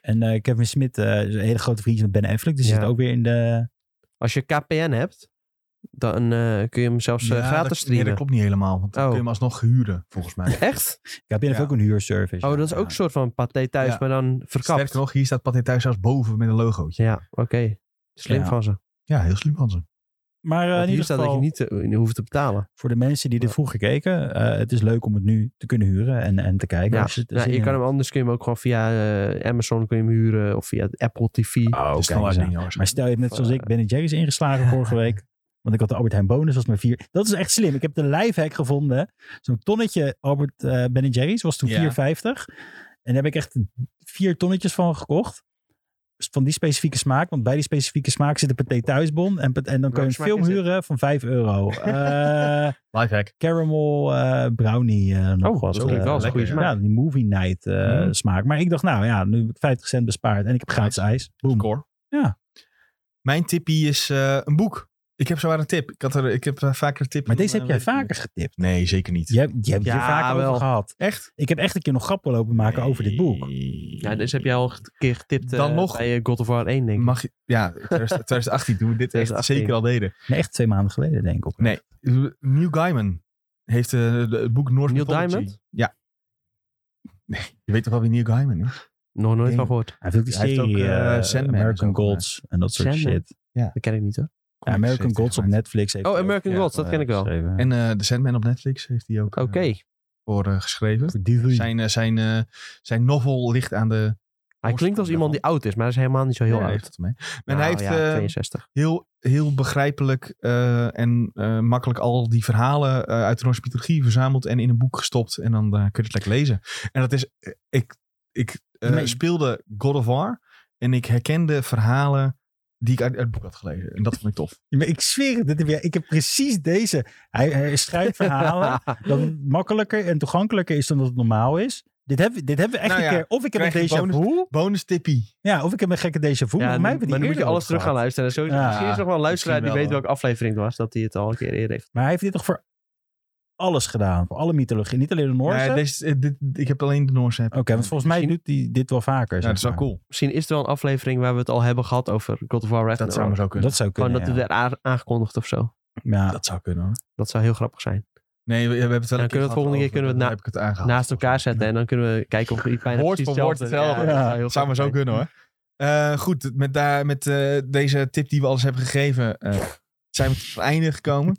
[SPEAKER 3] En eh, Kevin Smith eh, is een hele grote vriendje met Ben Affleck. Dus
[SPEAKER 2] Ja.
[SPEAKER 3] die zit ook weer in de...
[SPEAKER 2] Als je KPN hebt, Dan eh, kun je hem zelfs eh,
[SPEAKER 1] Ja,
[SPEAKER 2] gratis
[SPEAKER 1] dat-
[SPEAKER 2] streamen.
[SPEAKER 1] Nee, dat klopt niet helemaal. Want dan
[SPEAKER 2] Oh.
[SPEAKER 1] kun je hem alsnog huren, volgens mij.
[SPEAKER 2] Echt?
[SPEAKER 3] KPN heeft
[SPEAKER 1] Ja.
[SPEAKER 3] ook een huurservice.
[SPEAKER 2] Oh, dat is ook een soort van paté thuis,
[SPEAKER 1] Ja.
[SPEAKER 2] maar dan verkapt.
[SPEAKER 1] Sterker nog, hier staat Pathé Thuis zelfs boven met een logootje.
[SPEAKER 2] Ja, oké. Slim
[SPEAKER 3] Ja.
[SPEAKER 2] van ze.
[SPEAKER 1] Ja, heel slim van ze.
[SPEAKER 2] Oh,
[SPEAKER 3] Maar eh,
[SPEAKER 2] Want
[SPEAKER 3] in
[SPEAKER 2] hier
[SPEAKER 3] ieder
[SPEAKER 2] staat
[SPEAKER 3] geval,
[SPEAKER 2] dat je niet eh, hoeft te betalen.
[SPEAKER 3] voor de mensen die dit
[SPEAKER 2] Ja.
[SPEAKER 3] vroeger keken, eh, het is leuk om het nu te kunnen huren en, en te kijken.
[SPEAKER 2] Ja.
[SPEAKER 3] als je, het er
[SPEAKER 2] Nou, je
[SPEAKER 3] zin in
[SPEAKER 2] kan
[SPEAKER 3] hebt.
[SPEAKER 2] hem anders kun je hem ook gewoon via eh, Amazon kun je hem huren of via Apple TV.
[SPEAKER 3] Oh,
[SPEAKER 1] dat is
[SPEAKER 3] kijk eens aan.
[SPEAKER 1] hoor.
[SPEAKER 3] Maar stel je hebt net
[SPEAKER 2] Of,
[SPEAKER 3] zoals ik Ben Jerry's ingeslagen vorige
[SPEAKER 2] [laughs]
[SPEAKER 3] week. Want ik had de Albert Heijn bonus, was maar vier. Dat is echt slim. Ik heb de lifehack gevonden. Zo'n tonnetje Albert eh Ben Jerry's was toen
[SPEAKER 1] Ja.
[SPEAKER 3] 4,50. En daar heb ik echt vier tonnetjes van gekocht. Dus Van die specifieke smaak. Want bij die specifieke smaak zit een paté thuisbon. En, pat- en dan kun
[SPEAKER 2] Welke
[SPEAKER 3] je een
[SPEAKER 2] smaak
[SPEAKER 3] film
[SPEAKER 2] is het?
[SPEAKER 3] huren van 5
[SPEAKER 2] [laughs]
[SPEAKER 3] euro. Eh
[SPEAKER 1] Lifehack.
[SPEAKER 3] caramel eh, brownie eh, nog
[SPEAKER 2] Oh,
[SPEAKER 3] wat.
[SPEAKER 2] dat klinkt
[SPEAKER 3] eh,
[SPEAKER 2] wel als een
[SPEAKER 1] lekker,
[SPEAKER 2] goede smaak.
[SPEAKER 3] ja, die movie night eh,
[SPEAKER 1] Mm.
[SPEAKER 3] smaak. Maar ik dacht, nou ja, nu heb ik 50 cent bespaard. En ik heb gratis ijs. Boom.
[SPEAKER 1] Score.
[SPEAKER 3] Ja.
[SPEAKER 1] Mijn tippie is eh, een boek. Ik heb zowaar een tip. Ik, had er, ik heb eh, vaker tips.
[SPEAKER 3] Maar
[SPEAKER 1] dan,
[SPEAKER 3] deze heb
[SPEAKER 1] eh,
[SPEAKER 3] jij
[SPEAKER 1] weet ik niet.
[SPEAKER 3] vaker getipt.
[SPEAKER 1] Nee, zeker niet.
[SPEAKER 3] Je, hebt- je hebt
[SPEAKER 2] Ja,
[SPEAKER 3] hier vaker
[SPEAKER 2] wel.
[SPEAKER 3] over gehad.
[SPEAKER 1] Echt?
[SPEAKER 3] Ik heb echt een keer nog grappen lopen maken over dit boek.
[SPEAKER 2] Ja, dus heb jij al een keer getipt eh,
[SPEAKER 1] Dan nog-
[SPEAKER 2] bij eh, God of War 1, denk ik.
[SPEAKER 1] Mag je, ja,
[SPEAKER 3] [laughs]
[SPEAKER 1] 2018 toen we dit echt
[SPEAKER 2] 2018.
[SPEAKER 1] zeker al deden.
[SPEAKER 3] Nee, echt twee maanden geleden, denk ik. Op.
[SPEAKER 1] Nee. Neil Gaiman heeft eh, de- het boek North
[SPEAKER 2] Neil
[SPEAKER 1] Mythology.
[SPEAKER 2] Diamond?
[SPEAKER 1] Ja. Nee, je weet toch wel wie Neil Gaiman is?
[SPEAKER 2] Nog nooit
[SPEAKER 1] Damn.
[SPEAKER 2] van gehoord.
[SPEAKER 3] Hij heeft ook die
[SPEAKER 1] Hij heeft
[SPEAKER 3] serie
[SPEAKER 1] ook, eh,
[SPEAKER 3] eh,
[SPEAKER 1] Sandman
[SPEAKER 3] American
[SPEAKER 1] en zo
[SPEAKER 3] Gods en dat soort
[SPEAKER 2] Sandman?
[SPEAKER 3] shit.
[SPEAKER 2] Dat ken ik niet hoor.
[SPEAKER 3] Ja, American
[SPEAKER 1] Heeft hij
[SPEAKER 3] Gods op
[SPEAKER 1] gemaakt.
[SPEAKER 3] Netflix. Heeft
[SPEAKER 2] Oh,
[SPEAKER 3] hij ook,
[SPEAKER 2] American
[SPEAKER 3] ja,
[SPEAKER 2] Gods, dat ken ik wel.
[SPEAKER 3] geschreven.
[SPEAKER 1] En eh The Sandman op Netflix heeft hij ook eh,
[SPEAKER 2] Oké.
[SPEAKER 1] voor eh, geschreven.
[SPEAKER 3] Voor die drie.
[SPEAKER 1] Zijn, eh, zijn, eh, zijn novel ligt aan de...
[SPEAKER 2] Hij klinkt als iemand die oud is, maar hij is helemaal niet zo heel
[SPEAKER 1] Ja,
[SPEAKER 2] oud.
[SPEAKER 1] heeft het mee. En
[SPEAKER 2] Nou,
[SPEAKER 1] hij heeft
[SPEAKER 2] ja,
[SPEAKER 1] eh,
[SPEAKER 2] 62.
[SPEAKER 1] heel, heel begrijpelijk eh, en eh, makkelijk al die verhalen eh, uit de Noorse mythologie verzameld en in een boek gestopt. En dan eh, kun je het lekker lezen. En dat is, eh, ik, ik eh,
[SPEAKER 3] Nee.
[SPEAKER 1] speelde God of War en ik herkende verhalen die ik uit, uit het boek had gelezen. En dat vond ik tof.
[SPEAKER 3] Ja, maar ik zweer het, dit heb jij- ik heb precies deze. Hij, hij
[SPEAKER 2] [laughs]
[SPEAKER 3] schrijft verhalen dat het makkelijker en toegankelijker is dan dat het normaal is. Dit hebben, dit hebben we echt
[SPEAKER 1] Nou
[SPEAKER 3] een
[SPEAKER 1] ja,
[SPEAKER 3] keer. Of ik heb een
[SPEAKER 1] krijg je
[SPEAKER 3] déjà
[SPEAKER 1] bonus-
[SPEAKER 3] vu.
[SPEAKER 1] Bonus tippie.
[SPEAKER 3] Ja, of ik heb een gekke déjà
[SPEAKER 2] Ja, nu-
[SPEAKER 3] vu. maar mij
[SPEAKER 2] maar
[SPEAKER 3] hebben die
[SPEAKER 2] dan moet je
[SPEAKER 3] eerder
[SPEAKER 2] alles
[SPEAKER 3] over
[SPEAKER 2] terug gaan
[SPEAKER 3] gehad.
[SPEAKER 2] luisteren. Zo,
[SPEAKER 3] Ja,
[SPEAKER 2] misschien is er nog wel een luisteraar die
[SPEAKER 1] misschien
[SPEAKER 2] weet
[SPEAKER 1] wel,
[SPEAKER 2] welke aflevering het was, dat hij het al een keer eerder heeft.
[SPEAKER 3] Maar hij heeft dit toch voor alles gedaan? Voor alle mythologie. Niet alleen de Noorse?
[SPEAKER 1] Nee, deze, eh, dit, ik heb alleen de Noorse.
[SPEAKER 2] Oh,
[SPEAKER 1] heb ik.
[SPEAKER 3] Oké, want volgens mij doet hij dit wel vaker.
[SPEAKER 1] Ja,
[SPEAKER 3] zeg
[SPEAKER 1] dat is wel
[SPEAKER 3] maar.
[SPEAKER 1] cool.
[SPEAKER 2] Misschien is er wel een aflevering waar we het al hebben gehad over God of War Ragnarok.
[SPEAKER 1] Dat zou maar zo kunnen.
[SPEAKER 3] Dat zou
[SPEAKER 2] Gewoon
[SPEAKER 3] kunnen,
[SPEAKER 2] dat
[SPEAKER 3] ja.
[SPEAKER 2] het werd a- aangekondigd of zo.
[SPEAKER 3] Ja.
[SPEAKER 1] Dat zou kunnen hoor.
[SPEAKER 2] Dat zou heel grappig zijn.
[SPEAKER 1] Nee, we, we hebben het wel
[SPEAKER 2] Dan
[SPEAKER 1] een keer
[SPEAKER 2] kunnen we
[SPEAKER 1] gehad
[SPEAKER 2] het volgende keer
[SPEAKER 1] over,
[SPEAKER 2] kunnen we het
[SPEAKER 1] dan
[SPEAKER 2] na-
[SPEAKER 1] heb ik het aangehaald.
[SPEAKER 2] Naast elkaar zetten en dan kunnen we kijken of die bijna
[SPEAKER 1] Woord
[SPEAKER 2] precies
[SPEAKER 1] voor woord hetzelfde.
[SPEAKER 2] dat
[SPEAKER 3] Ja,
[SPEAKER 2] heel
[SPEAKER 1] Dat zou maar zo
[SPEAKER 2] grappig
[SPEAKER 1] kunnen hoor. Eh, goed, met, daar, met eh, deze tip die we alles hebben gegeven, eh, zijn we tot het einde gekomen.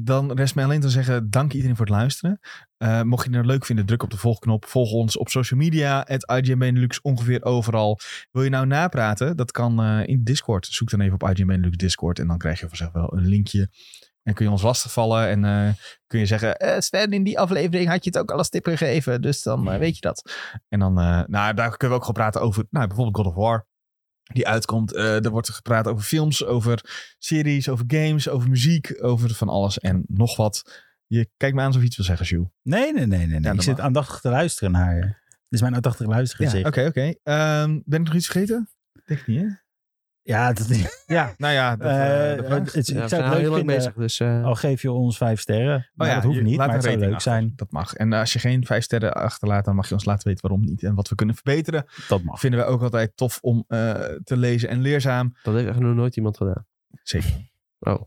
[SPEAKER 1] Dan rest mij alleen te zeggen, dank iedereen voor het luisteren. Eh, mocht je het nou leuk vinden, druk op de volgknop. Volg ons op social media, het IGN Benelux, ongeveer overal. Wil je nou napraten? Dat kan eh, in Discord. Zoek dan even op IGN Benelux Discord en dan krijg je vanzelf wel een linkje. En kun je ons lastigvallen en eh, kun je zeggen... eh Sven, in die aflevering had je het ook al als tip gegeven, dus dan eh, weet je dat. En dan, eh, nou, daar kunnen we ook gewoon praten over, nou, bijvoorbeeld God of War. Die uitkomt. Eh er wordt gepraat over films, over series, over games, over muziek, over van alles en nog wat. Je kijkt me aan alsof je iets wil zeggen, Jules.
[SPEAKER 3] Nee, nee, nee, nee. nee.
[SPEAKER 1] dat
[SPEAKER 3] ik zit
[SPEAKER 1] mag.
[SPEAKER 3] aandachtig te luisteren naar je. Dit is mijn aandachtig luistergezicht.
[SPEAKER 1] oké,
[SPEAKER 3] Ja,
[SPEAKER 1] oké. Ehm, ben ik nog iets vergeten? Denk ik niet, hè?
[SPEAKER 3] dat is...
[SPEAKER 1] Ja. Nou ja, [laughs] dat, eh,
[SPEAKER 3] eh,
[SPEAKER 1] dat vraagt.
[SPEAKER 3] het
[SPEAKER 2] Ja,
[SPEAKER 3] is- ik
[SPEAKER 2] we
[SPEAKER 3] zou
[SPEAKER 2] zijn
[SPEAKER 3] het
[SPEAKER 2] al
[SPEAKER 3] leuk
[SPEAKER 2] heel lang
[SPEAKER 3] vinden,
[SPEAKER 2] bezig, dus eh,
[SPEAKER 3] al geef je ons vijf sterren. Maar
[SPEAKER 1] oh ja,
[SPEAKER 3] Nou, dat hoeft
[SPEAKER 1] je
[SPEAKER 3] niet,
[SPEAKER 1] laat
[SPEAKER 3] maar
[SPEAKER 1] een
[SPEAKER 3] het zou
[SPEAKER 1] rating
[SPEAKER 3] leuk
[SPEAKER 1] achter.
[SPEAKER 3] zijn.
[SPEAKER 1] dat mag. En eh, als je geen vijf sterren achterlaat, dan mag je ons laten weten waarom niet en wat we kunnen verbeteren.
[SPEAKER 3] Dat mag.
[SPEAKER 1] Vinden wij ook altijd tof om eh, te lezen en leerzaam.
[SPEAKER 3] Oh.
[SPEAKER 2] dat heeft echt nog nooit iemand gedaan.
[SPEAKER 1] Zeker.
[SPEAKER 2] Oh.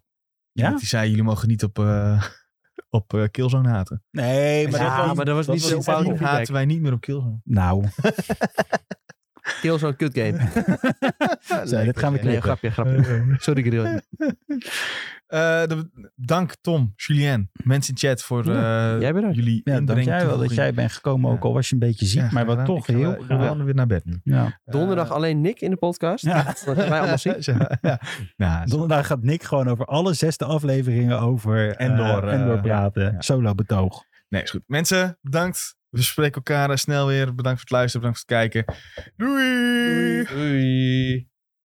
[SPEAKER 3] Ja?
[SPEAKER 1] Want Die zei, jullie mogen niet op, eh [laughs] op eh, Killzone haten.
[SPEAKER 3] Nee, maar
[SPEAKER 2] Ja,
[SPEAKER 3] dat was...
[SPEAKER 2] maar dat was
[SPEAKER 1] Dat
[SPEAKER 2] niet zo
[SPEAKER 1] was
[SPEAKER 2] fout.
[SPEAKER 1] Sindsdien haten wij niet meer op Killzone.
[SPEAKER 3] [laughs]
[SPEAKER 1] [laughs]
[SPEAKER 3] Nou,
[SPEAKER 2] Kill zo'n kut
[SPEAKER 3] [laughs]
[SPEAKER 2] game.
[SPEAKER 3] zo, dit gaan
[SPEAKER 2] Nee,
[SPEAKER 3] we knippen.
[SPEAKER 2] grapje,
[SPEAKER 3] [laughs]
[SPEAKER 2] grapje. Sorry, Grill.
[SPEAKER 1] Eh, de- dank Tom, Julien, mensen in chat voor eh,
[SPEAKER 2] Jij bent er.
[SPEAKER 1] jullie
[SPEAKER 3] Ja, dank
[SPEAKER 1] inbreng.
[SPEAKER 3] jij wel dat
[SPEAKER 1] toevoeging.
[SPEAKER 3] jij bent gekomen, ook
[SPEAKER 1] Ja.
[SPEAKER 3] al was je een beetje ziek.
[SPEAKER 1] Ja,
[SPEAKER 3] maar wat
[SPEAKER 1] gedaan.
[SPEAKER 3] toch
[SPEAKER 1] Ik ga
[SPEAKER 3] heel
[SPEAKER 1] wel- Ik ga
[SPEAKER 3] graag.
[SPEAKER 1] wel weer naar bed nu. Eh,
[SPEAKER 3] Ja.
[SPEAKER 2] Donderdag alleen Nick in de podcast.
[SPEAKER 3] Ja.
[SPEAKER 2] Dat wij allemaal zien.
[SPEAKER 1] [laughs] ja. ja.
[SPEAKER 2] [laughs]
[SPEAKER 1] Nou,
[SPEAKER 3] Donderdag gaat Nick gewoon over alle zesde afleveringen over eh,
[SPEAKER 1] Endor, eh,
[SPEAKER 3] Endor praten.
[SPEAKER 1] ja.
[SPEAKER 3] Solo betoog.
[SPEAKER 1] nee, is goed. Mensen, bedankt. We spreken elkaar eh, snel weer. Bedankt voor het luisteren, bedankt voor het kijken. Doei!
[SPEAKER 2] Doei.